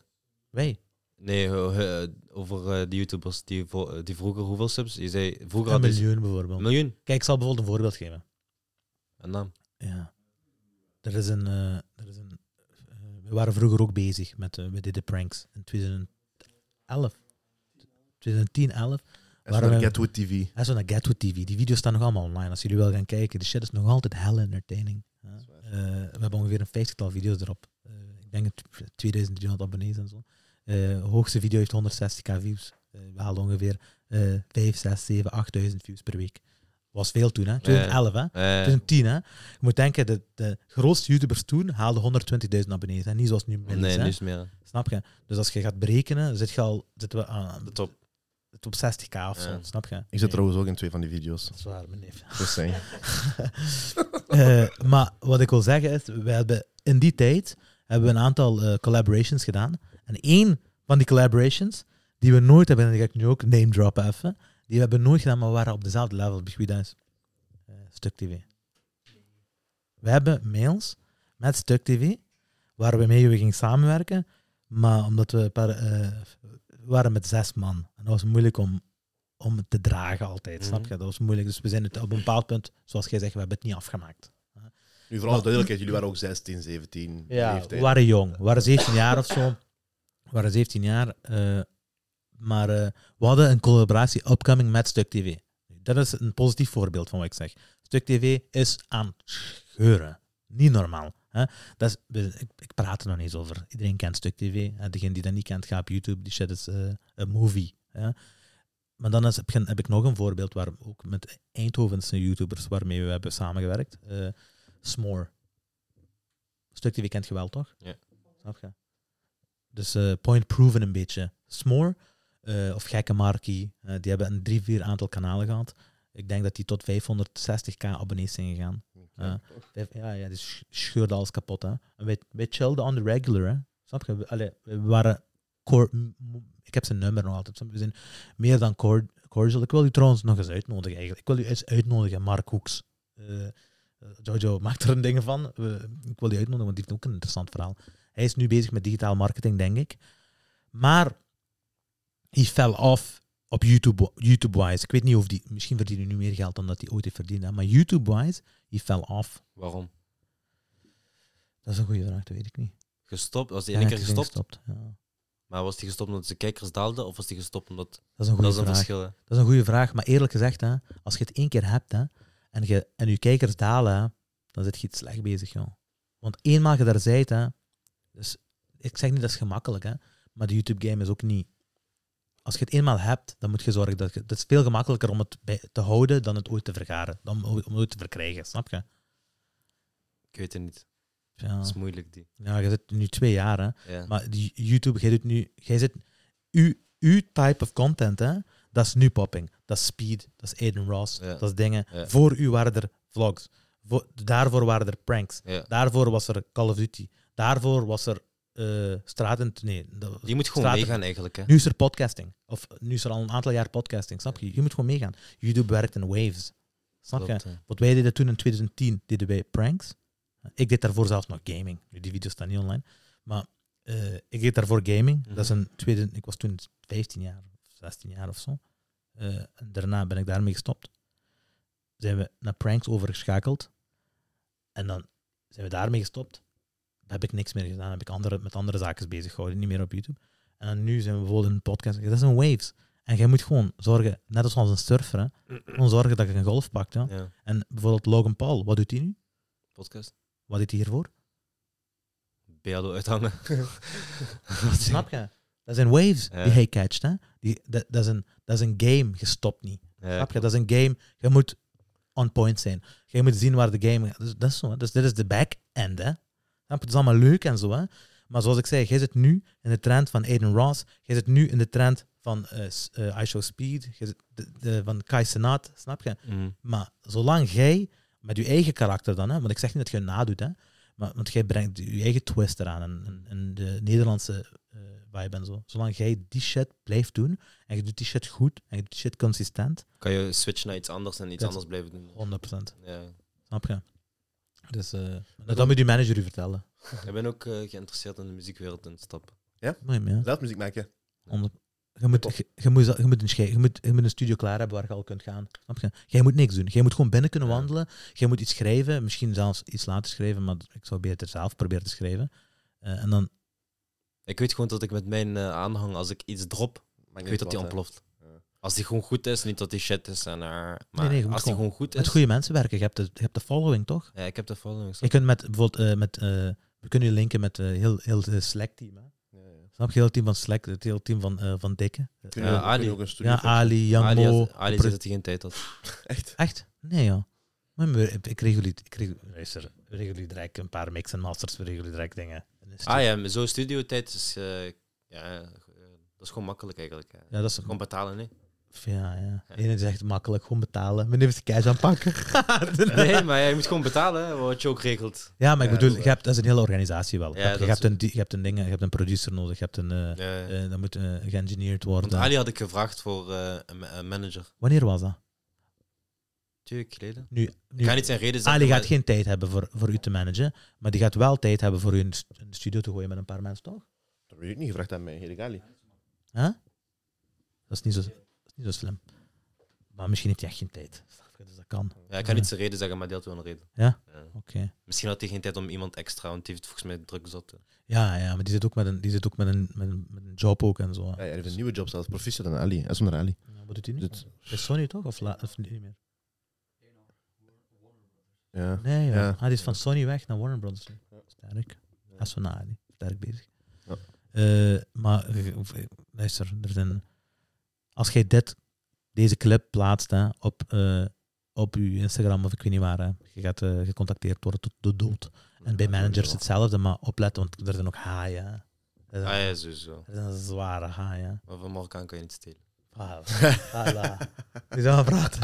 Wij.
Nee, eh, eh, over eh de YouTubers die, vo- eh, die vroeger hoeveel subs? Je zei vroeger
Een
hadden ze-
miljoen bijvoorbeeld.
Een miljoen.
Kijk, ik zal bijvoorbeeld een voorbeeld geven.
Een naam.
Ja. Er is een. eh, er is een eh, we waren vroeger ook bezig met. eh, we deden pranks in 2011. 2010, 11.
En zo'n
Waarom-
Gatwood TV.
En zo naar Gatwood TV. Die video's staan nog allemaal online. Als jullie wel gaan kijken, die shit is nog altijd hell entertaining. hè. Eh, we hebben ongeveer een vijftigtal video's erop. Eh, ik denk het 2300 abonnees en zo. Eh, de hoogste video heeft 160k views. Eh, we halen ongeveer eh 5, 6, 7, 8000 views per week. Was veel toen, hè? 2011, hè?
Eh,
2010, hè? Je moet denken, de, de grootste YouTubers toen haalden 120.000 abonnees. Hè? Niet zoals nu. Minder,
nee,
hè?
niets meer.
Snap je? Dus als je gaat berekenen, zit je al, zitten we aan
De top.
op 60k of zo.
Ja.
Snap je?
Ik zit trouwens ook in twee van die video's.
Dat is waar, mijn neef.
Dus zijn.
Eh, maar wat ik wil zeggen is, we hebben in die tijd hebben we een aantal eh, collaborations gedaan. En één van die collaborations, die we nooit hebben, en die ga ik nu ook name droppen even, die we hebben nooit gedaan, maar we waren op dezelfde level, begrijp je dat? Eh, Stuk TV. We hebben mails met Stuk TV, waar we mee gingen samenwerken, maar omdat we een paar, eh, we waren met zes man. En dat was moeilijk om, om het te dragen altijd, snap je? Dat was moeilijk. Dus we zijn het op een bepaald punt, zoals jij zegt, we hebben het niet afgemaakt.
Nu, vooral de duidelijkheid, jullie waren ook 16, 17,
Ja, we
leeftijd.
waren jong. We waren 17 jaar of zo. We waren 17 jaar. eh, maar eh, we hadden een collaboratie upcoming met Stuk TV. Dat is een positief voorbeeld van wat ik zeg. Stuk TV is aan het scheuren. Niet normaal. Hè? Dat is, we- ik, ik praat er nog eens over. Iedereen kent Stuk TV. Hè? Degene die dat niet kent, gaat op YouTube. Die shit is eh, een movie. Hè? Maar dan is, heb, ik- heb ik nog een voorbeeld waar we ook met Eindhovense YouTubers waarmee we hebben samengewerkt. Eh S'more. Stuk die weekend geweld, toch?
Ja.
Snap je? Dus eh, point proven een beetje. Smoor eh, of Gekke Markie, eh, die hebben een drie, vier aantal kanalen gehad. Ik denk dat die tot 560k abonnees zijn gegaan. Ja, Vijf- ja, ja die sch- scheurde alles kapot. Hè. En wij, wij chillden on the regular. Hè. Snap je? We- Allee, we waren... cor- m- m- ik heb zijn nummer nog altijd. snap je? We zijn meer dan cor- cordial. Ik wil u trouwens nog eens uitnodigen eigenlijk. Ik wil u eens uitnodigen, Mark Hoeks. Eh, eh, Jojo maakt er een ding van. We- ik wil die uitnodigen, want die heeft ook een interessant verhaal. Hij is nu bezig met digitaal marketing, denk ik. Maar hij fell off op YouTube- YouTube-wise. ik weet niet of die... Misschien verdient hij nu meer geld dan dat hij ooit heeft verdiend. hè, Maar YouTube-wise, hij fell off.
Waarom?
Dat is een goede vraag, dat weet ik niet.
Gestopt? Was die
Ja,
één keer
het is
gestopt?
ja.
Maar was die gestopt omdat zijn kijkers daalden? Of was die gestopt omdat...
Dat is een
Dat
goede
is een
vraag.
verschil, hè.
Dat is een goede vraag. Maar eerlijk gezegd, hè, als je het één keer hebt hè, en, je, en je kijkers dalen, hè, dan zit je iets slecht bezig. Joh. Want eenmaal je daar zijt, hè, dus ik zeg niet dat is gemakkelijk, hè, maar de YouTube-game is ook niet. Als je het eenmaal hebt, dan moet je zorgen dat je. Het is veel gemakkelijker om het bij, te houden dan het ooit te vergaren. Dan om, om het ooit te verkrijgen, snap je?
Ik weet het niet.
Ja,
Dat is moeilijk, die.
ja je zit nu twee jaar, hè.
Ja.
Ah. Maar die YouTube, jij doet nu, jij zit, uw, uw type of content, hè, dat is nu popping. Dat is Speed, dat is Aiden Ross,
Ja.
dat is dingen.
Ja.
Voor u waren er vlogs. Voor, daarvoor waren er pranks.
ja.
Daarvoor was er Call of Duty. Daarvoor was er eh straten... Nee, dat-
Je moet gewoon
straten-
meegaan, eigenlijk, hè.
Nu is er podcasting. Of nu is er al een aantal jaar podcasting, snap je? Je moet gewoon meegaan. YouTube werkt in waves. Snap je?
Klopt, hè.
Wat wij deden toen in 2010, deden wij pranks. Ik deed daarvoor zelfs nog gaming. Nu, die video's staan niet online. Maar eh, ik deed daarvoor gaming. Dat is een tweede, ik was toen 15 jaar of 16 jaar of zo. Eh, en daarna ben ik daarmee gestopt. Zijn we naar pranks overgeschakeld. En dan zijn we daarmee gestopt. Dan heb ik niks meer gedaan. Heb ik andere, met andere zaken bezig gehouden. Niet meer op YouTube. En dan nu zijn we bijvoorbeeld in een podcast. Dat zijn waves. En jij moet gewoon zorgen, net als als een surfer, hè, gewoon zorgen dat je een golf pakt. Hè.
Ja,
En bijvoorbeeld Logan Paul, wat doet hij nu?
podcast.
Wat deed hij hiervoor?
Beado uithangen.
Snap je? Dat zijn waves
Ja.
die hij catcht. Hè? Die, dat, dat, is een, dat is een game, je stopt niet.
Ja,
Snap je? Dat is een game, je moet on point zijn. Je moet zien waar de game... Dus, dat is zo, hè. dus dit is de back-end. Hè? Snap je? Het is allemaal leuk en zo. Hè? Maar zoals ik zei, jij zit nu in de trend van Aiden Ross. Jij zit nu in de trend van eh, s- eh, I Show Speed. Jij zit de, de- van Kai Senat. Snap je?
Mhm.
Maar zolang jij met je eigen karakter dan, hè, want ik zeg niet dat je het nadoet, hè, maar, want jij brengt je eigen twist eraan en, en, en de Nederlandse eh vibe en zo. Zolang jij die shit blijft doen en je doet die shit goed en je doet die shit consistent, 100%.
Kan je switchen naar iets anders en iets
Dat-
anders blijven doen. Ja.
Snap je? Dus eh, dat, dat moet je manager u vertellen.
Ik ben ook eh, geïnteresseerd in de muziekwereld en stap.
Mooi, ja.
Zelf muziek maken.
Onder- Je moet, je, je moet, je, moet een, schei- je, moet, je moet een studio klaar hebben waar je al kunt gaan. Snap je? Jij moet niks doen. Jij moet gewoon binnen kunnen
Ja.
wandelen. Jij moet iets schrijven. Misschien zelfs iets laten schrijven, maar ik zou beter zelf proberen te schrijven. Eh, en dan,
Ik weet gewoon dat ik met mijn eh, aanhang, als ik iets drop, ik weet dat die ontploft.
Ja.
Als die gewoon goed is, niet dat die shit is. En, eh, maar
nee, je moet
als die gewoon goed
met
is...
goede mensen werken. Je hebt de, je hebt de following, toch?
Ja, ik heb de following.
Je kunt met, bijvoorbeeld, eh, met, eh, we kunnen je linken met eh, heel, heel de Slack-team. hè. Snap je? Heel het team van Slack, het hele team van, eh, van Dikke.
Kunnen we-
Ja,
kunnen
Ali.
we ook een studio
Ja,
fixen?
Ali, Young
Ali,
Mo.
had- Ali zei dat hij geen tijd had.
Echt?
Echt? Nee, ja. Maar maar ik ik regel jullie- ik regel- luister, we regelen jullie direct een paar mix en masters, we regelen jullie direct dingen. En is het-
Ah ja, maar zo'n studiotijd is... eh, ja, eh, dat is gewoon makkelijk eigenlijk. hè.
ja, dat is
Gewoon betalen, nee.
ja, ja. Eén zegt makkelijk, gewoon betalen. Meneer heeft de cash aanpakken.
Nee, maar je moet gewoon betalen, hè, wat je ook regelt.
Ja, maar ik
Ja,
bedoel,
dat is
je hebt, dat is een hele organisatie wel.
Ja,
je, hebt, je
dat is-
hebt een, die- je hebt een ding, je hebt een producer nodig, je hebt een, eh
Ja, ja.
eh, dat moet eh, geëngineerd
Want
worden.
Ali had ik gevraagd voor eh, een ma- een manager.
Wanneer was dat?
twee weken geleden.
Nu,
Ik
nu
ga niet zijn reden zeggen.
Ali Ah, gaat
maar-
geen tijd hebben voor, voor u te managen, maar die gaat wel tijd hebben voor u in de st- in de studio te gooien met een paar mensen, toch?
Dat weet ik niet gevraagd aan mij, Erik Ali.
Dat is niet zo, dat is niet zo slim. Maar misschien heeft hij echt geen tijd. Snap je? Dus dat kan. Oké.
Ja, ik kan niet zijn reden zeggen, maar die had wel een reden.
Ja?
Misschien had hij geen tijd om iemand extra, want die heeft volgens mij druk zat.
Ja, ja, maar die zit ook met een, die zit ook met een, met een, met een job ook en zo.
Ja, hij heeft een nieuwe job zelfs, proficiat dan Ali. Hij is onder Ali. Dus-
Ja, wat doet hij nu?
Dit-
Is Sony toch? Of, la, of niet meer?
ja.
Nee, joh.
Ja.
Ah, die is van Sony weg naar Warner Brothers. Sterk. Dat is van Ali. Sterk bezig.
Ja.
Eh, maar eh, luister, er zijn, als jij dit, deze clip plaatst hè, op, eh, op je Instagram of ik weet niet waar, hè, je gaat eh, gecontacteerd worden tot de dood. En bij managers hetzelfde, maar opletten, want er zijn ook haaien. hè. Er
Ah
zijn,
ja, sowieso.
er zijn zware haaien.
Maar van Marokkaan kan je niet stelen.
Ah, voilà. Die zou aan praten.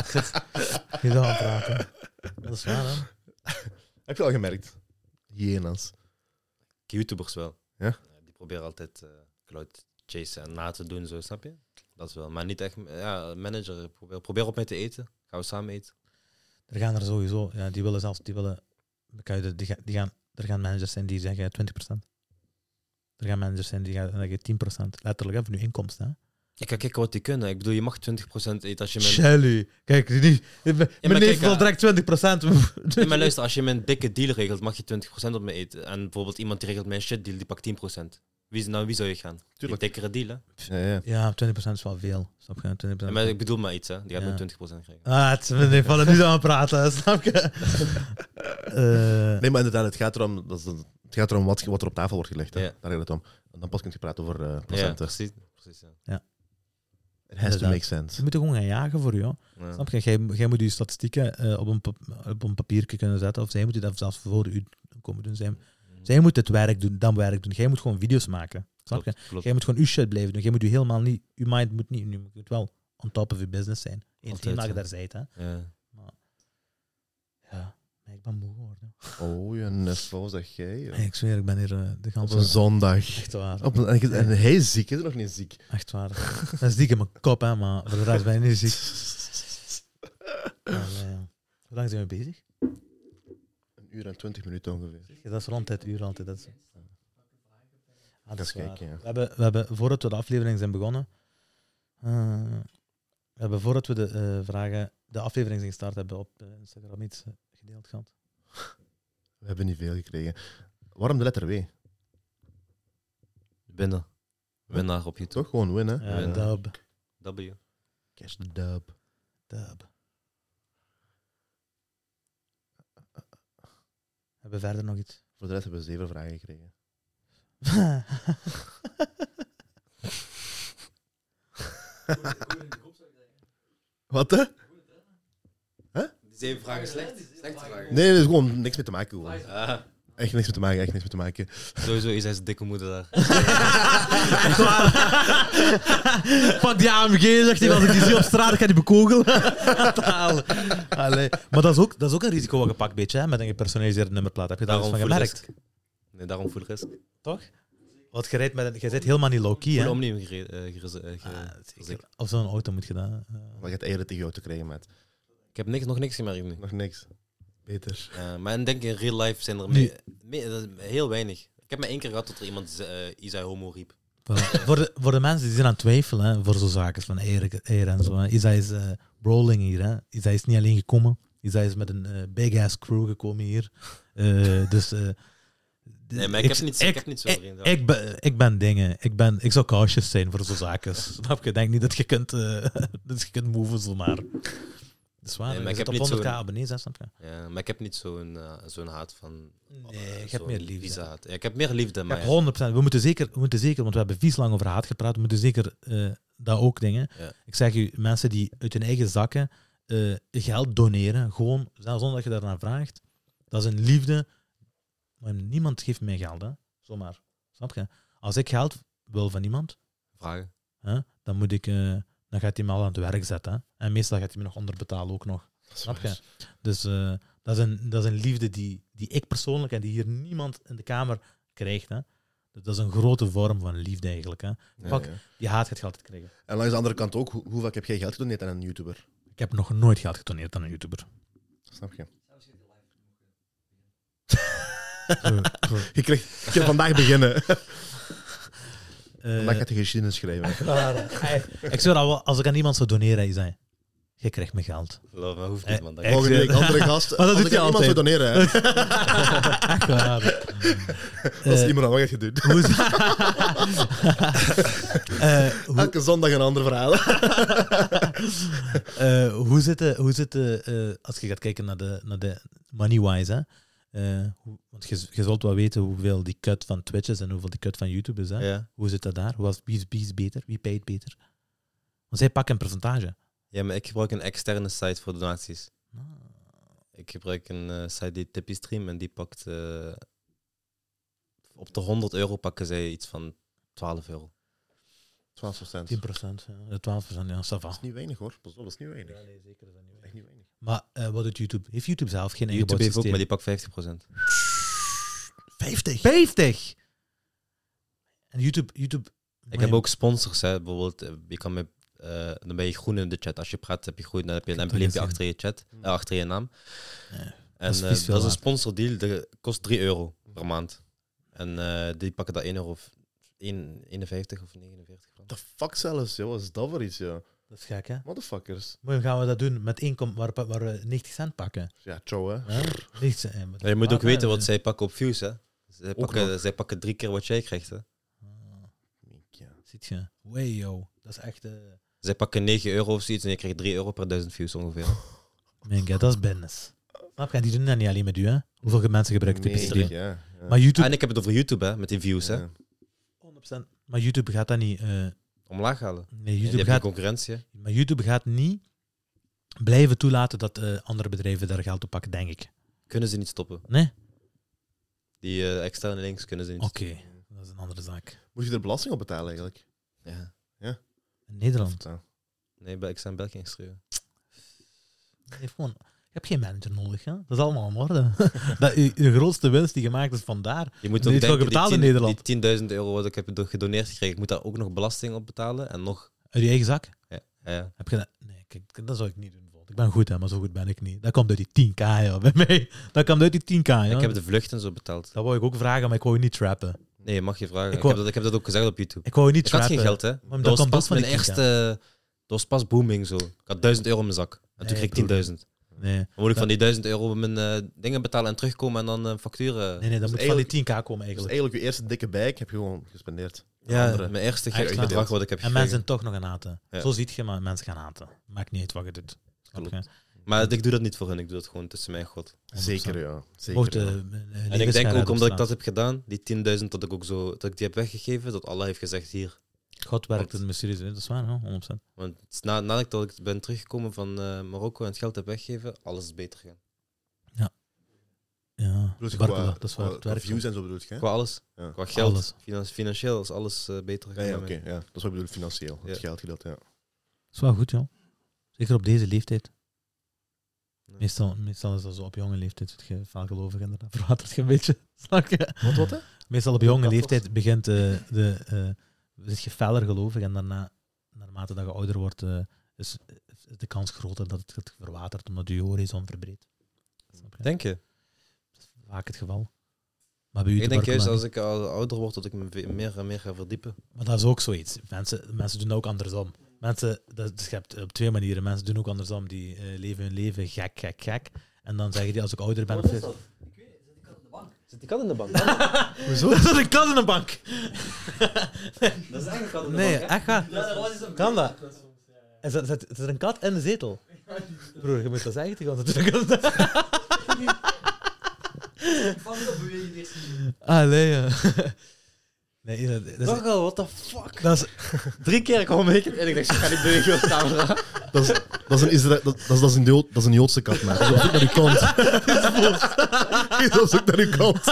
Die zou aan praten. Dat is waar, hè?
Heb je al gemerkt? Hyena's.
YouTubers wel.
Ja?
Die proberen altijd eh cloud te chasen en na te doen, zo, snap je? Dat wel. Maar niet echt, ja, manager, probeer, probeer op mij te eten. Gaan we samen eten?
Er gaan er sowieso, ja, die willen zelfs, die willen, kan je de- die, ga- die gaan, er gaan managers zijn die zeggen 20%. Er gaan managers zijn die gaan zeggen 10%. Letterlijk, hè, van je inkomsten.
Ik ga kijken wat die kunnen. Ik bedoel, je mag 20% eten als je mijn...
Shelly, kijk, die, die, mijn neef
kijk,
wil
ja.
direct 20%.
Nee, maar luister, als je mijn dikke deal regelt, mag je 20% op me eten. En bijvoorbeeld iemand die regelt mijn shit deal, die pakt 10%. Wie, is- nou, wie zou je gaan?
Tuurlijk.
Die dikkere deal, hè?
Ja, ja.
Ja, 20% is wel veel. Snap je? 20%.
Ja, maar ik bedoel maar iets, hè? Die
Ja.
gaat met 20% krijgen.
Ah, het is we vallen nu aan het praten, snap je? Eh,
Nee, maar inderdaad, het gaat erom, dat is, het gaat erom wat, wat er op tafel wordt gelegd. Hè.
Ja.
Daar gaat het om. En dan pas kun je praten over eh
Ja,
procenten.
precies. precies ja.
It has to
Inderdaad.
make
ze
sense.
moeten gewoon gaan jagen voor jou.
Ja.
Snap je? Jij, jij moet je statistieken eh, op, een pap- op een papiertje kunnen zetten. Of zij moeten dat zelfs voor u komen doen. Zij, zij moet het werk doen, dan werk doen. Jij moet gewoon video's maken. Snap je?
Klopt, klopt.
Jij moet gewoon uw shit blijven doen. Jij moet je helemaal niet... Je mind moet niet... Je moet wel on top of je business zijn. Eens
Altijd,
eenmaal je
ja.
daar zijt, hè.
Ja.
Ja. Maar ik ben moe geworden.
Oh, je nestlo, zeg jij. joh.
Hey, ik zweer, ik ben hier eh, de
Op een
ganse...
zondag.
Echt waar.
Op een, en, en hij is ziek, hij is nog niet ziek.
Echt waar. Dat is dik in mijn kop, hè. Maar voor de rest ben ik niet ziek. Maar, eh, Hoe lang zijn we bezig?
Een uur en twintig minuten ongeveer.
Ja, dat is rond het uur altijd. Dat is... Ah, dat is
Even
waar.
kijken, ja.
we, hebben, we hebben, voordat we de aflevering zijn begonnen, eh, we hebben voordat we de eh, vragen, de aflevering zijn gestart hebben op eh, Instagram iets eh, gedeeld gehad.
We hebben niet veel gekregen. Waarom de letter W?
Winnaar. Winnaar op YouTube.
Toch gewoon win, hè?
Ja,
Ja.
Dub.
W.
Catch the dub.
Dub. Hebben we verder nog iets?
Voor de rest hebben we zeven vragen gekregen. Wat, hè?
Zeven vragen slecht. Slechte vragen.
Nee, dat is gewoon niks mee te maken. Gewoon.
Ah,
Echt niks mee te maken, echt niks mee te maken.
sowieso is hij zijn dikke moeder daar.
Echt waar? Pak die AMG, zegt hij. Als ik die zie op straat, ga die bekogelen. Aan het halen. Allee. Maar dat is, ook, dat is ook een risico wat je pakt, beetje, hè, met een gepersonaliseerde nummerplaat. Heb je daar
Daarom
eens van
voel
gemerkt?
risk. Nee, daarom voel ik risk.
Toch? Want je, rijdt met een, je zit helemaal niet low-key,
Voel
hè?
omnium gere- eh, gere- eh,
Ah,
gere-
zeker. Of zo'n auto moet je dan... eh,
Dan gaat eieren tegen jou te krijgen, maat.
Ik heb niks, nog niks gemerkt nu.
Nog niks. Beter.
Eh, maar ik denk in real life zijn er
Nee.
me- me- dat is heel weinig. Ik heb maar één keer gehad dat er iemand ze- eh Isa homo riep.
voilà. voor, de, voor de mensen die zijn aan het twijfelen, hè, voor zo'n zaken van eer, eer en zo. hè. Isa is eh rolling hier, hè. Isa is niet alleen gekomen. Isa is met een big-ass crew gekomen hier. Eh, dus... eh,
Nee, maar ik, heb niet, ik, heb niet zo vreemd.
Ik, ben, ik ben dingen. Ik, ben, ik zou cautious zijn voor zo'n zaken. Snap je? Denk niet dat je kunt, eh dat je kunt moven zomaar. Dat is waar.
Nee, maar
je zit
ik heb
op
niet
100k
zo'n- Oh,
abonnees, hè, snap je?
Ja, maar ik heb niet zo'n eh, zo'n haat van... eh,
Nee, ik heb
zo'n
meer liefde.
Isa-haat. Ja, ik heb meer liefde,
Ik
maar...
heb
ja.
100%. We moeten, zeker, we moeten zeker, want we hebben vies lang over haat gepraat, we moeten zeker eh dat ook dingen.
Ja.
Ik zeg u, mensen die uit hun eigen zakken eh, geld doneren, gewoon, zelfs zonder dat je daarnaar vraagt, dat is een liefde. Maar niemand geeft mij geld, hè. Zomaar. Snap je? Als ik geld wil van iemand,
Vragen.
hè, dan, moet ik, eh, dan gaat hij me al aan het werk zetten. hè. En meestal gaat hij me nog onderbetalen ook nog. Snap je? Dus eh, dat, is een, dat is een liefde die, die ik persoonlijk en die hier niemand in de kamer krijgt. Hè. Dus dat is een grote vorm van liefde eigenlijk. Hè.
Ja,
Pak,
ja.
die haat gaat je altijd krijgen.
En langs de andere kant ook, hoe, hoe vaak heb jij geld gedoneerd aan een YouTuber?
Ik heb nog nooit geld getoneerd aan een YouTuber.
Snap je?
Eh, pff,
Je krijgt, ik kan vandaag beginnen.
eh,
Vandaag gaat je geschiedenis schrijven.
voilà. Ey, Ik zou dat wel, als ik aan iemand zou doneren, hij zei: Je krijgt mijn geld.
Geloof me, hoeft niet, man.
Eh,
Dank
eh.
je.
Volgende
zeg-
week, andere gast.
Maar dat
Als
doet
ik aan
hij
iemand zou
altijd.
doneren, hè.
Echt waar.
dat is
Eh,
iemand aan wat gaat je doen.
Hoe is Eh, hoe,
Elke zondag een ander verhaal.
eh, hoe zitten, hoe zitten eh, als je gaat kijken naar de, naar de money-wise, hè? Eh, hoe- want je, je zult wel weten hoeveel die cut van Twitch is en hoeveel die cut van YouTube is. Hè?
Ja.
Hoe zit dat daar? Hoe was, wie, is, wie is beter? Wie payt beter? Want zij pakken een percentage.
ja, maar ik gebruik een externe site voor donaties.
Ah.
Ik gebruik een eh, site die Tippy Stream en die pakt... eh, op de 100 euro pakken zij iets van 12 euro.
12 procent.
10
Dat
procent, 12 procent, ja, ça va.
is niet weinig, hoor. Pas op, dat is niet weinig.
nee, zeker is dat niet.
Echt niet weinig.
Maar eh, wat doet YouTube? Heeft YouTube zelf geen
YouTube
ingebouwd
heeft ook,
systeem?
maar die pakt 50
50?
50! En YouTube... YouTube
Ik heb ook sponsors, hè. bijvoorbeeld. eh, Je kan met, eh, dan ben je groen in de chat. Als je praat, heb je groen. Dan heb je een
Ik heb het
embleempje
gezien.
achter je chat, eh, achter je naam.
Ja,
en
is
eh,
vies veel
dat is een
waard.
sponsordeal. Dat kost 3 euro per maand. En eh, die pakken daar 1 euro of 1, 51 of 49 van.
The fuck zelfs, joh. Wat is dat voor iets, joh?
Dat is gek, hè?
Motherfuckers.
Maar gaan we dat doen met inkom waar, waar we 90 cent pakken?
Ja, trouw, hè.
Hè? 90 cent, eh,
Ja, je moet ook
waar-
weten wat zij pakken op views, hè. Zij
nog.
pakken, zij pakken drie keer wat jij krijgt, hè.
Ah,
Ja.
Ziet je? Way, yo. Dat is echt... eh
Zij pakken 9 euro of zoiets en je krijgt 3 euro per duizend views ongeveer.
Man, God, dat is business. Snap je? Die doen dat niet alleen met u, hè? Hoeveel mensen gebruiken de
Nee,
pistolen?
ja, ja.
Maar YouTube...
En ik heb het over YouTube, hè, met die views, hè.
Ja.
100%. Maar YouTube gaat dat niet... eh,
Omlaag halen.
nee,
YouTube
YouTube
hebt geen
gaat,
concurrentie, hè.
maar YouTube gaat niet blijven toelaten dat eh, andere bedrijven daar geld op pakken, denk ik.
Kunnen ze niet stoppen.
Nee? Oh.
Die eh, externe links kunnen ze niet
Oké. Dat is een andere zaak.
Moet je er belasting op betalen, eigenlijk?
Ja.
In Nederland.
Ja.
Nee, bij- ik sta in België ingeschreven.
Je, hebt gewoon, je hebt geen manager nodig, hè? Dat is allemaal in orde. dat, je, je grootste winst die gemaakt is vandaar.
Je moet
Nee,
ook
het is wel
denken,
betaald in
die 10
Nederland.
die 10.000 euro wat ik heb do- gedoneerd gekregen, ik moet daar ook nog belasting op betalen en nog...
Uit je eigen zak?
Ja, ja.
Heb je dat? Nee, kijk, dat zou ik niet doen. bijvoorbeeld. Ik ben goed, hè, maar zo goed ben ik niet. Dat komt uit die 10k, joh, bij mij. Dat komt uit die 10k, joh.
Ik heb de vlucht en zo betaald.
Dat wou ik ook vragen, maar ik wou je niet trappen.
Nee, je mag je vragen.
Ik
Ik,
wou-
heb dat, ik heb dat ook gezegd op YouTube.
Ik eh, wou je niet
Ik had
trappen.
geen geld, hè.
dat
dat, was
komt ook
pas
van
mijn
die
eerste... Dat was pas booming, zo. Ik had 1000 euro in mijn zak. En
Nee,
toen kreeg
broer.
ik 10.000.
Nee,
Dan moet ik van die 1000 euro mijn eh, dingen betalen en terugkomen en dan eh, facturen...
nee, nee dat
Dus
moet van die 10k komen
Dus
eigenlijk.
eigenlijk je eerste dikke bijk heb je gewoon gespendeerd.
Ja,
Andere.
mijn eerste
Echt
ge-
waar?
bedrag wat ik heb
En
gekregen.
mensen zijn toch nog aan haten.
Ja.
Zo ziet je, maar mensen gaan haten. Maakt niet uit wat je doet. Snap je?
Klopt. Maar ik doe dat niet voor hen, ik doe dat gewoon tussen mij en God.
100%.
Zeker, ja. Zeker,
Mocht, eh,
ja.
eh,
En ik
levensgevaar
denk ook omdat ik
ontstaan.
dat heb gedaan, die 10.000 dat ik ook zo dat ik die heb weggegeven, dat Allah heeft gezegd hier.
God werkt
Want-
in mysterieus. Dat is waar, hè, 100%.
Want na, nadat ik, dat ik ben teruggekomen van eh, Marokko en het geld heb weggegeven, alles is beter gegaan.
Ja,
Bedoel je
werkt
qua-
wel, dat is waar.
qua-
Het
qua
werkt wel.
views en zo bedoel je, hè?
Qua alles,
Ja.
qua geld,
Alles.
finan- financieel is alles eh, beter
Ja,
gegaan.
ja,
bij
oké.
mij.
ja. Dat is wat ik bedoel, financieel. Het
Ja.
geld gedeeld, ja.
Dat is wel goed, joh. Zeker op deze leeftijd.
Ja.
Meestal, meestal is dat zo op jonge leeftijd. zit je vaak gelovig inderdaad. Verwatert je een beetje. Snap je?
Wat, wat, hè?
Meestal op jonge
Dat was-
leeftijd begint eh, de, eh zit je feller gelovig. En daarna, naarmate dat je ouder wordt, eh, is, is de kans groter dat het, het verwatert. Omdat je horizon verbreedt. Snap je?
Denk je?
Dat is vaak het geval. Maar bij u
Ik denk juist als ik al ouder word dat ik me ve- meer en meer ga verdiepen.
Maar dat is ook zoiets. Mensen, mensen doen dat ook andersom. Mensen, dat, dus je hebt op twee manieren. Mensen doen ook andersom. Die eh, leven hun leven gek, gek, gek. En dan zeggen die als ik ouder ben... Wat is Oh, dat?
Zit die kat in de bank?
Hoezo? Dat is een kat in een bank.
dat is eigenlijk kat
Nee, echt waar. Kan dat? Er zit, zit- zit er een kat in de zetel. Broer, je moet dat zeggen tegen ons. natuurlijk. Allee, ja. Nee, dat, dat is-
al, what the fuck?
dat is...
Drie keer kwam ik en ik dacht, ik ga niet bewegen op camera.
Dat is, dat is een, Isra- dat, dat is, dat is een, Jood, dat is een Joodse kat, man. Die is op zoek naar uw kant. Die is op zoek naar uw kant.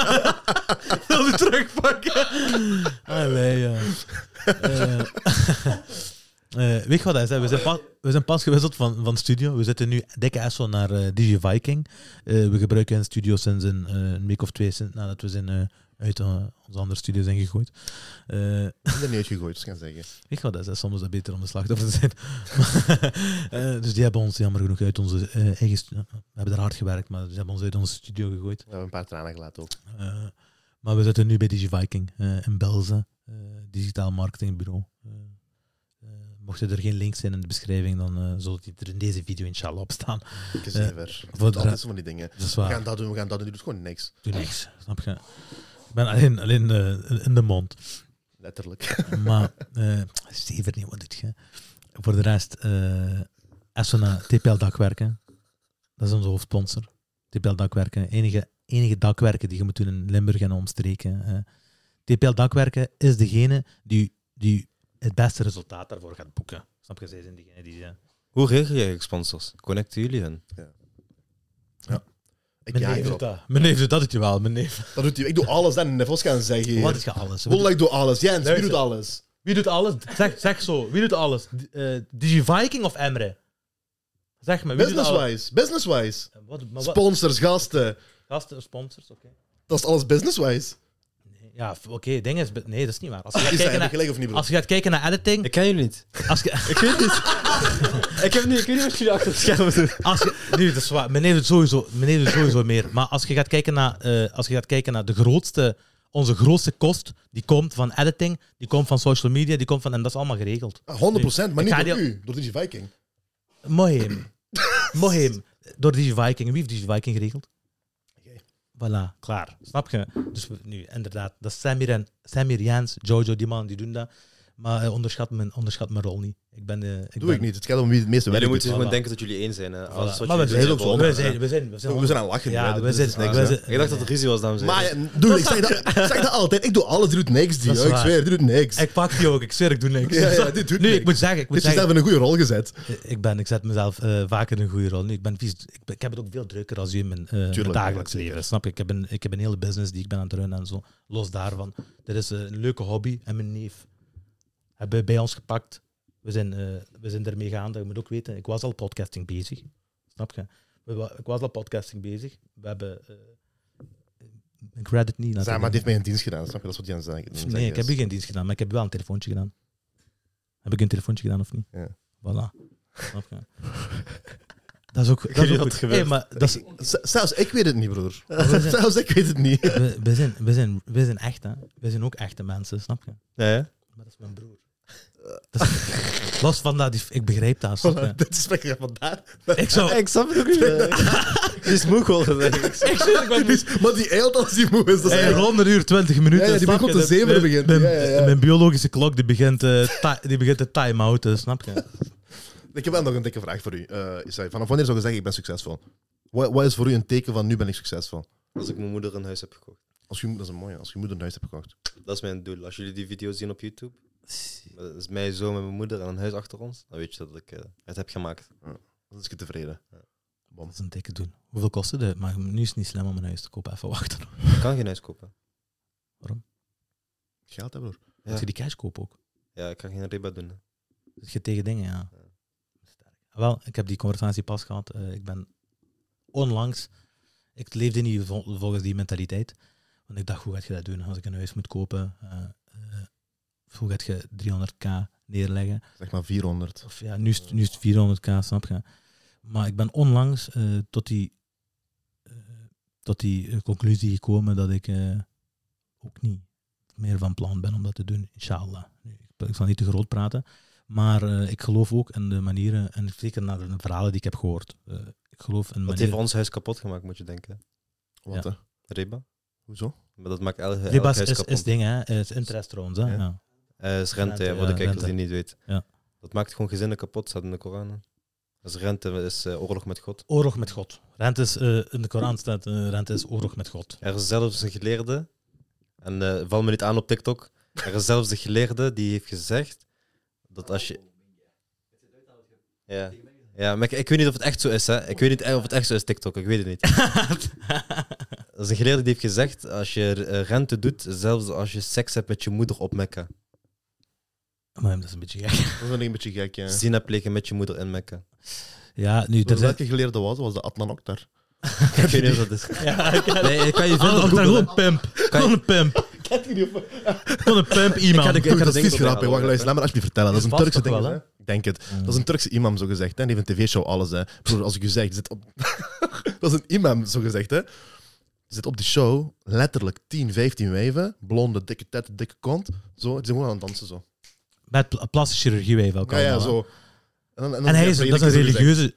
wil die terugpakken. Allee, ja. Eh, eh, weet je wat dat is? hè? We zijn, pas, we zijn pas gewisseld van, van studio. We zitten nu dikke Esso naar eh DJ Viking. Eh, we gebruiken een studio sinds een, eh, een week of twee sinds, nadat we zijn eh, uit eh, onze andere studio zijn gegooid. Eh,
Ik ben er niet uitgegooid, dus ik kan zeggen.
ik ga dat is soms dat beter om de slachtoffer te zijn. Maar, eh, dus die hebben ons jammer genoeg uit onze eh, eigen studio. We hebben daar hard gewerkt, maar ze hebben ons uit onze studio gegooid.
We hebben een paar tranen gelaten ook.
Eh, maar we zitten nu bij DigiViking eh in Belze, eh, digitaal marketingbureau. Eh, eh, mochten er geen links zijn in de beschrijving, dan eh zullen die er in deze video inshallah op staan.
Ik is ver.
voor de
Dat
ra-
is van die dingen.
Dat is
We
waar.
gaan dat doen, we gaan dat doen. Je doet gewoon niks.
Doe niks, snap je? Ik ben alleen, alleen eh, in de mond.
Letterlijk.
Maar eh zeker niet wat doet je. Voor de rest, eh Essona, TPL Dakwerken. Dat is onze hoofdsponsor. TPL Dakwerken. Enige, enige dakwerken die je moet doen in Limburg en omstreken. eh. TPL Dakwerken is degene die, die het beste resultaat daarvoor gaat boeken. Snap je? Zij zijn diegene die... eh,
Hoe regel je eigenlijk sponsors? Connecten jullie hen?
Ik
mijn,
jaag
neef doet
erop. Dat.
dat. mijn neef doet dat, doet je wel. Mijn neef.
doet hij. Ik doe alles dan. Nevels gaan zeggen.
Wat is je alles?
Wollah, ik doe alles. Jens, wie
Luister.
doet alles?
Wie doet alles? Zeg, zeg zo. Wie doet alles? D- eh DigiViking of Emre? Zeg me, wie doet alles?
Business-wise. Business-wise.
Wat, maar wat,
Sponsors, gasten.
Gasten, sponsors, oké.
Dat is alles business-wise.
Nee, ja, f- oké, ding is... be- Nee, dat is niet waar. Als je gaat
Is dat
kijken
heb ik
naar,
gelijk of niet, bro?
als je gaat kijken naar editing...
Ik ken jullie niet.
Als je,
Ik weet niet. ik, heb niet ik weet niet wat jullie achter het scherm doen.
als je, nu, dat is waar. Meneer doet sowieso, meneer doet sowieso meer. Maar als je gaat kijken naar, eh, als je gaat kijken naar de grootste... Onze grootste kost, die komt van editing, die komt van social media, die komt van... En dat is allemaal geregeld.
Ah, 100%, maar
Ik
niet
ga
door
die-
u, door Digi Viking.
Moheem. Moheem. Door DigiViking. Wie heeft DigiViking geregeld?
Jij.
Voilà, klaar. Snap je? Dus we- nu, inderdaad, dat is Samir, en, Samir Jens, Jojo, die mannen die doen dat. Maar eh, onderschat, mijn, onderschat mijn rol niet. Ik ben... eh, ik
Doe
ben,
ik niet. Het gaat om wie het meeste
Jullie
werk doet.
moeten gewoon
Voilà.
denken dat jullie één zijn. Hè.
Voilà.
Alles wat
Maar we
jullie
zijn,
heel
doen,
op
is
zonde.
we
allemaal-
zijn, we zijn, we zijn,
We zijn aan het lachen.
ja,
hè.
we
Dit
zijn,
is niks,
we
hè.
zijn,
Ik dacht dat er ruzie was, dames en
Maar
heren.
ja, doe, ik, zeg dat, ik zeg dat altijd. Ik doe alles, die doet niks. Die.
Dat is
Ja, ik
waar.
zweer, die doet niks.
ik pak die ook, ik zweer, ik doe niks.
Ja, ja, dit doet
nu, ik
niks.
moet zeggen, ik moet
Dit is
zeggen,
zelf in een goede rol gezet.
ik, ben, ik zet mezelf eh, vaak in een goede rol. Nu, ik, ben vies, ik, ben- ik heb het ook veel drukker als u in mijn, eh, mijn dagelijks
zeker.
leven. Snap je? Ik heb, een, ik heb een hele business die ik ben aan het runnen en zo. Los daarvan. Dit is eh, een leuke hobby en mijn neef hebben bij ons gepakt. We zijn, eh we zijn ermee gaande. Je moet ook weten, ik was al podcasting bezig. Snap je? We wa- ik was al podcasting bezig. We hebben... eh, ik red het
Zeg
niet.
maar,
natuurlijk.
die heeft mij een dienst gedaan, snap je? Dat is wat Jens zegt.
Nee, ik heb hier geen dienst gedaan, maar ik heb wel een telefoontje gedaan. Heb ik een telefoontje gedaan of niet?
Ja.
Voilà. Snap je? Dat is ook. Dat
weet
is ook
wat
goed.
er gebeurt.
Hey, maar dat is,
Z- Zelfs ik weet het niet, broer.
Oh,
we zijn-
Zelfs ik weet het niet.
we, we zijn, we, zijn, we zijn echt, hè? We zijn ook echte mensen, snap je?
Ja, ja.
Maar dat is mijn broer. Dat is- los van dat, die- ik begrijp dat. Snap je?
Dit gesprek gaat vandaar.
Ik zou.
Ik snap het ook niet. Die is moe geworden, denk ik.
Ik zou. Ik ben
Dus- Maar die eilt als die moe is. Dat is
Hey,
eigenlijk-
rond een uur 20 minuten.
Ja, ja, die
snap
begon
je?
te zevenen
Mijn-
begint.
Mijn,
Ja, ja, ja.
mijn biologische klok die begint, eh, ti- die begint te time-outen, snap je?
Ik heb wel nog een dikke vraag voor u. Eh, Isai, vanaf wanneer zou je zeggen, ik ben succesvol? Wat, wat is voor u een teken van, nu ben ik succesvol?
Als ik mijn moeder een huis heb gekocht.
Als je, dat is een mooie, als je moeder een huis hebt gekocht.
Dat is mijn doel. Als jullie die video's zien op YouTube, dat is mij zo met mijn moeder en een huis achter ons, dan weet je dat ik eh, het heb gemaakt.
Dan is ik tevreden.
Dat is een dikke doen. Hoeveel kostte dit? Maar nu is het niet slim om een huis te kopen. Even wachten.
Ik kan geen huis kopen.
Geld hebben, broer.
Ja.
Moet je die cash kopen ook?
Ja, ik kan geen riba doen.
Zit je tegen dingen, ja.
Ja.
Sterk. Wel, ik heb die conversatie pas gehad. Eh, ik ben onlangs... Ik leefde niet vol- volgens die mentaliteit. Want ik dacht, hoe ga je dat doen als ik een huis moet kopen? eh, eh, hoe ga je 300k neerleggen?
Zeg maar 400.
Of ja, nu is, het- nu is het 400k, snap je. Maar ik ben onlangs eh, tot, die, eh, tot die eh, conclusie gekomen dat ik eh, ook niet meer van plan ben om dat te doen, inshallah. Nu, Ik, ik zal niet te groot praten, maar eh, ik geloof ook in de manieren, en zeker naar de verhalen die ik heb gehoord. eh, ik geloof in
Dat heeft
manieren...
ons huis kapot gemaakt, moet je denken.
Wat,
Ja.
hè?
Riba.
Hoezo?
Maar dat maakt elk, elk
Ribas
eh, huis
is,
kapot.
is ding, hè. is interest trouwens. Hè?
Ja.
Ja.
Eh, is rente,
Rente,
voor de
ja,
kijkers die
rente.
niet weten.
Ja.
Dat maakt gewoon gezinnen kapot, staat in de Koran. hè. Dus rente is eh, oorlog met God.
Oorlog met God. Rente is, eh, in de Koran staat, eh, rente is oorlog met God.
Er is zelfs een geleerde, en eh, val me niet aan op TikTok, er is zelfs een geleerde die heeft gezegd dat als je... Ja, ja maar ik, ik weet niet of het echt zo is, hè. Ik weet niet eh, of het echt zo is, TikTok. Ik weet het niet. Er is een geleerde die heeft gezegd, als je eh, rente doet, zelfs als je seks hebt met je moeder op Mekka.
maar dat is een beetje gek.
Dat vind ik een beetje gek, ja.
Zina plegen met je moeder in Mekka.
Ja, nu, er
Door
zijn-
welke geleerde was, was de Adnan Oktar.
Ik weet niet of dat is.
Ja, ik
Nee, ik kan je
Ah,
vinden
dat
op
is daar
Google.
gewoon pimp. Gewoon een pimp. Gewoon een pimp
Ik had,
iemand.
ik, ik had het
ding
vies
op
gedaan,
de
hè. Wacht,
radar.
luister, laat me alsjeblieft vertellen. Dat is een
Vast
Turkse
toch
ding,
wel, Mm.
hè? Ik denk het. Dat is een Turkse imam, zo gezegd. Hè? Die heeft een tv-show alles, hè. Broer, als ik je zeg, die zit op... dat is een imam, zo gezegd, hè. Die zit op die show, letterlijk 10, 15 wijven. Blonde, dikke tet, dikke kont. Zo, die zijn gewoon aan het dansen, zo.
Met pla- plastische chirurgie, wij wel.
Ja, ja, zo. En, dan- dan-
En hij is,
ja,
dat is een
zo gezegd.
religieuze...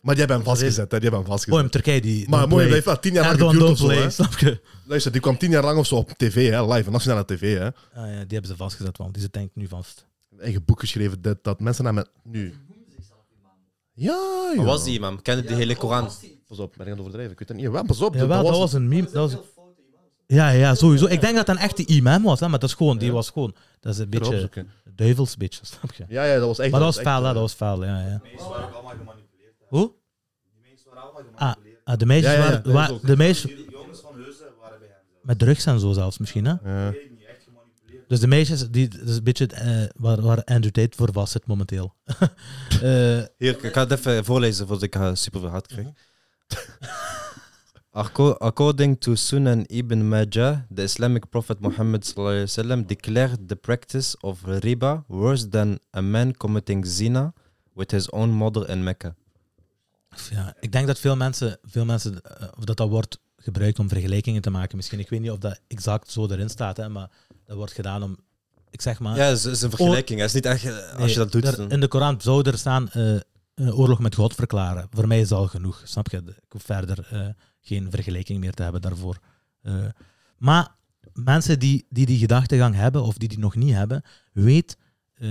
Maar die hebben hem vastgezet, hè. Die hebben hem vastgezet.
Oh, in Turkije die...
maar
don't
mooi, dat
play.
heeft wel tien jaar lang
Erdogan
geduurd
don't
of zo, hè.
play, snap je?
Luister, die kwam tien jaar lang of zo op tv, hè. Live, nationale tv, hè.
Ah, ja, die hebben ze vastgezet, want die zit denk ik nu vast.
Eigen boek geschreven, dit, dat. Mensen naar me... Nu. Ja, ja.
Wat was die imam? Kende die hele Koran?
Pas op, ben ik aan het overdrijven? Ik weet het niet. Ja, pas op.
Ja, dat was een meme. Dat was... Ja, ja, sowieso. Ik denk dat dat een echte imam was, hè, maar dat is gewoon, die was gewoon... Dat is een
Erop
beetje...
zoeken.
Duivels beetje, snap je?
Ja, ja, dat was echt...
Maar dat was
echt,
vuil, hè, dat was vuil, ja, ja.
allemaal gemanipuleerd. hè.
Hoe?
Die mensen waren allemaal
Ah,
gemanipuleerd.
ah, de meisjes
Ja, ja,
waren...
dat is
wa-
ook-
de meisjes...
Die jongens van Heuzen waren bij hem zelf.
Met drugs en zo zelfs misschien, hè?
Ja.
Ik weet niet, echt gemanipuleerd.
Dus de meisjes, die, dat is een beetje eh, waar, waar Andrew Tate voor vast zit momenteel. Eh,
Hier, ik ga het even voorlezen voordat ik eh, super veel hard krijg.
Mhm.
Acco- According to Sunan ibn Majah, the Islamic Prophet Muhammad sallallahu alaihi wasallam declared the practice of riba worse than a man committing zina with his own mother in Mecca.
ja, ik denk dat veel mensen, veel mensen eh, of dat, dat wordt gebruikt om vergelijkingen te maken. Misschien, ik weet niet of dat exact zo erin staat, hè, maar dat wordt gedaan om, ik zeg maar...
Ja, het is, is een vergelijking. Het is niet echt, eh,
Ah. nee,
als je dat doet.
daar-
dan-
in de Koran zou er staan eh, een oorlog met God verklaren. Voor mij is al genoeg, snap je? Ik hoef verder eh, geen vergelijking meer te hebben daarvoor. Eh, maar mensen die, die die gedachtegang hebben of die die nog niet hebben, weet eh,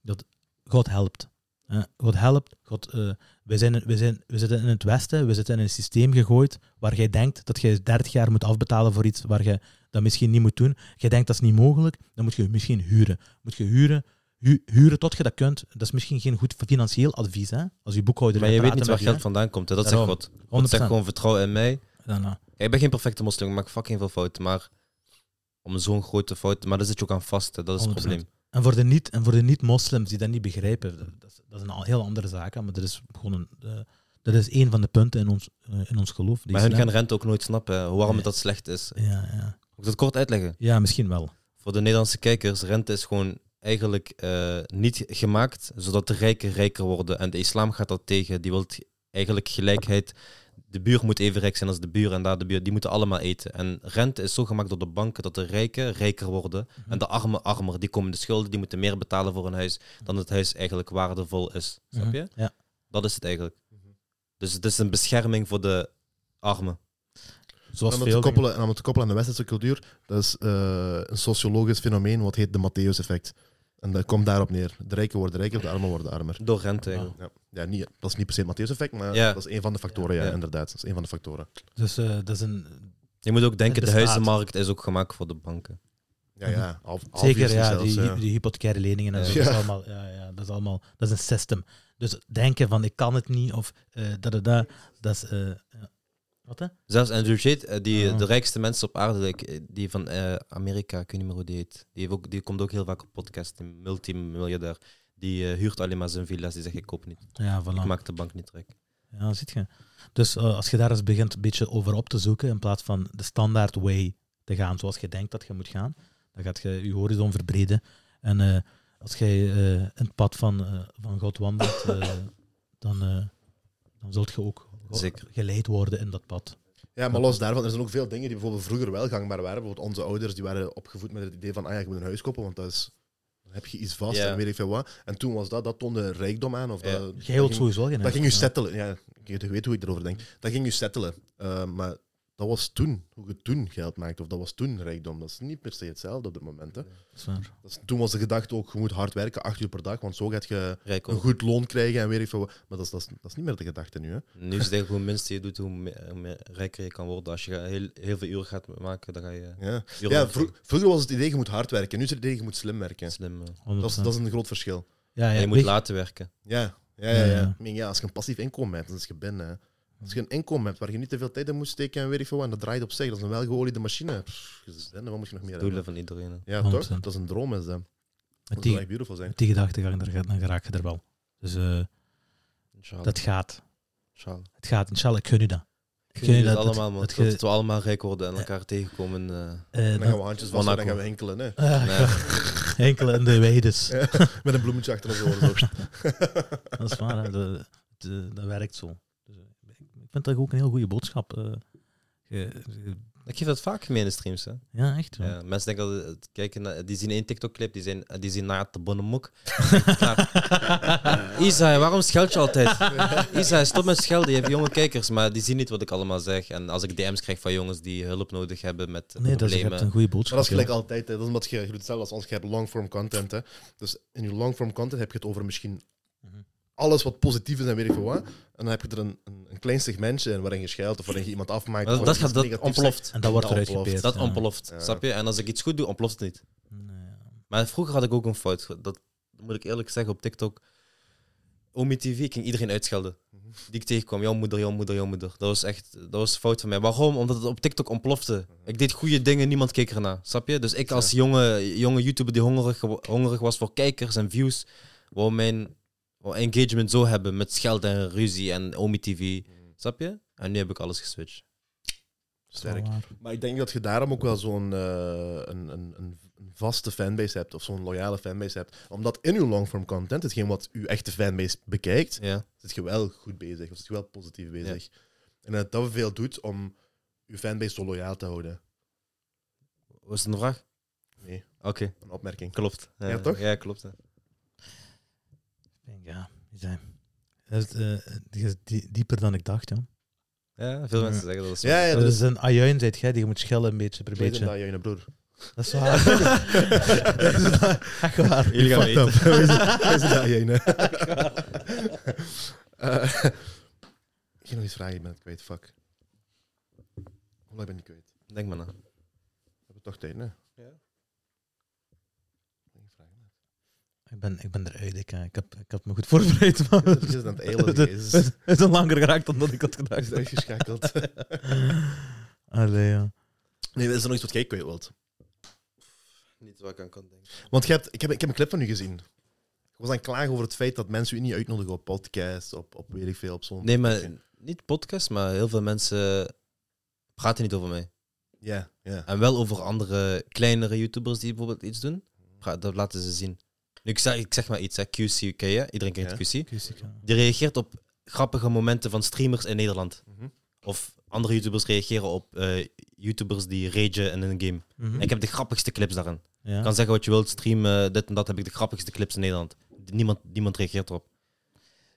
dat God helpt. Eh, God helpt. God, eh, wij, zijn, wij, zijn, we zitten in het Westen, we zitten in een systeem gegooid waar jij denkt dat jij 30 jaar moet afbetalen voor iets waar je dat misschien niet moet doen. Jij denkt dat is niet mogelijk, dan moet je misschien huren. Moet je huren, hu- huren tot je dat kunt. Dat is misschien geen goed financieel advies, hè? Als je boekhouder
maar
wil
je weet
praten
niet waar
met
geld vandaan komt. hè. Dat zegt
Daarom.
God.
hè.
God zegt
100%.
gewoon vertrouw in mij.
Ja, nou.
Ik ben geen perfecte moslim, ik maak fucking veel fouten. Maar om zo'n grote fout... Maar daar zit je ook aan vast. hè. Dat is
100%.
het probleem.
En voor de niet- en voor de niet-moslims die dat niet begrijpen, dat- dat is, dat is een al- heel andere zaak. hè, Maar dat is gewoon een, eh, dat is één van de punten in ons, eh, in ons geloof. die
Maar hun
islam.
gaan rente ook nooit snappen hè, waarom
Nee.
het dat slecht is.
ja, ja.
Moet ik dat kort uitleggen?
ja, misschien wel.
Voor de Nederlandse kijkers, rente is gewoon eigenlijk eh, niet gemaakt zodat de rijken rijker worden. En de islam gaat dat tegen. Die wil eigenlijk gelijkheid. De buur moet even rijk zijn als de buur en daar de buur. Die moeten allemaal eten. En rente is zo gemaakt door de banken dat de rijken rijker worden.
Mhm.
En de armen armer. Die komen in de schulden, die moeten meer betalen voor hun huis dan het huis eigenlijk waardevol is. Snap je?
Ja.
Dat is het eigenlijk. Dus het is een bescherming voor de armen.
Zoals
En om, het
veel
te koppelen, en om het te koppelen aan de westerse cultuur, dat is eh, een sociologisch fenomeen wat heet de Matthäus-effect. En dat komt daarop neer. De rijken worden rijker, de armen worden armer.
Door rente. eigenlijk.
Ja, ja niet, dat is niet per se het Matthäus-effect, maar
Ja.
dat is een van de factoren, ja,
Ja.
inderdaad. Dat is een van de factoren.
dingen. Dus eh, dat is een...
Je moet ook denken,
Het
de
bestaat.
huizenmarkt is ook gemaakt voor de banken.
Ja, ja. half- half
Zeker,
uurtjes
ja,
zelfs,
die,
ja.
die hypothecaire leningen en zo.
Ja.
Dat, is allemaal, ja, ja, dat is allemaal... Dat is een systeem. Dus denken van, ik kan het niet, of eh dat, dat, dat, dat is... eh, ja. Wat, hè?
Zelfs Andrew Tate, eh, die,
Ja.
de rijkste mensen op aarde, like, eh, die van eh, Amerika, ik weet niet meer hoe die heet, die, heeft ook, die komt ook heel vaak op podcast, een multimiljardair. Die eh, huurt alleen maar zijn villa's, die zegt ik koop niet.
Ja,
Ik
voilà.
maak de bank niet rijk.
Ja, ziet je. Dus eh, als je daar eens begint een beetje over op te zoeken, in plaats van de standaard way te gaan zoals je denkt dat je moet gaan, dan gaat je je horizon verbreden. En eh, als jij eh, in het pad van, eh, van God wandelt, eh, dan, eh dan zult je ook
Zeker.
geleid worden in dat pad.
Ja, maar los daarvan, er zijn ook veel dingen die bijvoorbeeld vroeger wel gangbaar waren. Bijvoorbeeld onze ouders die waren opgevoed met het idee van, ah ja, ik moet een huis kopen, want dat is, dan heb je iets vast
Ja.
en weet ik veel wat. En toen was dat, dat toonde rijkdom aan. Of
Ja.
dat, dat
Jij wilt
ging-
sowieso geen
Dat
huis,
ging je
ja.
settelen. Ja, ik weet hoe ik erover denk. Dat ging je settelen. Eh, maar dat was toen, hoe je toen geld maakte. Of dat was toen rijkdom. Dat is niet per se hetzelfde op dit moment. Hè.
Dat is waar.
Dat is, toen was de gedachte ook, je moet hard werken, acht uur per dag, want zo gaat je
Rijk
een
ook.
goed loon krijgen en weet ik veel wat. Maar dat is, dat is, dat is niet meer de gedachte nu. Hè.
Nu is het eigenlijk hoe minste je doet, hoe meer, hoe meer rijker je kan worden. Als je heel, heel veel uren gaat maken, dan ga je
Ja,
uren
ja
maken.
vro- vroeger was het idee, je moet hard werken. Nu is het idee, je moet slim werken.
slim. eh.
100%.
Dat is, dat is een groot verschil.
ja,
En
ja,
je moet
Ah weet-
laten werken.
Ja, ja, ja. ja.
Ja.
Ik meen, ja, als je een passief inkomen hebt, dan is je binnen. hè. Als je een inkomen hebt waar je niet te veel tijd in moet steken en weet ik veel wat, en dat draait op zich, dat is een welgeoliede machine. Pff, je zit binnen, wat moet je nog meer hebben?
Doelen van iedereen. hè.
Ja,
100%.
toch? Dat is een droom, is dat.
met
Dat zou
die,
echt beautiful zijn.
met die gedachtegang, daar ga- dan raak je er wel. Dus eh,
Inshallah.
dat gaat.
Inshallah.
Het gaat, inshallah, ik gun u dat. Ken je
het
dat-
allemaal, man.
dat
Dat,
ge-
we allemaal rijk worden en elkaar tegenkomen. eh,
Eh,
En dan
dat-
gaan we handjes vast en dan
Monaco.
gaan we hinkelen. Hè.
Ah,
Nee.
ja. Enkele en de weides.
Met een bloemetje achter ons oren. zo.
Dat is waar, hè. dat, dat- dat werkt zo. Dus, eh, ik vind dat ook een heel goede boodschap. eh. Je- je-
ik geef dat vaak mee in de streams. Hè.
ja, echt. wel.
Ja, mensen denken dat het kijken, naar- die zien één TikTok-clip, die, zijn, die zien naar de bonnemoek. Isa, waarom scheld je altijd? Isa, stop met schelden. Je hebt jonge kijkers, maar die zien niet wat ik allemaal zeg. En als ik DM's krijg van jongens die hulp nodig hebben met
Nee, dat is, je
problemen.
hebt een goede boodschap.
Maar dat is gelijk
ja.
altijd. Hè. Dat is omdat je, je doet hetzelfde als ons. Je hebt long-form content. Hè. Dus in je long-form content heb je het over misschien
Mhm.
alles wat positief is en weet ik veel wat. En dan heb je er een, een, een klein segmentje in waarin je schuilt of waarin je iemand afmaakt.
Maar
of
dat, dat,
waarin
gaat,
je iets
dat
negatiefs
ontploft.
En dat wordt
Dat
eruit
ontploft.
gepeerd.
Dat
ja.
ontploft,
Ja.
snap je? En als ik iets goed doe, ontploft het niet.
Nee.
Maar vroeger had ik ook een fout. Dat moet ik eerlijk zeggen op TikTok. Omi TV ik ging iedereen uitschelden. Die ik tegenkwam. Jouw moeder, jouw moeder, jouw moeder. Dat was echt dat was een fout van mij. Waarom? Omdat het op TikTok ontplofte. Ik deed goede dingen, niemand keek ernaar. Snap je? Dus ik als jonge, jonge YouTuber die hongerig, gewo- hongerig was voor kijkers en views. Wou mijn wou engagement zo hebben met schelden en ruzie en Omi TV. Snap je? En nu heb ik alles geswitcht.
Sterk.
Zo waar.
Maar ik denk dat je daarom ook wel zo'n eh, een, een, een een vaste fanbase hebt of zo'n loyale fanbase hebt. Omdat in uw long-form content, hetgeen wat uw echte fanbase bekijkt,
Ja.
zit je wel goed bezig of zit je wel positief bezig. En dat dat veel doet om uw fanbase zo loyaal te houden.
Was het een vraag?
Nee,
Oké,
een opmerking.
klopt.
Ja, toch?
Ja, klopt. hè.
Ik denk, ja, die zijn. Dat is, eh, die is die- dieper dan ik dacht, ja.
Ja, veel mensen zeggen dat. is zo.
Ja, ja,
dat
dus
is een ajuin, zei jij, die je moet schellen een beetje per
weet je
beetje.
dat, je broer.
Dat is waar. dat is waar. Echt waar.
Jullie gaan weten.
Is dat jij, nee? Eh, Ik ging nog iets vragen, ik ben het kwijt, fuck. Hoe lang ben ik kwijt?
Denk maar na.
We hebben toch tijd, hè?
Ja.
Ik ben, ik ben eruit, ik, eh, ik, heb, ik had me goed voorbereid. Maar
Het is aan het eilen, Jezus.
Het is een langer geraakt dan dat ik had
Hij is
gedacht.
uitgeschakeld.
Allee, ja.
Nee, is er nog iets wat jij kwijt wilt?
Niet waar ik aan kan denken.
Want je hebt, ik, heb, ik heb een clip van u gezien. Ik was aan het klagen over het feit dat mensen u niet uitnodigen op podcasts, op, op weet ik veel, op zo'n...
Nee, maar niet podcast, maar heel veel mensen praten niet over mij.
Ja, ja.
En wel over andere kleinere YouTubers die bijvoorbeeld iets doen. Pra- Dat laten ze zien. Nu, ik, zeg, ik zeg maar iets, hè. QC, ken je? Iedereen kent
Ja.
QC.
Kusica.
Die reageert op grappige momenten van streamers in Nederland.
Mhm.
Of andere YouTubers reageren op eh, YouTubers die ragen in een game.
Mhm.
En ik heb de grappigste clips daarin.
ja.
Je kan zeggen wat je wilt, streamen, dit en dat, heb ik de grappigste clips in Nederland. Niemand, niemand reageert erop.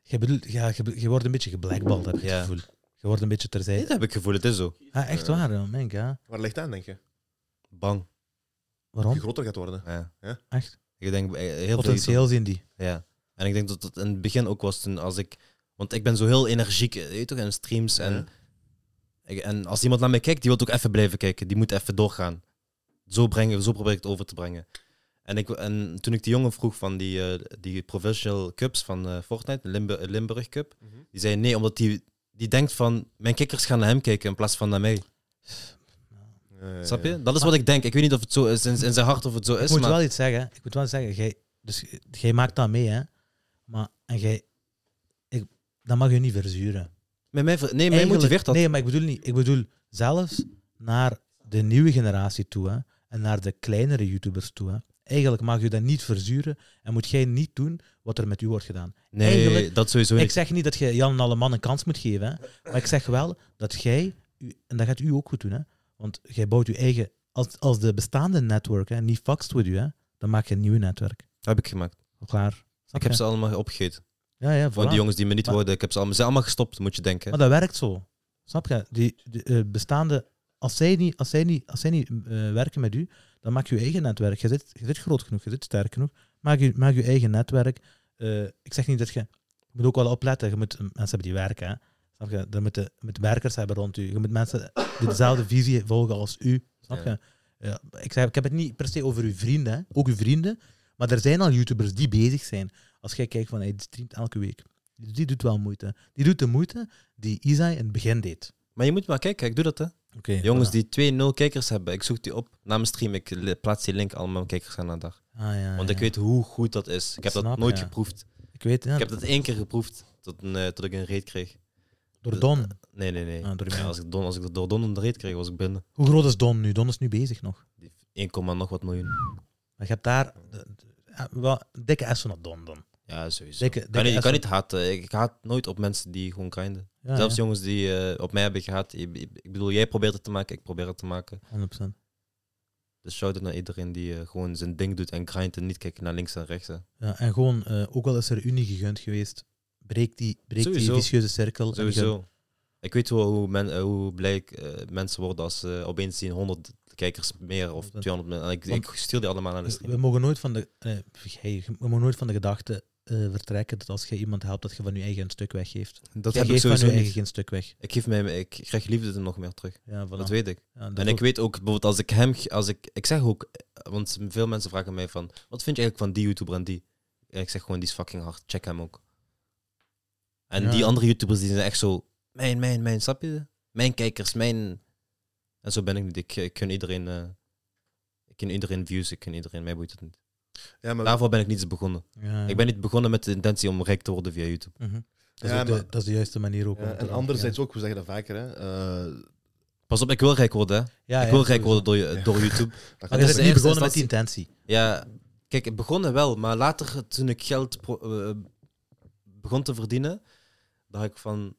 Je, bedoelt, ja, je, be- je wordt een beetje geblackballed, heb ik
Ja.
het gevoel. Je wordt een beetje
Dit
terzijde.
heb ik gevoel, het is zo.
Ah, echt waar, ja. Mijn ja.
Waar ligt dat aan, denk je?
Bang.
Dat je
Waarom?
groter gaat worden.
Ja.
Ja?
Echt?
Ik denk eh, heel veel.
Potentieel zien die.
Ja. En ik denk dat dat in het begin ook was toen als ik. Want ik ben zo heel energiek, eh, weet je toch, in streams.
Ja.
En, ik- en als iemand naar mij kijkt, die wil ook even blijven kijken. Die moet even doorgaan. Zo, brengen, zo probeer ik het over te brengen. En, ik, en toen ik die jongen vroeg van die, eh, die Provincial Cups van eh, Fortnite, de Limbu- Limburg Cup,
Mhm.
die zei nee, omdat die, die denkt van mijn kikkers gaan naar hem kijken in plaats van naar mij.
Ja, ja,
Snap
ja.
je? Dat is wat ik denk. Ik weet niet of het zo is in, in zijn hart of het zo
Ik
is.
moet
maar...
wel iets zeggen. Ik moet wel zeggen, jij, dus, jij maakt dat mee, hè. Maar, en jij... Ik, dat mag je niet verzuren.
Met mij, ver- nee, mij
Eigenlijk-
motiveert dat.
Nee, maar ik bedoel niet. Ik bedoel zelfs naar de nieuwe generatie toe hè, en naar de kleinere YouTubers toe. Hè. Eigenlijk mag je dat niet verzuren en moet jij niet doen wat er met u wordt gedaan.
Nee,
Eigenlijk-
dat sowieso
Ik
niet.
zeg niet dat je Jan en alle man een kans moet geven, hè, maar ik zeg wel dat jij, u- en dat gaat u ook goed doen, hè, want jij bouwt je eigen, als, als de bestaande netwerk hè, niet fuckst met u, hè, dan maak je een nieuw netwerk.
Heb ik gemaakt.
Klaar. Snap
Ik heb
je?
ze allemaal opgegeten.
Ja, ja,
Van
voilà.
die jongens die me niet
Maar-
worden, ik heb ze allemaal, ze zijn allemaal gestopt, moet je denken.
Maar dat werkt zo. Snap je? Die, die, eh, bestaande, als zij niet, als zij niet, als zij niet eh, werken met u, dan maak je je eigen netwerk. Je zit, je zit groot genoeg, je zit sterk genoeg. Maak je, maak je eigen netwerk. Eh, ik zeg niet dat je. Je moet ook wel opletten. Je moet eh, mensen hebben die werken. Hè. Snap je? Dan moet je je moet werkers hebben rond u. Je moet mensen die dezelfde visie volgen als u. Snap je?
Ja.
Ja, ik, zeg, ik heb het niet per se over uw vrienden, hè. ook uw vrienden. Maar er zijn al YouTubers die bezig zijn. Als jij kijkt van hij streamt elke week. Die, die doet wel moeite. Die doet de moeite die Isai in het begin deed.
Maar je moet maar kijken, ik doe dat hè.
Oké.
Jongens die 2-0 kijkers hebben, ik zoek die op na mijn stream. Ik li- plaats die link, allemaal mijn kijkers gaan naar daar.
Ah, ja,
Want
ja.
ik weet hoe goed dat is. Ik heb dat
Snap,
nooit
ja.
geproefd.
Ik weet, ja.
Ik heb dat één keer geproefd, tot, een, eh, tot ik een reet kreeg.
Door Don.
Nee, nee, nee.
Ah, door die
Ja,
man.
als ik Don, als ik door Don een reet kreeg, was ik binnen.
Hoe groot is Don nu? Don is nu bezig nog.
1, nog wat miljoen.
Maar je hebt daar de- de- ja, wel dikke essen op Don dan.
Ja, sowieso.
Dikke,
Ik kan,
dikke
niet, ik kan
essen.
niet haten. Ik, ik haat nooit op mensen die gewoon grinden.
Ja,
Zelfs
ja,
jongens die eh, op mij hebben gehaat. Ik, ik- ik bedoel, jij probeert het te maken, ik probeer het te maken.
100%.
Dus shout-out naar iedereen die eh, gewoon zijn ding doet en grindt en niet kijkt naar links en rechts. hè.
Ja, en gewoon, eh, ook al is er Unie gegund geweest, breekt die, breekt die
Sowieso.
vicieuze cirkel. en je-
Sowieso. Ik weet wel hoe, men, eh, hoe blij ik, eh, mensen worden als ze opeens zien 100 kijkers meer of 200 meer. En Ik,
Want-
ik stuur die allemaal naar de
we
stream.
mogen nooit van de, eh, jij- we mogen nooit van de gedachte eh, vertrekken dat als je iemand helpt, dat je van je eigen een stuk weggeeft.
Dat
Jij
heb ik
geeft van je
sowieso
eigen
niet.
geen stuk weg.
Ik, geef mij, ik krijg liefde er nog meer terug.
Ja, voilà.
Dat weet ik.
Ja, dat
En
ook.
ik weet ook, bijvoorbeeld als ik hem... ge- Als ik, ik zeg ook, eh, want veel mensen vragen mij van... Wat vind je eigenlijk van die YouTuber en die? En ik zeg gewoon, die is fucking hard. Check hem ook. En
Ja.
die andere YouTubers die zijn echt zo... Mijn, mijn, mijn, snap je? Mijn kijkers, mijn... En zo ben ik niet. Ik, ik gun iedereen... eh, ik ken iedereen views, ik ken iedereen. Mij boeit het niet.
Ja, maar,
Daarvoor ben ik niet begonnen.
Ja,
Ik ben niet begonnen met de intentie om rijk te worden via YouTube.
Mhm. Dat, is
Ja,
ook de,
maar-
dat is de juiste manier ook. om
ja,
het te
eh, en
doen,
anderzijds ook, we zeggen dat vaker, hè. eh,
Pas op, ik wil rijk worden, hè.
ja. Ja,
ik wil
ja,
rijk worden
sowieso.
door, je- door YouTube.
dat
Maar je bent
Dat is de
niet
eerste
begonnen met die
instantie.
intentie.
Ja, kijk, het begonnen wel, maar later toen ik geld pro- eh, begon te verdienen, dacht ik van.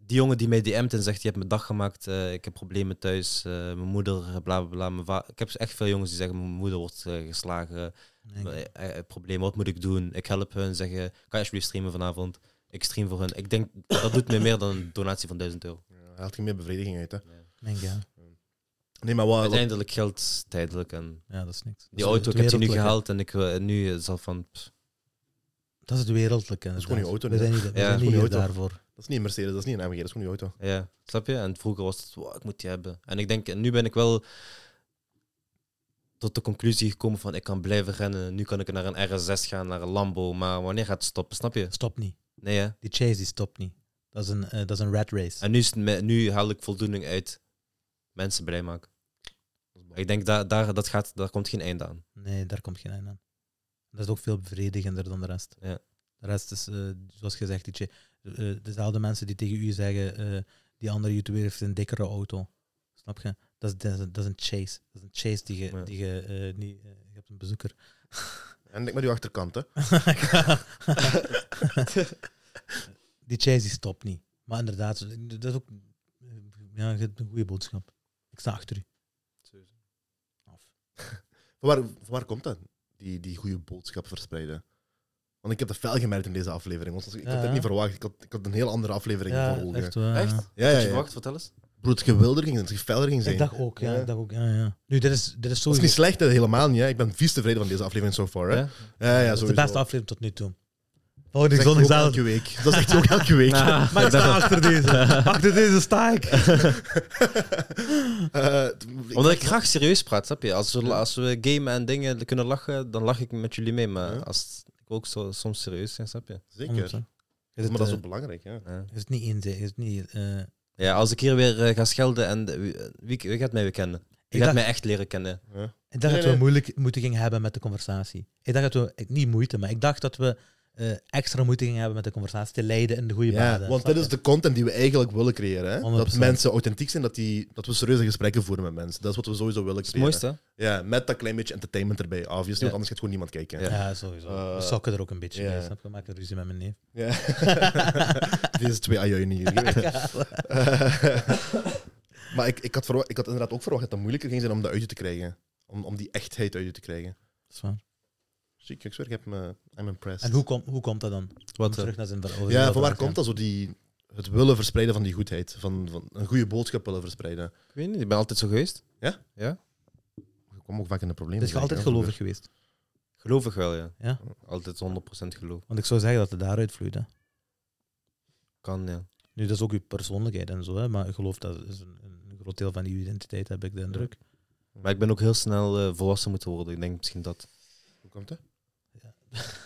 Die jongen die mij DM't en zegt: Je hebt mijn dag gemaakt, eh, ik heb problemen thuis, eh, mijn moeder, eh, bla bla bla. Mijn va- ik heb echt veel jongens die zeggen: Mijn moeder wordt eh, geslagen,
Nee,
eh, eh, problemen, wat moet ik doen? Ik help hun, zeggen: Kan je alsjeblieft streamen vanavond? Ik stream voor hun. Ik denk dat doet mij meer dan een donatie van 1000 euro.
Ja, haalt je meer bevrediging uit, hè.
ik denk, ja.
Nee, maar wat... wat-
Uiteindelijk geld tijdelijk en
ja, dat is niks. Dat
die
is
auto,
het
ik heb die nu
wereldlijke.
gehaald en ik eh, nu is al van. pff,
Dat is het wereldlijke.
is gewoon je
inderdaad.
auto,
We
hè?
zijn niet, we
Ja,
zijn
dat
is
niet
gewoon je
hier
auto.
daarvoor.
Dat is niet een Mercedes, dat is niet een AMG, dat is gewoon je auto.
Ja, snap je? En vroeger was het, wow, ik moet die hebben. En ik denk, nu ben ik wel tot de conclusie gekomen van, ik kan blijven rennen. Nu kan ik naar een RS6 gaan, naar een Lambo. Maar wanneer gaat het stoppen, snap je?
Stop niet.
Nee, hè?
Die chase die stopt niet. Dat is een, eh, dat is een rat race.
En nu, is het me- nu haal ik voldoening uit mensen blij maken. Ik denk, daar daar, dat gaat, daar komt geen einde aan.
Nee, daar komt geen einde aan. Dat is ook veel bevredigender dan de rest.
Ja.
De rest is, eh, zoals gezegd, die che- eh, dezelfde mensen die tegen u zeggen, eh, die andere YouTuber heeft een dikkere auto. Snap je? Dat is, dat is, een, dat is een chase. Dat is een chase die je...
Ja.
Die je, eh, niet, eh, je hebt een bezoeker.
En denk maar die achterkant, hè.
die chase die stopt niet. Maar inderdaad, dat is ook eh, ja, je hebt een goede boodschap. Ik sta achter u. Af.
Van waar, van waar komt dat? Die, die goede boodschap verspreiden. Want ik heb dat fel gemerkt in deze aflevering. Want als ik ik
Ja,
had het
ja.
niet verwacht. Ik had, ik had een heel andere aflevering voor
Ja,
ogen.
echt waar.
Echt?
Ja, ja,
Had je
ja.
verwacht, vertel eens.
Broer, het geweldig ging zijn. Het feller ging zijn.
Ik dacht ook, ja.
Ja.
Ik dacht ook, ja, ja. Nu, dit is, dit is
Dat is
sowieso...
niet slecht, hè, helemaal niet. Hè. Ik ben vies tevreden van deze aflevering so far. Hè. Ja, ja,
Ja?
dat is de
sowieso.
beste aflevering tot nu toe. Volgende
Dat zegt
zondag
hij ook
zaterdag.
elke week. Dat zegt hij ook elke week.
Maar ik sta achter deze. Achter deze sta ik.
Eh, t- ik-
Omdat ik graag serieus praat, snap je? Als we, als we gamen en dingen kunnen lachen, dan lach ik met jullie mee. Maar
Ja.
als ik wil ook zo, soms serieus zijn, snap je?
Zeker.
Is het,
maar dat is
eh,
ook belangrijk. Ja.
Ja.
is het niet inzij, is het niet... eh,
Ja, als ik hier weer eh, ga schelden en eh, wie, wie, wie gaat mij weer kennen? Wie
ik,
gaat
dacht,
mij echt leren kennen?
Ja.
ik
Nee,
dacht dat
nee.
we moeilijk moeten gingen hebben met de conversatie. Ik dacht dat we... ik- Niet moeite, maar ik dacht dat we eh, extra moeite gingen hebben met de conversatie. Te leiden in de goede
Ja,
baden.
want
Snap
dat is
je?
de content die we eigenlijk willen creëren. Hè? Dat
100%.
mensen authentiek zijn, dat, die, dat we serieuze gesprekken voeren met mensen. Dat is wat we sowieso willen
Het
creëren.
mooiste. hè?
Ja, met dat klein beetje entertainment erbij, obviously.
Ja.
Want anders gaat gewoon niemand kijken.
Ja.
Ja, sowieso. we
Eh,
sokken er ook een beetje
ja.
mee, snap je? We maken ruzie met mijn neef.
Ja. Deze twee ajoen hier. je weet. Eh, maar ik, ik, had verwa- ik had inderdaad ook verwacht dat het moeilijker ging zijn om dat uit je te krijgen. Om, om die echtheid uit je te krijgen.
Dat is waar.
Ziek, ik zweer, ik heb me... I'm impressed.
En hoe, komt hoe komt dat dan? Om
Wat, eh,
terug naar zijn ver-
ja, van waar
overheid te
komt dat zo? Die, het willen verspreiden van die goedheid. Van, van een goede boodschap willen verspreiden.
ik weet niet, ik ben altijd zo geweest.
Ik kom ook vaak in de problemen.
Dus je altijd gelovig geweest.
Gelovig wel, ja.
Ja?
Altijd 100% geloof.
Want ik zou zeggen dat het daaruit vloeit. Hè.
Kan, ja.
Nu, dat is ook je persoonlijkheid en zo, hè, maar ik geloof dat is een, een groot deel van je identiteit, heb ik de indruk.
Maar ik ben ook heel snel eh, volwassen moeten worden. Ik denk misschien dat.
Hoe komt dat?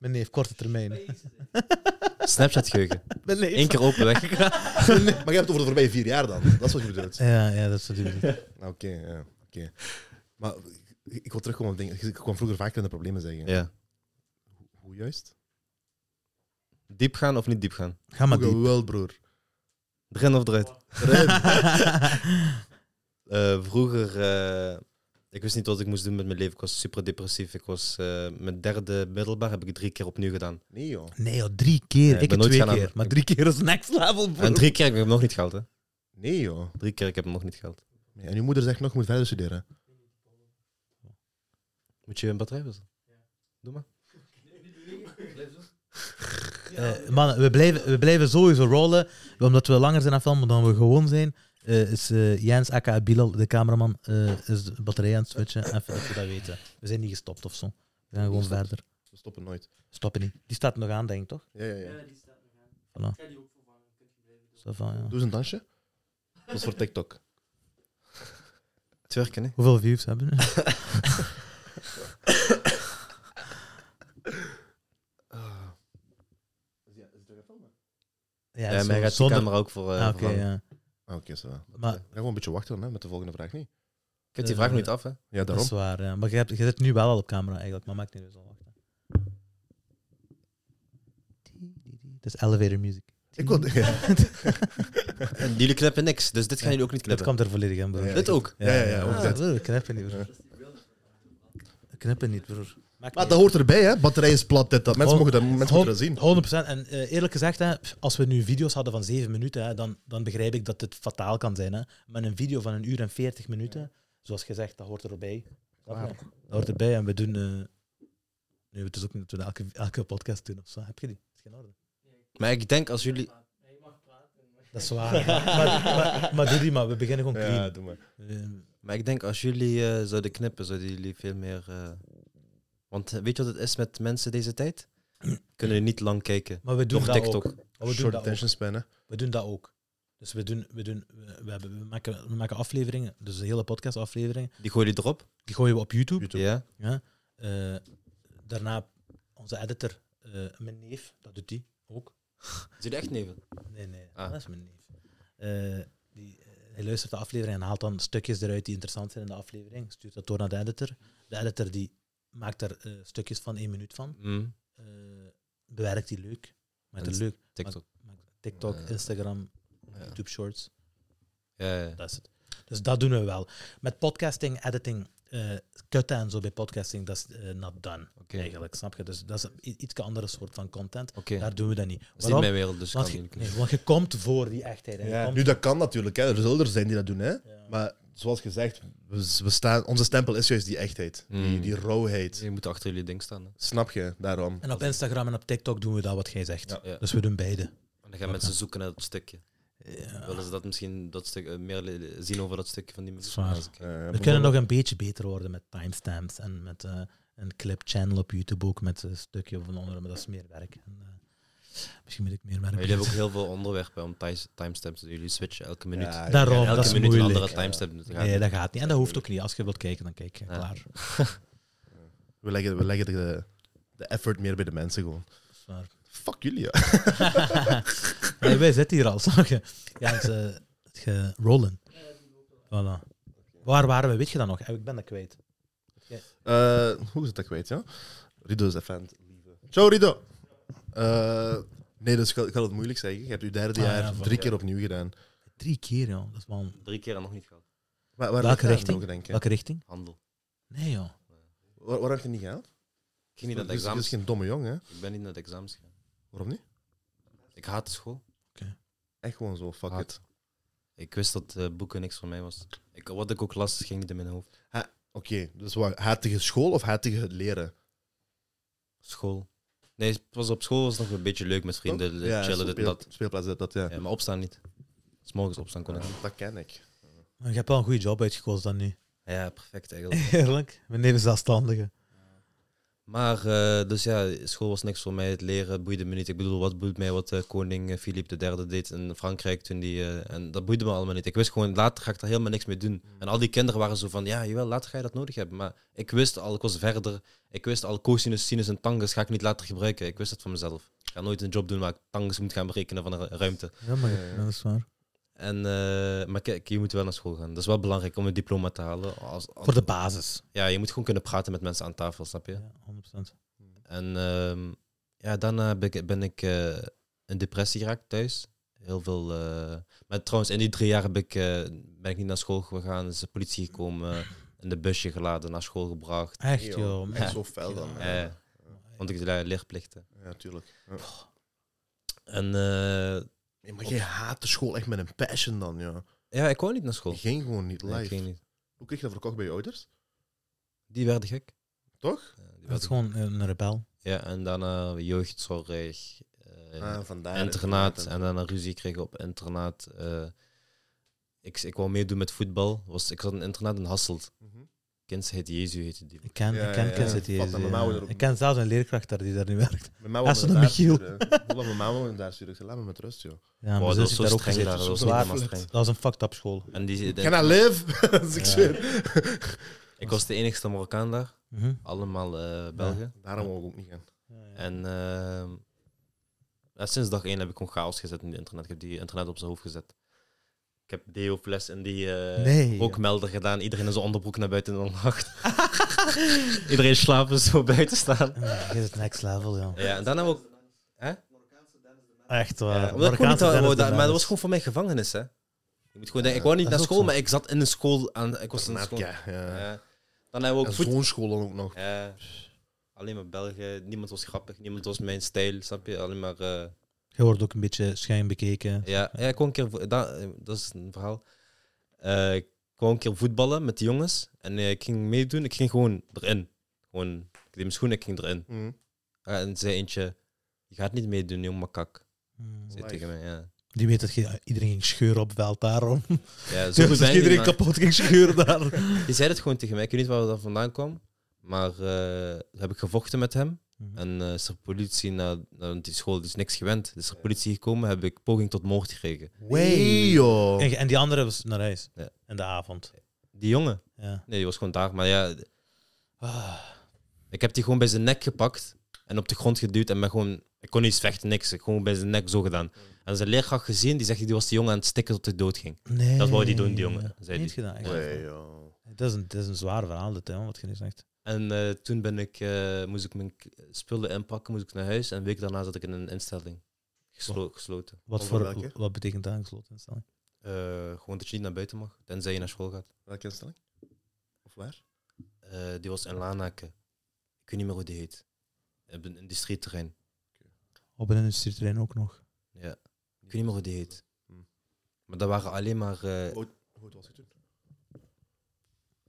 Mijn neef, korte termijn.
Snapchat-geheugen.
Mijn neef.
Eén keer open weg.
maar je hebt het over de voorbije vier jaar dan. Dat is wat je bedoelt.
Ja, ja, dat is natuurlijk.
Nou, Oké, ja. Oké. Maar ik, ik wil terugkomen op dingen. Ik kwam vroeger vaker in de problemen zeggen.
Ja.
Hoe juist?
Diep gaan of niet diep gaan?
Ga maar
Hoe
diep.
geweld, broer.
Erin of eruit?
Erin.
Eh, vroeger, eh, ik wist niet wat ik moest doen met mijn leven. Ik was super depressief. Ik was eh, mijn derde middelbaar heb ik drie keer opnieuw gedaan.
Nee, joh.
Nee, joh, drie keer.
ik
ik
ben
heb
nooit
twee
gaan aan-
keer. Maar drie keer is next level, bro.
En drie keer heb ik hem nog niet gehaald, hè?
Nee, joh.
Drie keer ik heb hem nog niet gehaald.
Nee, En je moeder zegt nog, je moet verder studeren.
Moet je een batterij wisselen?
Eh, mannen, we blijven, we blijven sowieso rollen. Omdat we langer zijn aan filmen dan we gewoon zijn, eh, is eh, Jens aka Bilal, de cameraman, eh, is de batterij aan het switchen. Even dat we dat weten. We zijn niet gestopt of zo. We gaan gewoon
gestopt.
verder.
We stoppen nooit.
Stoppen niet. Die staat nog aan, denk ik, toch?
Ja, ja, ja.
Zo van, ja.
Doe eens een dansje. Dat is voor TikTok.
Twerken, hè?
Hoeveel views hebben we? Ja,
Ja,
zo-
mij Eh, gaat die
zonder-
camera ook voor. eh,
Ah, Oké,
vervangen.
ja.
Ah, Oké, zo. Ga
Maar
gewoon een beetje wachten hè, met de volgende vraag, niet?
Ik heb die
Eh,
vraag nooit af, hè?
Ja,
dat
daarom.
is waar, ja. Maar je, hebt, je zit nu wel al op camera eigenlijk, maar maakt niet uit. zal wachten. Dat is elevator music.
Ik wil... Ja,
En jullie knippen niks, dus dit gaan
Ja.
jullie ook niet
Dat
knippen.
komt er volledig in, broer.
Ja,
Dit ook.
ja, ja. ook
Ah,
dat.
broer, knippen niet, broer. Knippen niet, broer. Maakt
Maar
niet
Ah, dat hoort erbij, hè. Batterij is plat, dit, dat. Mensen mogen
Hond-
dat, mensen moeten dat zien.
100%. En eh, eerlijk gezegd, hè, pff, als we nu video's hadden van 7 minuten, hè, dan, dan begrijp ik dat dit fataal kan zijn. Hè. Maar een video van een uur en 40 minuten, zoals gezegd, dat hoort erbij. Snap je?
Waar.
Dat hoort erbij en we doen. eh, nee, het is ook niet dat we dat elke, elke podcast doen of zo. Heb je die? Is geen orde.
Maar ik denk als jullie.
Dat is waar. maar, maar, maar, maar doe die maar, we beginnen gewoon clean.
Ja, doe maar.
Eh,
Maar ik denk als jullie eh, zouden knippen, zouden jullie veel meer. eh, Want eh, weet je wat het is met mensen deze tijd? Kunnen niet lang kijken.
maar we doen
Door
dat
TikTok.
ook. Maar we doen
Short
dat ook.
attention span, hè.
We doen dat ook. Dus we, doen, we, doen, we, we hebben, we, maken, we maken afleveringen, dus een hele podcast afleveringen.
Die gooien jullie erop.
Die gooien we op YouTube.
YouTube.
Ja.
Eh, daarna onze editor, eh, mijn neef, dat doet die ook.
Is jullie echt neven?
Nee, nee,
Ah.
dat is mijn neef. Eh, die, eh, hij luistert de aflevering en haalt dan stukjes eruit die interessant zijn in de aflevering. Stuurt dat door naar de editor. De editor die maakt daar eh, stukjes van één minuut van.
Mm.
Eh, bewerkt die leuk. Maakt
En
het leuk.
TikTok.
Maakt TikTok,
Ja.
Instagram,
Ja.
YouTube Shorts.
Ja, ja.
Dat is het. Dus dat doen we wel. Met podcasting, editing, eh kutten en zo bij podcasting, dat is eh, not done.
Oké.
eigenlijk, snap je? Dus dat is een i- iets andere soort van content.
Oké.
Daar doen we dat niet.
Dat is niet
Waarom?
mijn wereld, dus
Want
kan
je,
jullie
nee,
kunnen.
want je komt voor die echtheid. en je komt-
Nu, dat kan natuurlijk, hè. Er zullen er zijn die dat doen, hè.
Ja.
Maar zoals gezegd, we, we staan, onze stempel is juist die echtheid. Die,
Mm.
die rauwheid.
Je moet achter jullie ding staan. Hè.
Snap je? Daarom.
En op Instagram en op TikTok doen we dat wat jij zegt.
Ja. Ja.
Dus we doen beide.
En dan gaan mensen zoeken naar dat stukje.
Ja.
Willen ze dat misschien dat stuk, eh, meer le- zien over dat stukje van die mensen?
Zwaar.
Als ik-
Eh,
We kunnen nog een beetje beter worden met timestamps en met eh, een clip-channel op YouTube ook met een stukje of een andere, maar dat is meer werk. En, eh, misschien moet ik meer werk
Maar jullie hebben ook heel veel onderwerpen om ti- timestamps. Jullie switchen elke minuut.
Ja,
Daarom,
elke
Oh, dat is
minuut een
moeilijk.
andere timestamp. moeten gaan.
Nee, dat gaat niet. En dat hoeft ook niet. Als je wilt kijken, dan kijk je.
Ja.
Klaar.
We leggen, we leggen de, de effort meer bij de mensen gewoon.
Zwaar.
Fuck jullie, ja.
nee, wij zitten hier al, zag je? Ja, het, eh, het ge- rollen. Voilà. Waar waren we? Weet je dat nog? Eh, Ik ben dat kwijt.
Eh, hoe is het dat kwijt, ja? Rido is een fan. Ciao, Rido! Eh, nee, dus ik ga, ik ga het moeilijk zeggen. Je hebt uw derde
Ah,
jaar
ja, fuck,
drie
ja.
keer opnieuw gedaan.
Drie keer, joh. Dat is wel een...
Drie keer en nog niet gehad.
Waar, waar
Welke
ligt dat
richting?
nog, denk je?
Welke richting?
Handel.
Nee, joh.
Waar, waar heb je niet gehaald?
Ik ging niet naar de
Dus- dus
examens.
geen domme jong, hè?
Ik ben niet naar de examens gegaan.
Waarom niet?
Ik haatte school.
Echt gewoon zo, fuck
Haat.
it.
Ik wist dat eh, boeken niks voor mij was. Ik, wat ik ook las, ging niet in mijn hoofd.
Oké, dus wat, haat tegen school of haat tegen het leren?
School. Nee, het was op school was het nog een beetje leuk met vrienden,
Toch?
eh, chillen, dit en
speel-
dat.
Speelplaats, dit, dat, ja.
Ja, maar opstaan niet. S morgens opstaan kon ik niet.
Ja, dat ken ik.
Maar je hebt wel een goede job uitgekozen dan nu.
Ja, perfect eigenlijk.
Eerlijk. We nemen zelfstandigen.
Maar, eh, dus ja, school was niks voor mij. Het leren boeide me niet. Ik bedoel, wat boeit mij wat eh, koning eh, Philippe III deed in Frankrijk toen die... eh, en dat boeide me allemaal niet. Ik wist gewoon, later ga ik daar helemaal niks mee doen.
Mm.
En al die kinderen waren zo van, ja, jawel, later ga je dat nodig hebben. Maar ik wist al, ik was verder. Ik wist al, cosinus, sinus en tangens ga ik niet later gebruiken. Ik wist dat van mezelf. Ik ga nooit een job doen waar ik tangens moet gaan berekenen van een ru- ruimte.
Ja, maar
Ja, ja.
dat is waar.
En, eh, maar kijk, je moet wel naar school gaan. Dat is wel belangrijk om een diploma te halen. Als, als-
Voor de basis.
Ja, je moet gewoon kunnen praten met mensen aan tafel, snap je?
Ja, 100%.
En ehm, Ja, dan eh, ben ik, ben ik eh, in depressie geraakt thuis. Heel veel. eh, Maar trouwens, in die drie jaar heb ik, eh, ben ik niet naar school gegaan. Is de politie gekomen, eh, in de busje geladen, naar school gebracht.
Echt, joh.
Echt
man.
zo fel dan.
Eh,
Ja,
want ik deed leerplichten.
ja tuurlijk. Ja.
En eh,
Nee, maar jij haat de school echt met een passion dan, ja.
ja, ik kwam niet naar school.
Je ging gewoon niet
Nee, ik
live.
ging niet.
Hoe kreeg je dat verkocht bij je ouders?
Die werden gek.
Toch?
Ja, die
Dat
werden
is gewoon een rebel.
Ja, en daarna jeugdzorg, eh,
Ah, vandaar.
internaat. En daarna ruzie kreeg ik op internaat. eh. ik, ik wou meedoen met voetbal. Was, ik zat in een internaat in Hasselt.
Mhm.
Kind heet Jezu, heette die.
Ik ken,
Ja,
ik ken
ja, ja.
kids uit die-
Vat dat normaal weer op.
Ik ken zelfs een leerkracht daar die daar nu werkt.
Mijn ma
Ah,
wilde
zo'n
me daar
Michiel.
sturen. Ik wilde Mijn ma wilde me daar sturen. Ik zei, laat me met rust, joh.
Ja,
Wow,
mijn
dat
zus
was
is
zo
daar ook
streng
gezeten.
daar. Dat was
Zwaar
niet helemaal
flirt.
streng.
Dat was een fucked up school.
En die, de-
Can I live? Dat is Dus ik
Ja.
zweer.
ik was de enigste Marokkaan daar.
Mhm.
Allemaal eh, Belgen.
Daarom wou ik ook niet gaan.
En ehm, ja, sinds dag één heb ik gewoon chaos gezet in het internet. Ik heb die internet op zijn hoofd gezet. Ik heb deo-fles in die eh,
Nee.
rookmelder gedaan. Iedereen in zijn onderbroek naar buiten in de nacht. Iedereen slapen zo buiten staan.
Ja, Dit is het next level, joh.
Ja, en daarna ook... Hè?
Echt waar.
Ja, omdat ik gewoon niet
Marokkaanse
wou-
Dennis
wou-
de
dat- maar dat
Dennis.
was gewoon voor mij gevangenis, hè. Je moet gewoon denken, ik wou niet
dat
naar
is ook
school,
zo.
maar ik zat in een school. Aan, ik was in een school.
Ja, ja.
Ja. Dan hebben we ook
En
voet...
zo'n school dan ook nog.
Ja. alleen maar Belgen. Niemand was grappig. Niemand was mijn stijl, snap je? Alleen maar... eh,
Je wordt ook een beetje schijn bekeken.
ja. ja, ik kwam een keer... vo- Da, eh, dat is een verhaal. Eh, ik kwam een keer voetballen met de jongens. En eh, ik ging meedoen. Ik ging gewoon erin. Gewoon... Ik deed mijn schoenen, ik ging erin. Ah,
Mhm.
En zei eentje... Je gaat niet meedoen, jong makak.
Hmm.
Zei
Life.
tegen mij, ja.
Die weet dat je, iedereen ging scheuren op veld daarom.
Ja, zo
Dus dat
goed ben ik niet,
iedereen
maar-
kapot ging scheuren daar.
Die zei het gewoon tegen mij. Ik weet niet waar dat vandaan kwam. Maar eh, heb ik gevochten met hem.
Mhm.
En eh, is er politie naar, naar die school, dus niks gewend. Is er politie gekomen, heb ik poging tot moord gekregen.
Nee, joh.
En, en die andere was naar huis.
Ja.
In de avond.
Die jongen,
Ja.
nee, die was gewoon daar. Maar ja, ah. ik heb die gewoon bij zijn nek gepakt en op de grond geduwd. En ben gewoon, ik kon niet eens vechten, niks. Ik gewoon bij zijn nek zo gedaan. En zijn leerkracht gezien, die zegt die was die jongen aan het stikken tot hij dood ging.
Nee.
Dat wou die doen, die jongen, zei
Niet
die.
gedaan. echt.
Nee, joh.
Dat, is een, dat is een zwaar verhaal, dit, hè, wat je nu zegt.
En eh, toen ben ik, eh, moest ik mijn k- spullen inpakken, moest ik naar huis. En een week daarna zat ik in een instelling. Geslo- gesloten.
Wat,
Over
voor,
welke?
wat betekent dat, een gesloten instelling?
Eh, gewoon dat je niet naar buiten mag, tenzij je naar school gaat.
Welke instelling? Of waar?
Eh, die was in Lanaken. Ik weet niet meer hoe die heet. Op een industrieterrein.
Op een industrieterrein ook nog.
Ja. Ik weet niet meer hoe die heet.
Hm.
Hmm.
Maar dat waren alleen maar, eh,
Hoe hoe oud was je toen?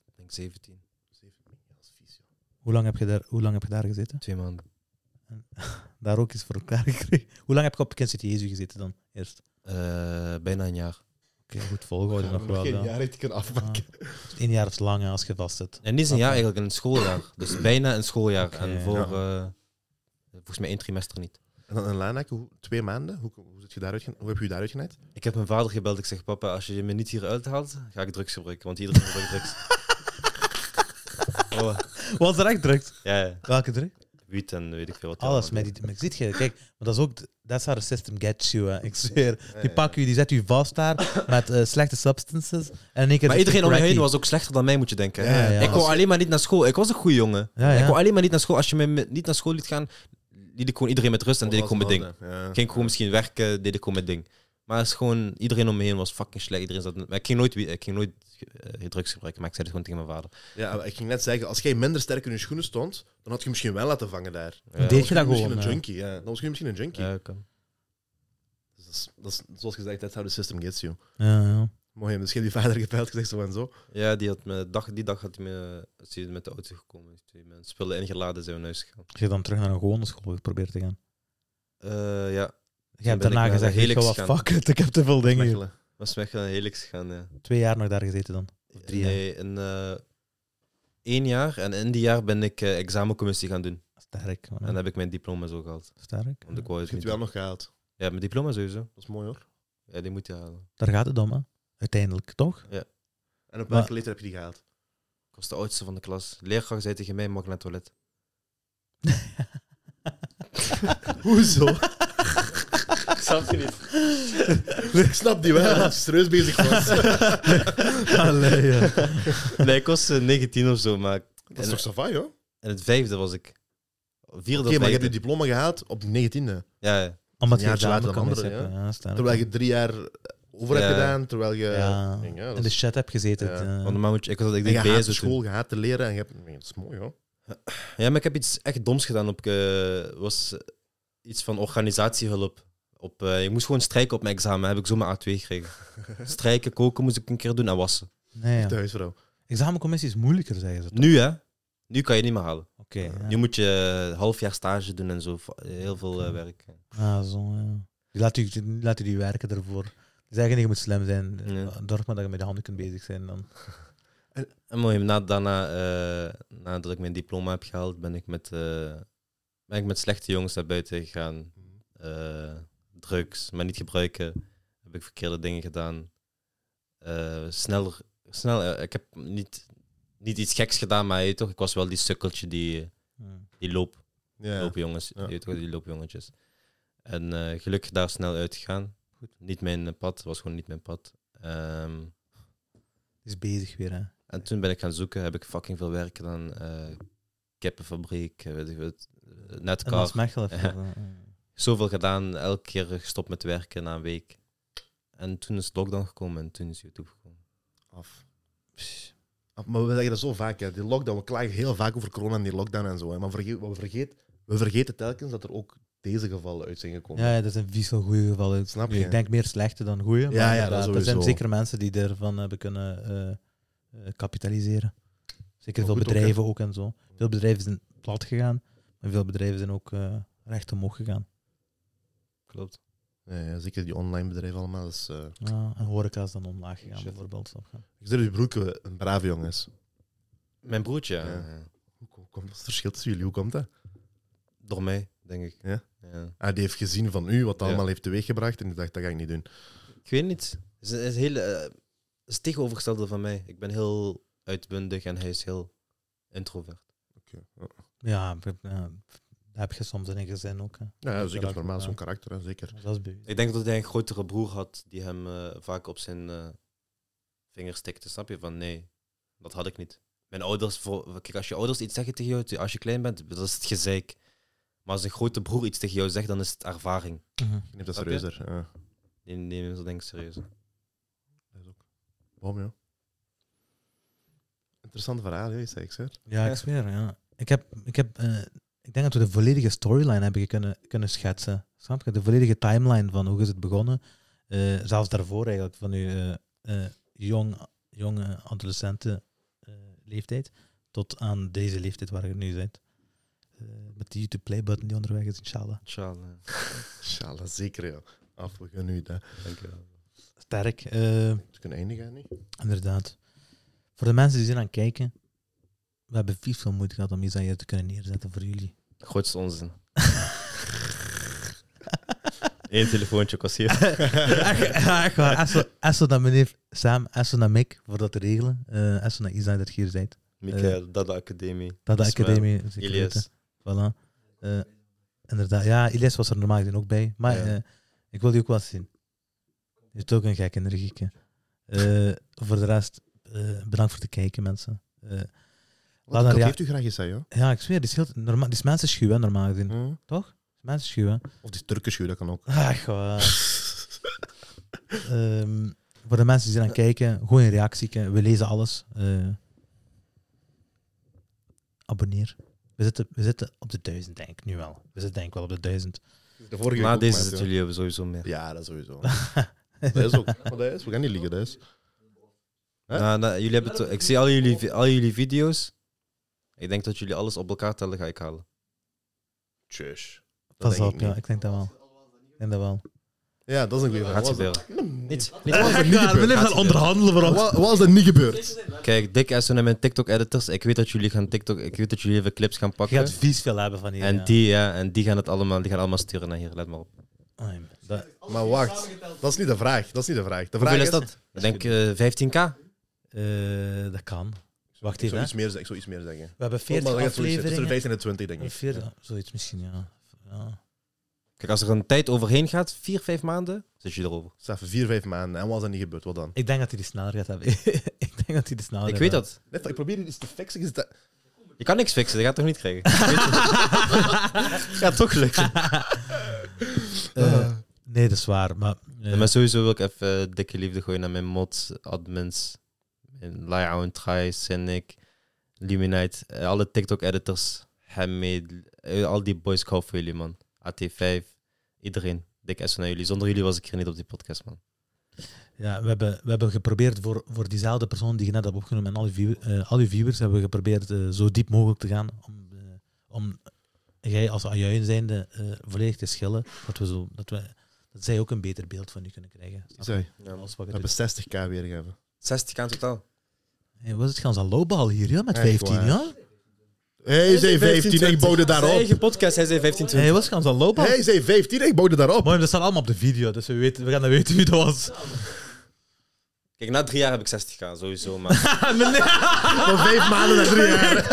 ik denk 17.
Zeven. Ja, dat is vies, joh.
Hoe lang heb je daar, hoe lang heb je daar gezeten?
Twee maanden.
Daar ook iets voor elkaar gekregen. Hoe lang heb je op Kind City Jezu gezeten dan? Eerst.
Eh, bijna een jaar.
Oké, goed volgehouden nog wel.
geen
ja.
jaar ik kunnen afmaken.
Eén jaar is lang hè, als je vast zit.
En niet eens een
Oké.
jaar eigenlijk, een schooljaar. Dus bijna een schooljaar.
Oké,
en voor,
ja.
eh, volgens mij één trimester niet.
En dan in Lanaken, hoe- twee maanden? Hoe, hoe, zit je daaruit, gen- hoe heb je je daaruit genaaid?
Ik heb mijn vader gebeld. Ik zeg, papa, als je me niet hier uithaalt, ga ik drugs gebruiken. Want iedereen gebruikt drugs. Oh,
Was er echt druk?
ja, ja.
Welke druk?
wiet en weet ik veel wat.
Alles
allemaal.
met die. Maar ziet je, kijk, maar dat is ook. Dat is haar system gets you, hè. ik zweer. Die pakken u, die zet u vast daar met eh, slechte substances. En in één keer
Maar
zit je
iedereen om me heen
cracky.
was ook slechter dan mij, moet je denken.
Ja, ja,
ja.
Ik wou alleen maar niet naar school. Ik was een goede jongen.
Ja, ja.
Ik wou alleen maar niet naar school. Als je me me- niet naar school liet gaan, liet ik gewoon iedereen met rust en deed ik gewoon mijn ding.
Ja.
Ging ik gewoon misschien werken, deed ik gewoon mijn ding. Maar het is gewoon, iedereen om me heen was fucking slecht. Iedereen zat, maar ik ging nooit, wie- ik ging nooit eh, drugs gebruiken, maar ik zei het gewoon tegen mijn vader.
Ja, maar ik ging net zeggen, als jij minder sterk in je schoenen stond, dan had je misschien wel laten vangen daar.
Ja,
deed
was
je dat
misschien
gewoon?
een
hè.
junkie, ja. Dan was je misschien een junkie.
Ja, kan.
Dus dat is, dat is- zoals gezegd, that's how the system gets you.
Ja, ja.
Mooi, misschien heb je vader gepeild gezegd zo en zo.
ja die, had me, dag, die dag had hij me, is hij met de auto gekomen. Heeft hij mijn spullen ingeladen, zijn we naar huis gegaan.
Als je dan terug naar een gewone school probeert te gaan.
Eh,
Je
ja,
hebt
ben ik
daarna
naar
gezegd:
de
weet je
Helix
wat,
gaan.
fuck it, ik heb te veel dingen hier.
Mechelen.
was weg naar Helix gegaan, ja.
Twee jaar nog daar gezeten dan. Of drie jaar.
nee, een, eh, één jaar. En in die jaar ben ik eh, examencommissie gaan doen.
Sterk. man.
En heb ik mijn diploma zo gehaald.
Sterk.
Want ik
Dat
wou het
heb
niet.
je wel nog gehaald.
Ja, mijn diploma sowieso.
Dat is mooi hoor.
Ja, die moet je halen.
Daar gaat het om, hè? Uiteindelijk toch?
En op
Maar-
welke leeftijd heb je die gehaald?
Ik was de oudste van de klas. Leerkracht zei tegen mij, mag ik naar het toilet?
Hoezo?
Ik snap je niet.
ik snap die wel, dat je serieus bezig was.
Allee, ja.
Nee, ik was eh, 19 of zo, maar...
Dat is toch savaai hoor?
En het vijfde was ik. Vierde
Oké, maar je
of
hebt je
vijfde.
diploma gehaald op je negentiende.
Ja, ja.
Omdat je
Ja, daar
examen
dan
kan
anderen,
missen. Ja, snap ik.
Terwijl je drie jaar over hebt
Ja.
gedaan, terwijl je...
Ja.
Ding, ja, dat
in de
is-
chat hebt gezeten.
Ja.
eh.
Want normaal moet je... Ik, was- ik
en je
deed
haat de
BSO
school,
toen.
je haat te leren en je hebt... Nee, dat is mooi, hoor.
Ja, maar ik heb iets echt doms gedaan. Op, eh, was eh, iets van organisatiehulp. Op, eh, ik moest gewoon strijken op mijn examen. Heb ik zomaar A2 gekregen. strijken, koken moest ik een keer doen en wassen.
nee, ja.
De huisvrouw.
Examencommissie is moeilijker, zeggen ze. toch?
Nu hè? Nu kan je het niet meer halen.
Oké. ja.
Nu moet je eh, half jaar stage doen en zo. Heel veel eh, werk.
Ah, zo, ja. Die laat u, die laat u die werken ervoor. Die zeggen niet, je moet slim zijn.
Ja.
Dorp maar dat je met de handen kunt bezig zijn dan.
En mooi, na, daarna, eh, nadat ik mijn diploma heb gehaald, ben ik met, eh, ben ik met slechte jongens naar buiten gegaan. Eh, drugs, maar niet gebruiken. Heb ik verkeerde dingen gedaan. Eh, sneller, snel, eh, ik heb niet, niet iets geks gedaan, maar je weet toch, ik was wel die sukkeltje die,
Ja.
die loop,
Ja.
loopjongens.
Ja.
Je weet toch, die loopjongetjes. En eh, gelukkig daar snel uitgegaan.
Goed.
Niet mijn eh, pad, was gewoon niet mijn pad. Ehm,
Is bezig weer, hè.
en toen ben ik gaan zoeken, heb ik fucking veel werk gedaan. eh kippenfabriek, eh, weet ik wat. eh,
En als
Netcar.
Mechel even.
Ja.
eh, eh.
Zoveel gedaan, elke keer gestopt met werken na een week. En toen is lockdown gekomen en toen is YouTube gekomen.
Af. Af, Maar we zeggen dat zo vaak, hè. die lockdown. We klagen heel vaak over corona en die lockdown en zo. Hè. Maar vergeet, wat we, vergeet, we vergeten telkens dat er ook deze gevallen uit zijn gekomen.
Ja, ja, dat is een vies goede geval.
Snap
Nu,
je?
Ik denk meer slechte dan goede. maar
ja, dat
inderdaad, er zijn
sowieso.
zeker mensen die ervan hebben kunnen eh, eh, kapitaliseren. Zeker
Maar
veel
goed ook, hè.
bedrijven ook, en zo. Veel bedrijven zijn plat gegaan, maar veel bedrijven zijn ook eh, recht omhoog gegaan.
Klopt.
Ja, ja, zeker die online bedrijven allemaal. Dat is, eh,
Ja, en horeca is dan omlaag gegaan,
Shit.
bijvoorbeeld. snap je?
Ik zeg dat je broek een brave jongen is.
Mijn broertje,
Ja.
eh,
Hoe hoe komt dat verschil tussen jullie? Hoe komt dat?
door mij, denk ik.
Ja? Ah, die heeft gezien van u wat dat
Ja.
allemaal heeft teweeggebracht en die dacht, dat ga ik niet doen.
Ik weet niet. Het is, het is, heel, eh, het is het tegenovergestelde van mij. Ik ben heel uitbundig en hij is heel introvert.
Ja, b- ja, dat heb je soms in een gezin ook. Hè.
Ja, ja,
Dat
zeker. Dat is
wel
normaal,
goed,
zo'n
ja.
karakter, hè, zeker.
Dat is bij
Ik denk dat hij een grotere broer had die hem eh, vaak op zijn eh vinger stikte. Snap je? Van nee, dat had ik niet. Mijn ouders, voor, kijk, als je ouders iets zeggen tegen jou te- als je klein bent, dat is het gezeik. Maar als een grote broer iets tegen jou zegt, dan is het ervaring.
Mhm.
Je neemt dat
Snap je?
serieuzer. Ja.
Die nemen ze denk ik serieus.
Dat is ook. Waarom, ja? Interessant verhaal, hè, is dat, ik zeg.
Ja, ik zweer, ja. Ik, heb, ik, heb, eh, ik denk dat we de volledige storyline hebben kunnen, kunnen schetsen. Snap je? De volledige timeline van hoe is het begonnen. Eh, zelfs daarvoor eigenlijk, van uw eh, eh, jong, jonge adolescenten eh, leeftijd tot aan deze leeftijd waar je nu bent. Eh, met die YouTube play button die onderweg is, inshallah.
Inshallah.
Inshallah, zeker, ja. Af, we gaan nu dat.
Dankjewel.
Sterk, eh,
We kunnen eindigen, hè, niet?
inderdaad. Voor de mensen die zijn aan het kijken, we hebben vies veel moeite gehad om iets aan je te kunnen neerzetten voor jullie.
Grootste onzin. Eén telefoontje kost hier.
echt, ja, echt waar. Esso, Esso naar meneer Sam, Esso naar Mick voor dat te regelen. Eh Esso naar Isa dat je hier bent.
Michael, Dada Academie.
Dat de
Ismael,
academie. zeker weten.
Ilias.
Voilà. Eh, inderdaad. Ja, Ilias was er normaal gezien ook bij. Maar
Ja.
eh, ik wil die ook wel eens zien. Je is ook een gek energieke. Eh, voor de rest, eh, bedankt voor het kijken, mensen. Eh,
Wat
dan
dat
rea-
heeft u graag eens, hè, ja?
ja, ik zweer, die is, heel, norma- die is mensen schuw, hè, normaal gezien.
Hm?
Mensen schuw, hè.
Of die Turkse dat kan ook.
Ach,
Ah.
waar. Ehm, voor de mensen die zijn aan het kijken, gewoon een reactie. We lezen alles. Eh, abonneer. We zitten, we zitten op de duizend, denk ik nu wel. We zitten denk ik wel op de duizend.
De vorige
Na
ook,
deze
maar,
zitten jullie hebben sowieso meer.
ja. Ja, dat sowieso. dat is ook. Maar dat is, we gaan niet liegen, dat is. Hè?
Nou, nou, jullie hebben het- ik zie al jullie, vi- al jullie video's. Ik denk dat jullie alles op elkaar tellen, ga ik halen.
Tjus. Dat
Pas
denk
op,
ik
ja,
niet.
ik denk dat wel. Ik denk dat wel.
Ja, dat is een goede vraag.
Gaat
Was dat-
gebeuren. Niet, niet.
was dat niet gebeurd?
gaan onderhandelen voor
Wa- Was dat niet gebeurd?
Kijk, Dick Essen en mijn TikTok-editors. Ik weet dat jullie gaan TikTok. Ik weet dat jullie even clips gaan
Je
pakken.
gaat vies veel hebben van hier.
en
ja.
die, ja, en die gaan het allemaal, die gaan allemaal sturen naar hier. Let maar op.
Ai, Oh, dat-
Maar wacht, dat is niet de vraag. Dat is niet de vraag. De vraag
Hoeveel is dat? Ik denk eh, 15k.
eh, dat kan. Wacht
Ik
even.
zou
hè.
iets meer, zeggen, ik zou iets meer zeggen.
We hebben
Oh, Maar
40
dat gaat zoiets zijn, tussen de
afleveringen.
15 en 20, denk ik.
40, zoiets misschien, ja. ja.
Kijk, als er een tijd overheen gaat, vier, vijf maanden, zit je erover.
Ja. Zeg, vier, vijf maanden. En wat is dat niet gebeurd? Wat dan?
Ik denk dat hij die sneller gaat hebben. ik denk dat hij die sneller
ik
gaat
weet
hebben.
dat.
Net, ik probeer hier iets te fixen. is dat-
Je kan niks fixen, dat gaat toch niet krijgen? gaat toch lukken.
Eh, nee, dat is waar. Maar, eh,
Maar sowieso wil ik even eh, dikke liefde gooien naar mijn mods, admins, Lyown, Trai, Cynic, Luminite, eh, alle TikTok-editors, Hamid, eh, al die boys, ik hou voor jullie, man. AT5, iedereen. Dik S naar jullie. Zonder jullie was ik hier niet op die podcast, man.
ja, we, hebben, we hebben geprobeerd voor, voor diezelfde persoon die je net hebt opgenomen en al je, view- eh, al je viewers, hebben we geprobeerd eh, zo diep mogelijk te gaan om, eh, om jij als Ajuin zijnde eh, volledig te schillen. Dat, we zo, dat, we, dat zij ook een beter beeld van u kunnen krijgen. Snap je?
Sorry,
Alles wat
we
je
hebben
doet.
60k weer gegeven.
60 aan totaal.
Hey, wat is het gaan zijn lowball hier, ja? met
Echt
15,
waar.
ja?
Hey, zei 15, ik bouwde
Zijn
daarop.
eigen podcast, hij zei 15,
Hey, wat is het gaan zijn lowball?
Hey, zei 15, ik bouwde daarop.
Mooi, dat staat allemaal op de video, dus we, weten, we gaan dan weten wie dat was.
Kijk, na drie jaar heb ik 60 aan, sowieso, maar...
Ah, Van vijf maanden naar drie jaar.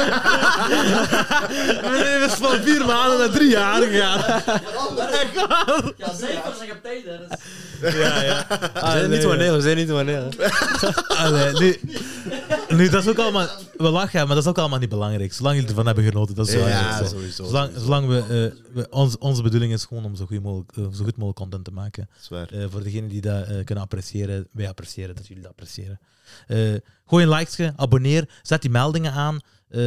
Mijn leven is van vier maanden naar drie jaar gegaan.
Ja, zeker, zeg op tijd. hè. Dat is-
Ja, ja.
zijn Ah, niet wanneer, we zijn niet wanneer.
Allee, nu, nu, dat is ook allemaal... We lachen, maar dat is ook allemaal niet belangrijk. Zolang jullie ervan hebben genoten, dat is wel
Ja,
zo.
sowieso.
Zolang, zolang we, eh, we- ons, onze bedoeling is gewoon om zo, goed mogelijk, eh, zo goed mogelijk content te maken.
Zwaar.
Eh, voor degenen die dat eh, kunnen appreciëren, wij appreciëren dat jullie dat appreciëren. Eh, gooi een likesje, abonneer, zet die meldingen aan. Eh,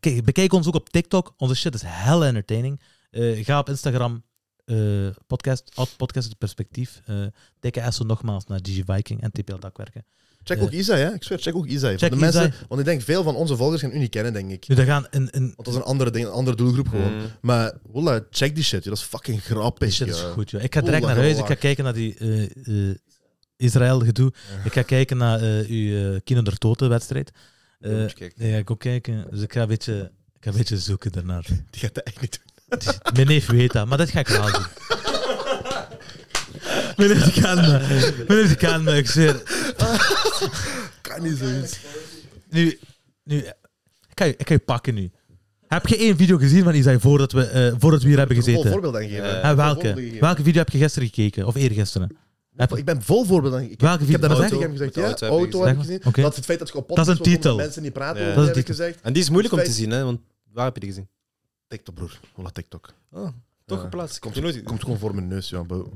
kijk, bekijk ons ook op TikTok. Onze shit is hell entertaining. Eh, ga op Instagram, eh, podcast, at podcast het perspectief. Eh, dikke SO nogmaals naar Gigi Viking en TPL Dakwerken.
Check
Eh.
ook Isai, hè? Ik zweer, check ook Isai.
Check
Want de mensen,
Isai.
Want ik denk, veel van onze volgers gaan u niet kennen, denk ik.
Nu, daar gaan een, een,
Want dat is een andere, ding, een andere doelgroep
Mm.
gewoon. Maar wallah, check die shit, joh. dat is fucking grappig.
shit is
joh.
goed, joh. Ik ga direct
Oeh,
naar huis.
lach.
Ik ga kijken naar die eh, eh, Israël-gedoe. Ik ga kijken naar eh, uw eh Kino der Toten-wedstrijd. Eh, nee, ga ik ook kijken. Dus ik ga een beetje, ik ga een beetje zoeken daarnaar.
Die gaat dat echt niet doen.
Mijn neef weet dat, maar dat ga ik wel doen. Mijn neef die kan me. Mijn neef die kan me, eh, ik zweer.
Kan niet zoiets.
Nu, nu ik, ga je, ik ga je pakken nu. Heb je één video gezien van Isai voordat we, eh, voordat we hier hebben
Ik wil
gezeten?
voorbeeld aan geven.
Eh,
Ik
En
wil voorbeelden
welke?
geven.
Welke video heb je gisteren gekeken? Of eergisteren? Heb-
Ik ben vol voorbeeld aan gegeven. Ik-
Welke
Ik heb
video?
daarna
Wat
tegen
zeg
hem gezegd,
Met de
ja,
auto heb je
auto heb ik
gezien.
gezien.
Oké.
Dat is het feit dat ik op
Dat is een
podcast was,
titel.
omdat mensen niet praten
Ja.
over,
Dat is
heb ik
die-
gezegd.
En die is moeilijk om te zien, hè? Want waar heb je die gezien?
TikTok, broer. Wallah, TikTok.
Oh, toch
Ja.
geplaatst. Komt je
Komt,
nooit.
komt gewoon voor mijn neus, ja. bro.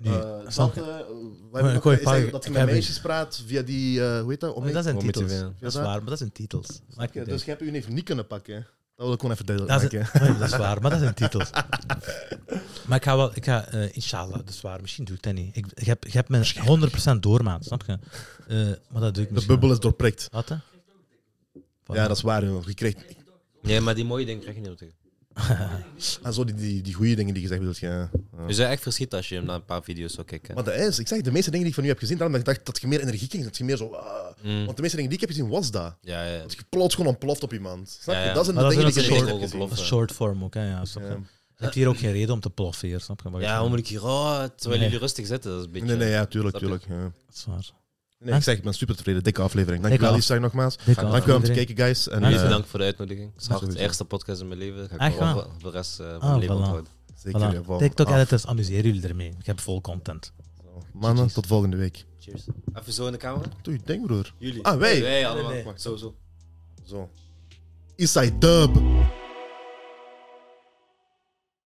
Nee.
Eh, dat,
Sanke.
eh, wij
ik
hebben nog-
hoor je
is
paar-
eigenlijk dat je
ik
met
heb
meisjes praat via die, eh, hoe heet dat? Omni-
dat zijn
Om iets te
titels.
winnen.
Dat is
Ja,
waar, maar dat zijn titels. Maakt
Ja,
niet
dus
uit.
je hebt uw neef niet kunnen pakken. hè? Dat wil ik gewoon even duidelijk
Dat is,
maken. hè.
Nee, dat is waar, maar dat zijn titels. Maar ik ga wel, ik ga, eh, inshallah, dat is waar. Misschien doe ik dat niet. Ik, ik heb, ik heb me 100% doormaat, snap je? Eh, maar dat doe ik
De
misschien
bubbel is doorprikt.
wel. Wat, hè?
Ja, dat is waar. joh. Je krijgt
Ja, maar die mooie dingen krijg je niet op tegen.
ah, zo die, die, die goede dingen die je zegt. bedoel je, ja. Ja.
Dus-
Je zou echt verschieten als je hem na een paar video's zou kijken.
Maar dat is, ik zeg, de meeste dingen die ik van u heb gezien, daarom dat ik dacht dat je meer energie kreeg. Dat je meer zo... ah.
Mm.
Want de meeste dingen die ik heb gezien, was dat.
Ja, ja.
Dat je plots gewoon ontploft op iemand. Snap je?
Ja, ja.
Dat zijn de
Maar dat
dingen
is
die ik
een
gezien
soort-
heb gezien.
Dat is short form ook, hè? Ja, snap je?
Ja.
Je hebt hier ook geen reden om te ploffen hier, snap je? Maar
Ja, hoe moet ik hier... Oh, terwijl
Nee.
jullie rustig zitten, dat is een beetje...
Nee, nee, ja, tuurlijk,
Snap je?
tuurlijk. ja.
Dat is waar.
Nee, ik zeg, ik ben super tevreden. Dikke aflevering. Dankjewel,
af-
Isaac, nogmaals.
Dikke
Dankjewel om te
aflevering.
kijken, guys. En,
Ja,
Jullie
eh,
bedankt voor de uitnodiging. Het is hard.
sowieso.
de eerste podcast in mijn leven. Dat Ga
Echt
ik wel
waar?
voor- voor de rest eh, van
Ah,
mijn leven
voilà.
onthouden.
zeker,
Voilà.
jawel. eh, Af.
TikTok-editors, amuseer jullie ermee. Ik heb vol content.
Mannen, tot volgende week.
Cheers. Even zo in de camera.
Doe je ding, broer.
Jullie.
Ah, wij?
Wij allemaal.
Nee, nee.
Zo, zo.
Zo. Isai Dub.